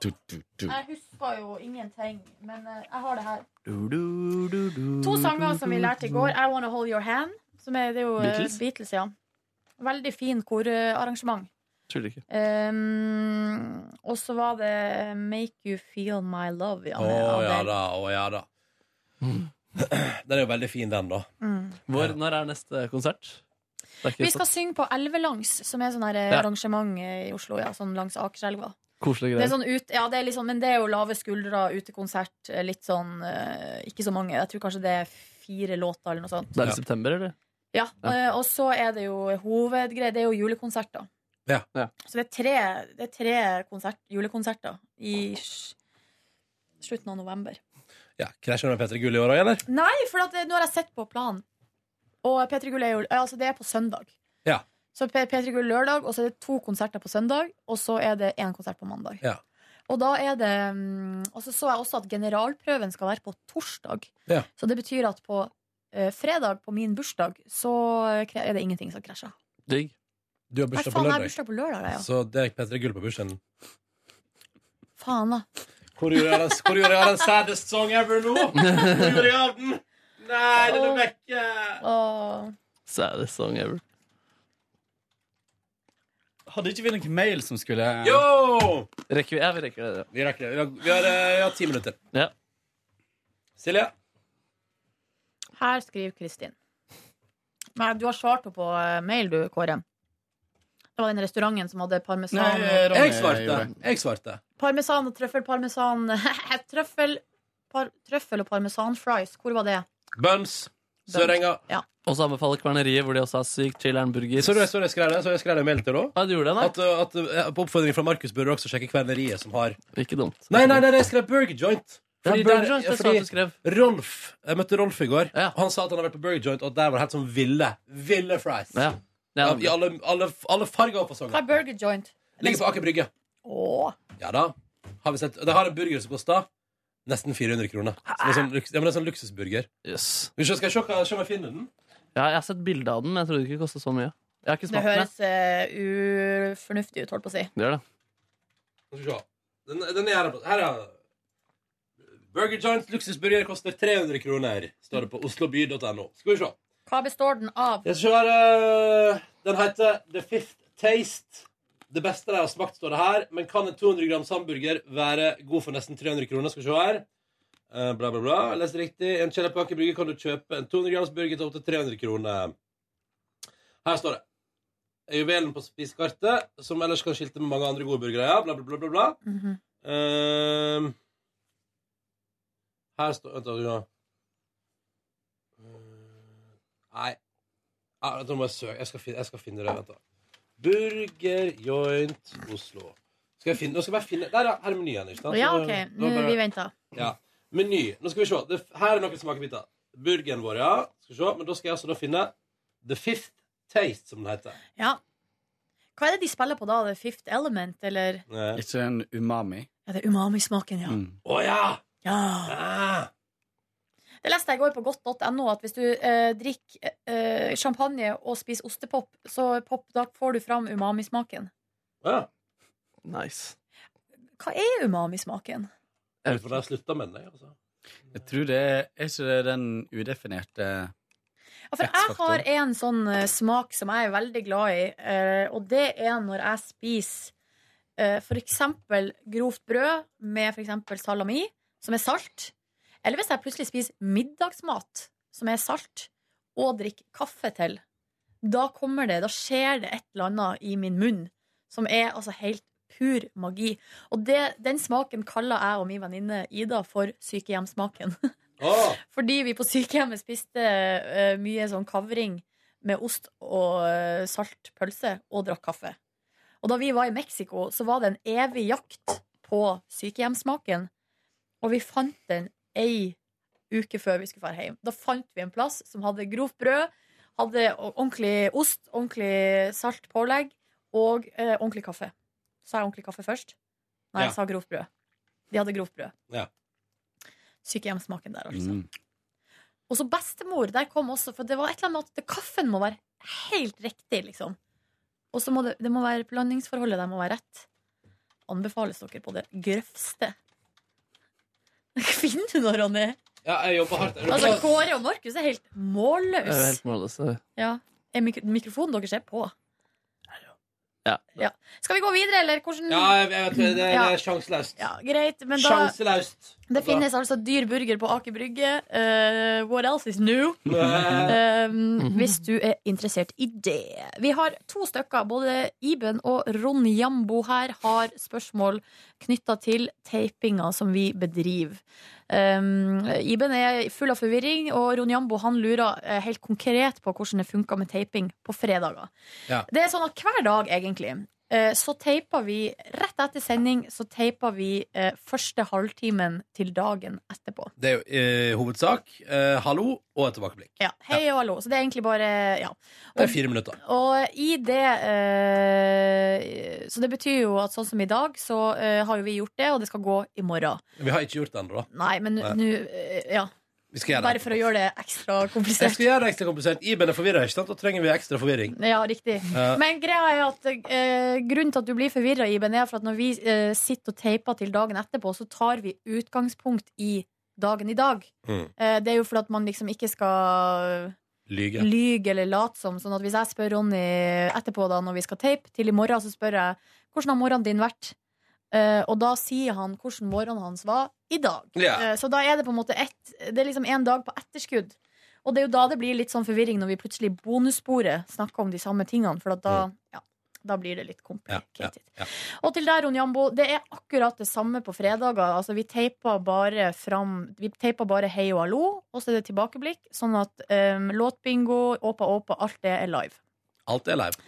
Jeg husker jo ingenting, men eh, jeg har det her. To To sanger som vi lærte i går. I Wanna Hold Your Hand. Som er, det er jo eh, Beatles? Beatles, ja. Veldig fin korarrangement. Tuller ikke. Um, og så var det Make You Feel My Love. Ja, Å med ja Adele. da, å ja da. Den er jo veldig fin, den, da. Mm. Mm. Hvor, når er neste konsert? Det er ikke Vi så- skal synge på Elvelangs, som er sånn her eh, Ja. arrangement eh, i Oslo. Ja, sånn langs Akerselva. Koselige Det er greier. sånn ut, ja, det er litt sånn, men det er jo lave skuldre, utekonsert, eh, litt sånn eh, Ikke så mange. Jeg tror kanskje det er fire låter eller noe sånt. Det er i september, eller? Ja, Ja. eh, Og så er det jo hovedgreie. Det er jo julekonserter. Ja. Så det er tre, det er tre konsert, julekonserter i s- slutten av november. Ja, Krasjer med Petter Gull i år òg, eller? Nei, for at, eh, nå har jeg sett på planen. Og P3 Gull er jo eh, Altså, det er på søndag. Ja. Så P- P3 Gull lørdag, og så er det to konserter på søndag, og så er det én konsert på mandag. Ja. Og da er det mm, Og så så jeg også at generalprøven skal være på torsdag. Ja. Så det betyr at på eh, fredag, på min bursdag, så eh, kre- er det ingenting som krasjer. Digg. Du har Nei, bursdag på faen, jeg har lørdag. bursdag på lørdag, ja. Så det er Petter Gull på bursdagen. Faen, da. Hvor gjorde jeg den- hvor gjorde jeg av den saddest song ever nå? Hvor gjorde jeg av den? Nei, den er vekke! Åh. Saddest song ever. Hadde ikke vi noen mail som skulle Yo! Rekker vi? Ja, vi rekker det. Vi rekker det. Vi har, vi har, eh, vi har ti minutter. Ja. Silje? Her skriver Kristin. Nei, du har svart henne på eh, mail, du, Kåre. Det var den restauranten som hadde parmesan Nei, og- jeg svarte. Jeg svarte. Parmesan og trøffel, parmesan Trøffel, par, trøffel og parmesan fries. Hvor var det? Buns. Sørenga. Ja. Og så anbefaler Kverneriet, hvor de også har sykt chiller'n burger. Så jeg, så jeg skrev det, så jeg skrev det i mail til henne. At, uh, at, uh, på oppfordring fra Markus bør du også sjekke Kverneriet, som har Ikke dumt. Nei, nei, nei, jeg skrev Burger Joint. Ja, Fordi Burger der- Joint, det sa fordi du skrev. Rolf, Jeg møtte Rolf i går. Han sa at han hadde vært på Burger Joint, og der var det helt sånn ville. Ville fries. Ja. Ja, I alle, alle, alle farger Hva og fasonger. er burger joint? Ligger på Aker Brygge. Åh. Ja da. Har vi sett. Det har en burger som koster nesten 400 kroner. Så det er sånn, luks- ja, men det er sånn luksusburger. Yes. Vi skal skal jeg se hva- se om jeg finner den. Ja, jeg har sett bilde av den, men jeg trodde ikke det kostet så mye. Jeg har ikke Det smakt den. jeg. høres eh, ufornuftig ut, holdt på å si. Det gjør det. Skal vi se. Den, den er her. på- Her er den. Burger Joint luksusburger koster 300 kroner, står det på osloby.no. Skal vi se. Hva består den av? Jeg skal se her, eh, Den heter The Fifth Taste. Det beste de har smakt, står det her. Men kan en 200 grams hamburger være god for nesten 300 kroner? Skal vi se her. Eh, Bla, bla, bla. Les riktig. En Kjell Aker Brygge kan du kjøpe en 200 grams burger til opptil 300 kroner. Her står det. Juvelen på spisekartet, som ellers kan skilte med mange andre gode burgere. Ja. Bla, bla, bla, bla, bla. Mhm. Ehm, her står Vent, da. ja. Nei. Ja, vent, Nå må jeg søke. Jeg skal finne, jeg skal finne det. Vent, da. Burger Joint Oslo. Skal jeg finne, nå skal jeg bare finne Der, ja. Her er menyen. ikke sant? Ja, Så- OK. da Nå, Altså, bare- vi venter. ja. Meny. Nå skal vi se. Det, her er noen smakebiter. Burgeren vår, ja. Skal vi se. Men da skal jeg altså da finne The Fifth Taste, som den heter. Ja. Hva er det de spiller på da? The Fifth Element, eller? Ikke en umami? Ja, det er umamismaken, ja. Mm. Eh. Å ja! ja. Ah. Det leste jeg i går på godt.no, at hvis du eh, drikker eh, champagne og spiser ostepop, så pop, da får du fram umamismaken. Ja. Nice. Hva er umamismaken? Jeg får slutta med den, jeg, altså. Jeg tror det er er ikke det den udefinerte Ja, for Altså, jeg har en sånn eh, smak som jeg er veldig glad i, eh, og det er når jeg spiser eh, for eksempel grovt brød med for eksempel salami, som er salt, eller hvis jeg plutselig spiser middagsmat, som er salt, og drikker kaffe til, da kommer det, da skjer det et eller annet i min munn, som er altså helt pur magi. Og det, den smaken kaller jeg og min venninne Ida for sykehjemssmaken. Fordi vi på sykehjemmet spiste eh, mye sånn kavring med ost og eh, salt pølse og drakk kaffe. Og da vi var i Mexico, så var det en evig jakt på sykehjemssmaken. Og vi fant den ei uke før vi skulle dra hjem. Da fant vi en plass som hadde grovt brød, hadde o- ordentlig ost, ordentlig salt pålegg og eh, ordentlig kaffe. Sa jeg ordentlig kaffe først? Nei, Ja. jeg sa grovt brød. De hadde grovt brød. Ja. Sykehjemssmaken der, altså. Mm. Og så bestemor, der kom også, for det var et eller annet med at det- kaffen må være helt riktig, liksom. Og så må det, det må være blandingsforholdet der må være rett. Anbefales dere på det grøfste. Finner du når, Ronny? Ja, jeg jobber hardt. Er du Altså, klar? Kåre og Markus er helt Jeg er målløs. helt målløs. Ja. Er mikro mikrofonen deres er på? Ja. Skal vi gå videre, eller hvordan Ja, jeg vet det. Det, det er sjanseløst. Ja, greit, men da Sjanseløst. Det finnes altså dyr burger på Aker Brygge. Eh, what else is new? Nei. Eh, hvis du er interessert i det. Vi har to stykker. Både Iben og Ron Jambo her har spørsmål knytta til tapinga som vi bedriver. Eh, Iben er full av forvirring, og Ron Jambo han lurer eh, helt konkret på hvordan det funka med taping på fredager. Ja. Det er sånn at hver dag, egentlig, eh, så teiper vi rett etter sending så teiper vi eh, første halvtimen til dagen etterpå. Det er jo eh, hovedsak eh, hallo og et tilbakeblikk. Ja, Hei og hallo. Så det er egentlig bare ja. Det er fire minutter. Og i det eh, Så det betyr jo at sånn som i dag, så eh, har jo vi gjort det, og det skal gå i morgen. Vi har ikke gjort det ennå, da. Nei, men nå eh, Ja. Vi skal gjøre det Bare for å gjøre det ekstra Jeg komplisert. skal gjøre det ekstra komplisert. Iben er forvirra, ikke sant? Da trenger vi ekstra forvirring. Ja, riktig. Ja. Men greia er at eh, grunnen til at du blir forvirra, Iben, er for at når vi eh, sitter og teiper til dagen etterpå, så tar vi utgangspunkt i dagen i dag. Mm. Eh, det er jo fordi at man liksom ikke skal Lyge. lyge eller late som. Sånn at hvis jeg spør Ronny etterpå da når vi skal tape, til i morgen, så spør jeg hvordan har morgenen din vært? Eh, og da sier han hvordan morgenen hans var i dag. Ja. Eh, så da er det på en måte ett Det er liksom en dag på etterskudd. Og det er jo da det blir litt sånn forvirring når vi plutselig i bonussporet snakker om de samme tingene, for at da, ja, da blir det litt komplisert. Ja, ja, ja. Og til deg, Ron Jambo, det er akkurat det samme på fredager. Altså, vi teiper bare fram Vi teiper bare hei og hallo, og så er det tilbakeblikk. Sånn at um, låtbingo, åpa åpa, alt det er live. Alt er live.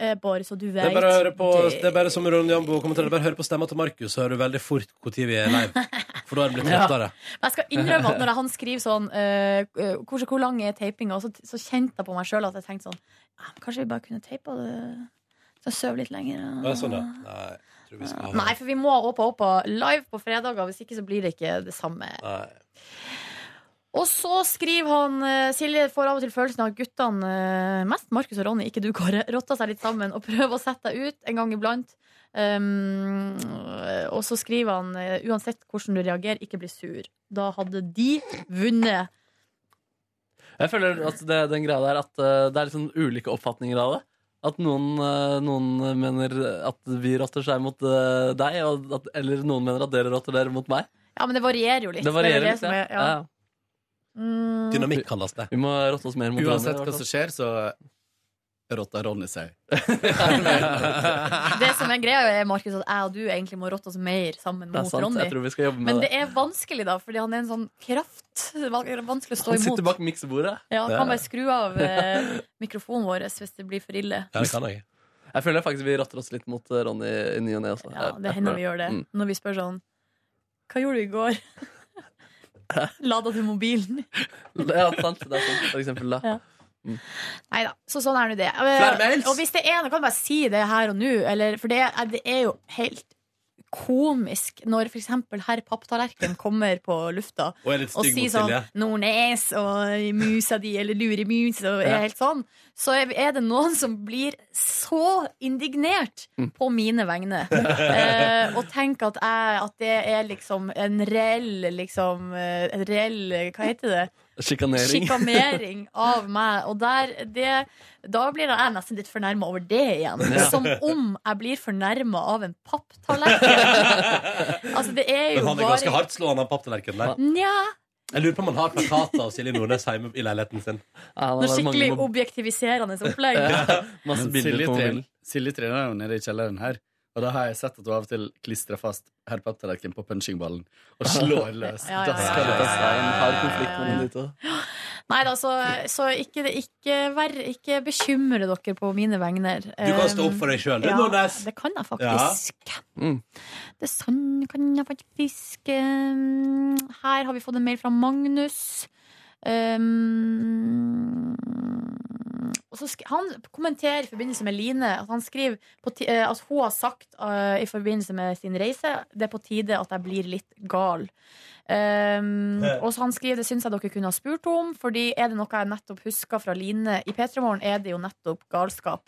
Eh, bare så du Det vet er bare å høre på Det er bare som Ron Jambo kommenterer. Det er Bare hør på stemma til Markus, så hører du veldig fort når vi er live. For da har det blitt Ja. lettere. Men jeg skal innrømme at når han skriver sånn eh, hvor, hvor lang er tapinga, så, så kjente jeg på meg sjøl at jeg tenkte sånn ja, men Kanskje vi bare kunne teipa det Så sove litt lenger. Å, ja, sånn, ja. Nei, jeg tror vi skal ha Nei, for vi må åpa åpa live på fredager, hvis ikke så blir det ikke det samme. Nei. Og så skriver han eh, Silje får av og til følelsen av at guttene, eh, mest Markus og Ronny, ikke du, Kåre, rotter seg litt sammen og prøver å sette deg ut en gang iblant. Um, og så skriver han eh, uansett hvordan du reagerer, ikke bli sur. Da hadde de vunnet. Jeg føler at det, den greia der at eh, det er liksom ulike oppfatninger av det. At noen, eh, noen mener at vi rotter seg mot eh, deg, og at, eller noen mener at dere rotter dere mot meg. Ja, men det varierer jo litt. Det varierer er vel litt, som ja. er- ja. Ja, ja. Mm. Dynamikk kalles det. Vi må rotte oss mer mot Uansett hverandre, i hvert hva som skjer, så rotter Ronny seg. Det som er greia, er Markus, at jeg og du egentlig må rotte oss mer sammen Det er mot sant, Ronny. jeg tror vi skal jobbe med Men det. det er vanskelig, da, fordi han er en sånn kraft. Det er Vanskelig å stå Han imot. sitter bak miksebordet. Ja, kan bare skru av eh, mikrofonen vår hvis det blir for ille. jeg. Jeg føler faktisk vi rotter oss litt mot eh, Ronny i ny og ne også. Ja, det hender vi gjør det. Mm. Når vi spør sånn Hva gjorde du i går? Lada du mobilen? Ja, sant. Det er sant, for eksempel. Ja. Da. Nei da. Så sånn er nå det. Eh, Flere mails? Og hvis det er noe, kan du bare si det her og nå. eller- For det er, det er jo helt komisk når for eksempel herr Papptallerken kommer på lufta Og er litt stygg sier mot sånn Silje. 'Nordnes' og 'musa di' eller 'lurimus' og Ja. er helt sånn, så er er det noen som blir så indignert på mine vegne. eh, og tenker at, jeg, at det er liksom en reell liksom, eh, En reell Hva heter det? Sjikanering. Sjikanering av meg. Og der, det, da blir jeg nesten litt fornærma over det igjen. Ja. Som om jeg blir fornærma av en papptallerken. altså, det er Men jo han er ganske bare hardt slående, han papptallerkenen der. Nja. Jeg lurer på om han har plakater av Silje Nordnes hjemme i leiligheten sin. Noe skikkelig objektiviserende opplegg. Masse Men bilder Silje på Tren- mobilen. Silje trener er jo nede i kjelleren her. Og da har jeg sett at hun av og til klistrer fast herr papptallerken på punchingballen og slår løs. Ja, ja, ja, Da skal ja, det tas ja, ja, en hard konflikt ja, ja. Mm. mellom de to. Nei da, så, så ikke, ikke, vær, ikke bekymre dere på mine vegner. Du kan stå opp for deg sjøl, du, ja, Nordnes. Det kan jeg faktisk. Mm. Det er sånn kan jeg faktisk um, Her har vi fått en mail fra Magnus. Um, og så sk han kommenterer i forbindelse med Line at han skriver på ti- eh, at hun har sagt eh, i forbindelse med sin reise det er på tide at jeg blir litt gal. Um, Ja. og så han skriver det syns jeg dere kunne ha spurt om, Fordi er det noe jeg nettopp husker fra Line i P3 Morgen, er det jo nettopp galskap.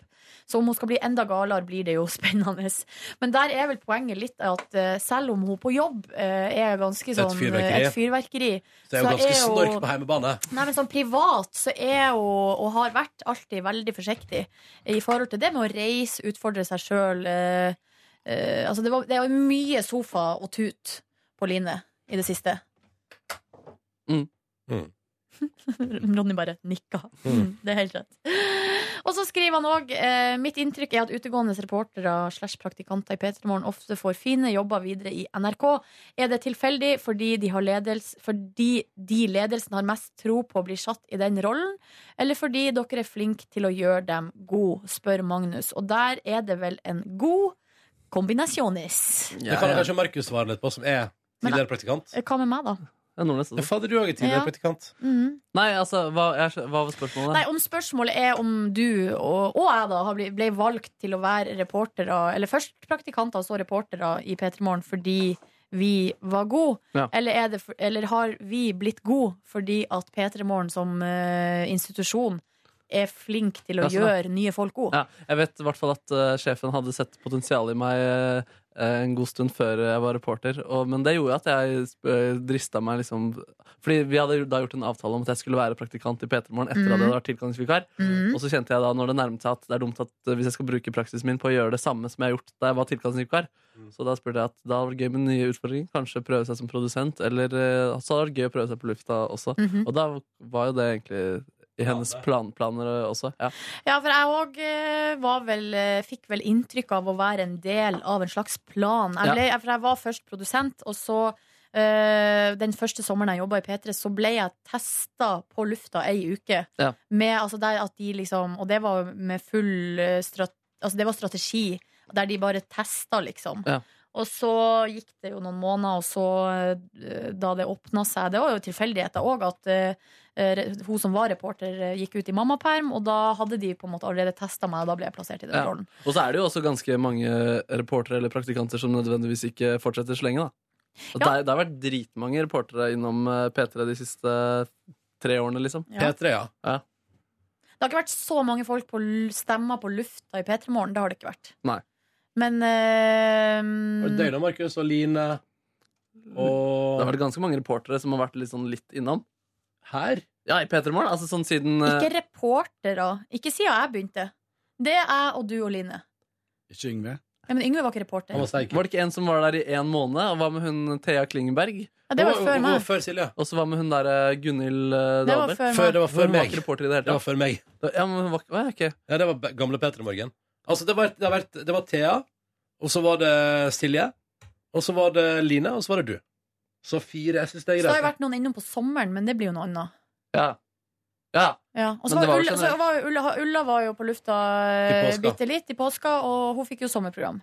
Så om hun skal bli enda galere, blir det jo spennende. Men der er vel poenget litt at eh, selv om hun på jobb eh, er ganske Et sånn eh, fyrverkeri. et fyrverkeri Så er jo ganske snork på hjemmebane. Nei, men sånn privat så er hun, og har vært alltid alltid veldig forsiktig i forhold til det med å reise, utfordre seg sjøl. Eh, eh, altså det, var- det var mye sofa og tut på Line i det siste. Mm. Ronny bare nikka. Mm. Det er helt rett. Og så skriver han òg eh, mitt inntrykk er at utegående reportere slash praktikanter i P3 Morgen ofte får fine jobber videre i NRK. Er det tilfeldig fordi de, har ledels, fordi de ledelsen har mest tro på å bli satt i den rollen, eller fordi dere er flinke til å gjøre dem god, spør Magnus. Og der er det vel en god kombinasjonis. Det kan kanskje Markus svare litt på, som er tidligere praktikant. Hva med meg, da? Ja, Fader, du òg er tidligere Ja. praktikant. Mhm. Nei, altså, hva, jeg, skjø- hva var spørsmålet? Nei, om spørsmålet er om du og, og jeg da har bli- ble valgt til å være reportere, eller først praktikanter og så reportere i P3 Morgen fordi vi var gode, Ja. eller, er det, for- eller har vi blitt gode fordi at P3 Morgen som eh, institusjon er flink til å Ja, sånn, ja. gjøre nye folk gode? Ja, jeg vet i hvert fall at eh, sjefen hadde sett potensialet i meg eh, en god stund før jeg var reporter, og, men det gjorde at jeg uh, drista meg liksom Fordi vi hadde jo da gjort en avtale om at jeg skulle være praktikant i P3 Morgen etter at jeg Mhm. hadde vært tilgangsvikar, Mhm. og så kjente jeg da når det nærmet seg at det er dumt at eh, hvis jeg skal bruke praksisen min på å gjøre det samme som jeg har gjort da jeg var tilgangsvikar, så da spurte jeg at da var det gøy med nye utfordringer, kanskje prøve seg som produsent, eller eh, så hadde det vært gøy å prøve seg på lufta også, Mhm. og da var jo det egentlig i hennes plan, planer også. Ja. Ja, for jeg òg var vel eh, Fikk vel inntrykk av å være en del av en slags plan. Jeg Ja. ble, For jeg var først produsent, og så eh, den første sommeren jeg jobba i P3, så ble jeg testa på lufta ei uke. Ja. Med, altså, der at de liksom, og det var med full eh, strat, altså, Det var strategi, der de bare testa, liksom. Ja. Og så gikk det jo noen måneder, og så, eh, da det åpna seg Det var jo tilfeldigheter òg, at eh, re- hun som var reporter, eh, gikk ut i mammaperm, og da hadde de på en måte allerede testa meg, og da ble jeg plassert i den Ja. rollen. Og så er det jo også ganske mange reportere eller praktikanter som nødvendigvis ikke fortsetter så lenge, da. Og det, er- det har vært dritmange reportere innom eh, P3 de siste tre årene, liksom. Ja. P3, ja. Det har ikke vært så mange folk på l- stemmer på lufta i P3 Morgen, det har det ikke vært. Nei. Men eh, Var det deg da, Markus og Line? Og Det har vært ganske mange reportere som har vært litt, sånn litt innom. Her? Ja, i P3 Morgen. Altså sånn siden eh, Ikke reportere. Ikke siden jeg begynte. Det er jeg og du og Line. Ikke Yngve. Ja, men Yngve var ikke reporter. Var det ikke en som var der i én måned? Og hva med hun Thea Klingenberg? Ja, det var Hun var- før hun meg. var før Og så hva med hun der eh, Gunhild eh, Det var Dahlberg? før meg. Før- det var før Hun meg. var ikke reporter i det hele tatt. Det var før meg. Ja, men hun var, var jeg ikke Ja, det var be- gamle Peter i morgen. Altså, det var, det, har vært, det var Thea, og så var det Silje, og så var det Line, og så var det du. Så fire. Jeg syns Så det er det har jo greit. vært noen innom på sommeren, men det blir jo noe annet. Ja. ja. Ja, og så Men det var var jo Ulla, så generelt. var jo Ulla, Ulla var jo på lufta I eh, påska. bitte litt i påska, og hun fikk jo sommerprogram.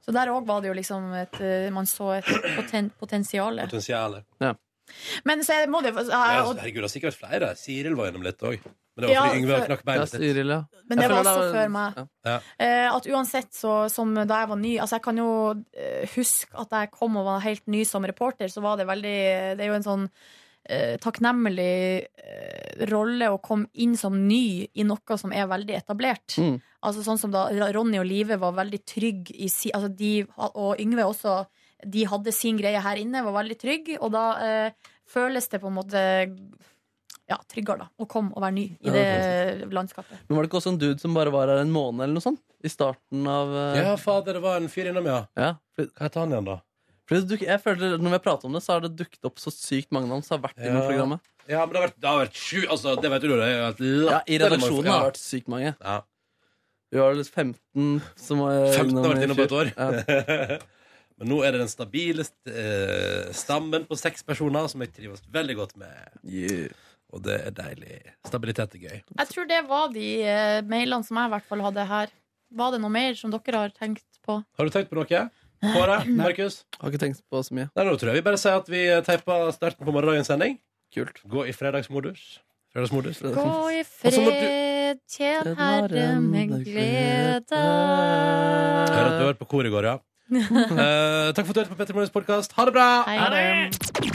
Så der òg var det jo liksom et eh, Man så et poten, potensial. Potensialet. Men så er- må det jo Ja, jeg- altså, og- herregud, det har sikkert vært flere. Siril var gjennom litt òg. Men det var Ja, fordi Yngve for- knakk Ja, beinet sitt. Siril, ja. Men det Jeg var føler også det før meg. Ja. Eh, at uansett så, som da jeg var ny Altså jeg kan jo eh, huske at da jeg kom og var helt ny som reporter, så var det veldig Det er jo en sånn eh, takknemlig eh, rolle å komme inn som ny i noe som er veldig etablert. Mm. Altså sånn som da Ronny og Live var veldig trygg i si, altså de, og Yngve også, de hadde sin greie her inne, var veldig trygg, og da eh, føles det på en måte ja, tryggere da, å komme og være ny Ja, i det landskapet. Men var det ikke også en dude som bare var her en måned eller noe sånt? I starten av eh, Ja, fader, det var en fyr innom, ja. ja. Hva heter han igjen, da? Fordi det duk- jeg føler Når vi har pratet om det, så har det dukket opp så sykt mange navn som har vært Ja. innom programmet. Ja, men det har vært, det har vært sju altså, Det vet du, det har vært Ja, I latterlig mange redaksjonen folk. Ja. har det vært sykt mange. Ja. Vi var vel 15 som var 15 har vært i innom på et år. fjor. Ja. Men nå er det den stabile st eh, stammen på seks personer som jeg trives veldig godt med. Og det er deilig. Stabilitet er gøy. Jeg tror det var de eh, mailene som jeg i hvert fall hadde her. Var det noe mer som dere har tenkt på? Har du tenkt på noe? Kåre? Markus? Har ikke tenkt på så mye. Nei, nå tror jeg vi bare sier at vi teiper starten på morgendagens sending. Kult. Gå i fredagsmodus. Fredagsmodus. Gå i Og så må du- fred, tjen Herre med glede. Hører at du hørte på kor i går, ja. Eh, takk for at du hørte på Petter Morgens podkast. Ha det bra! Ha det.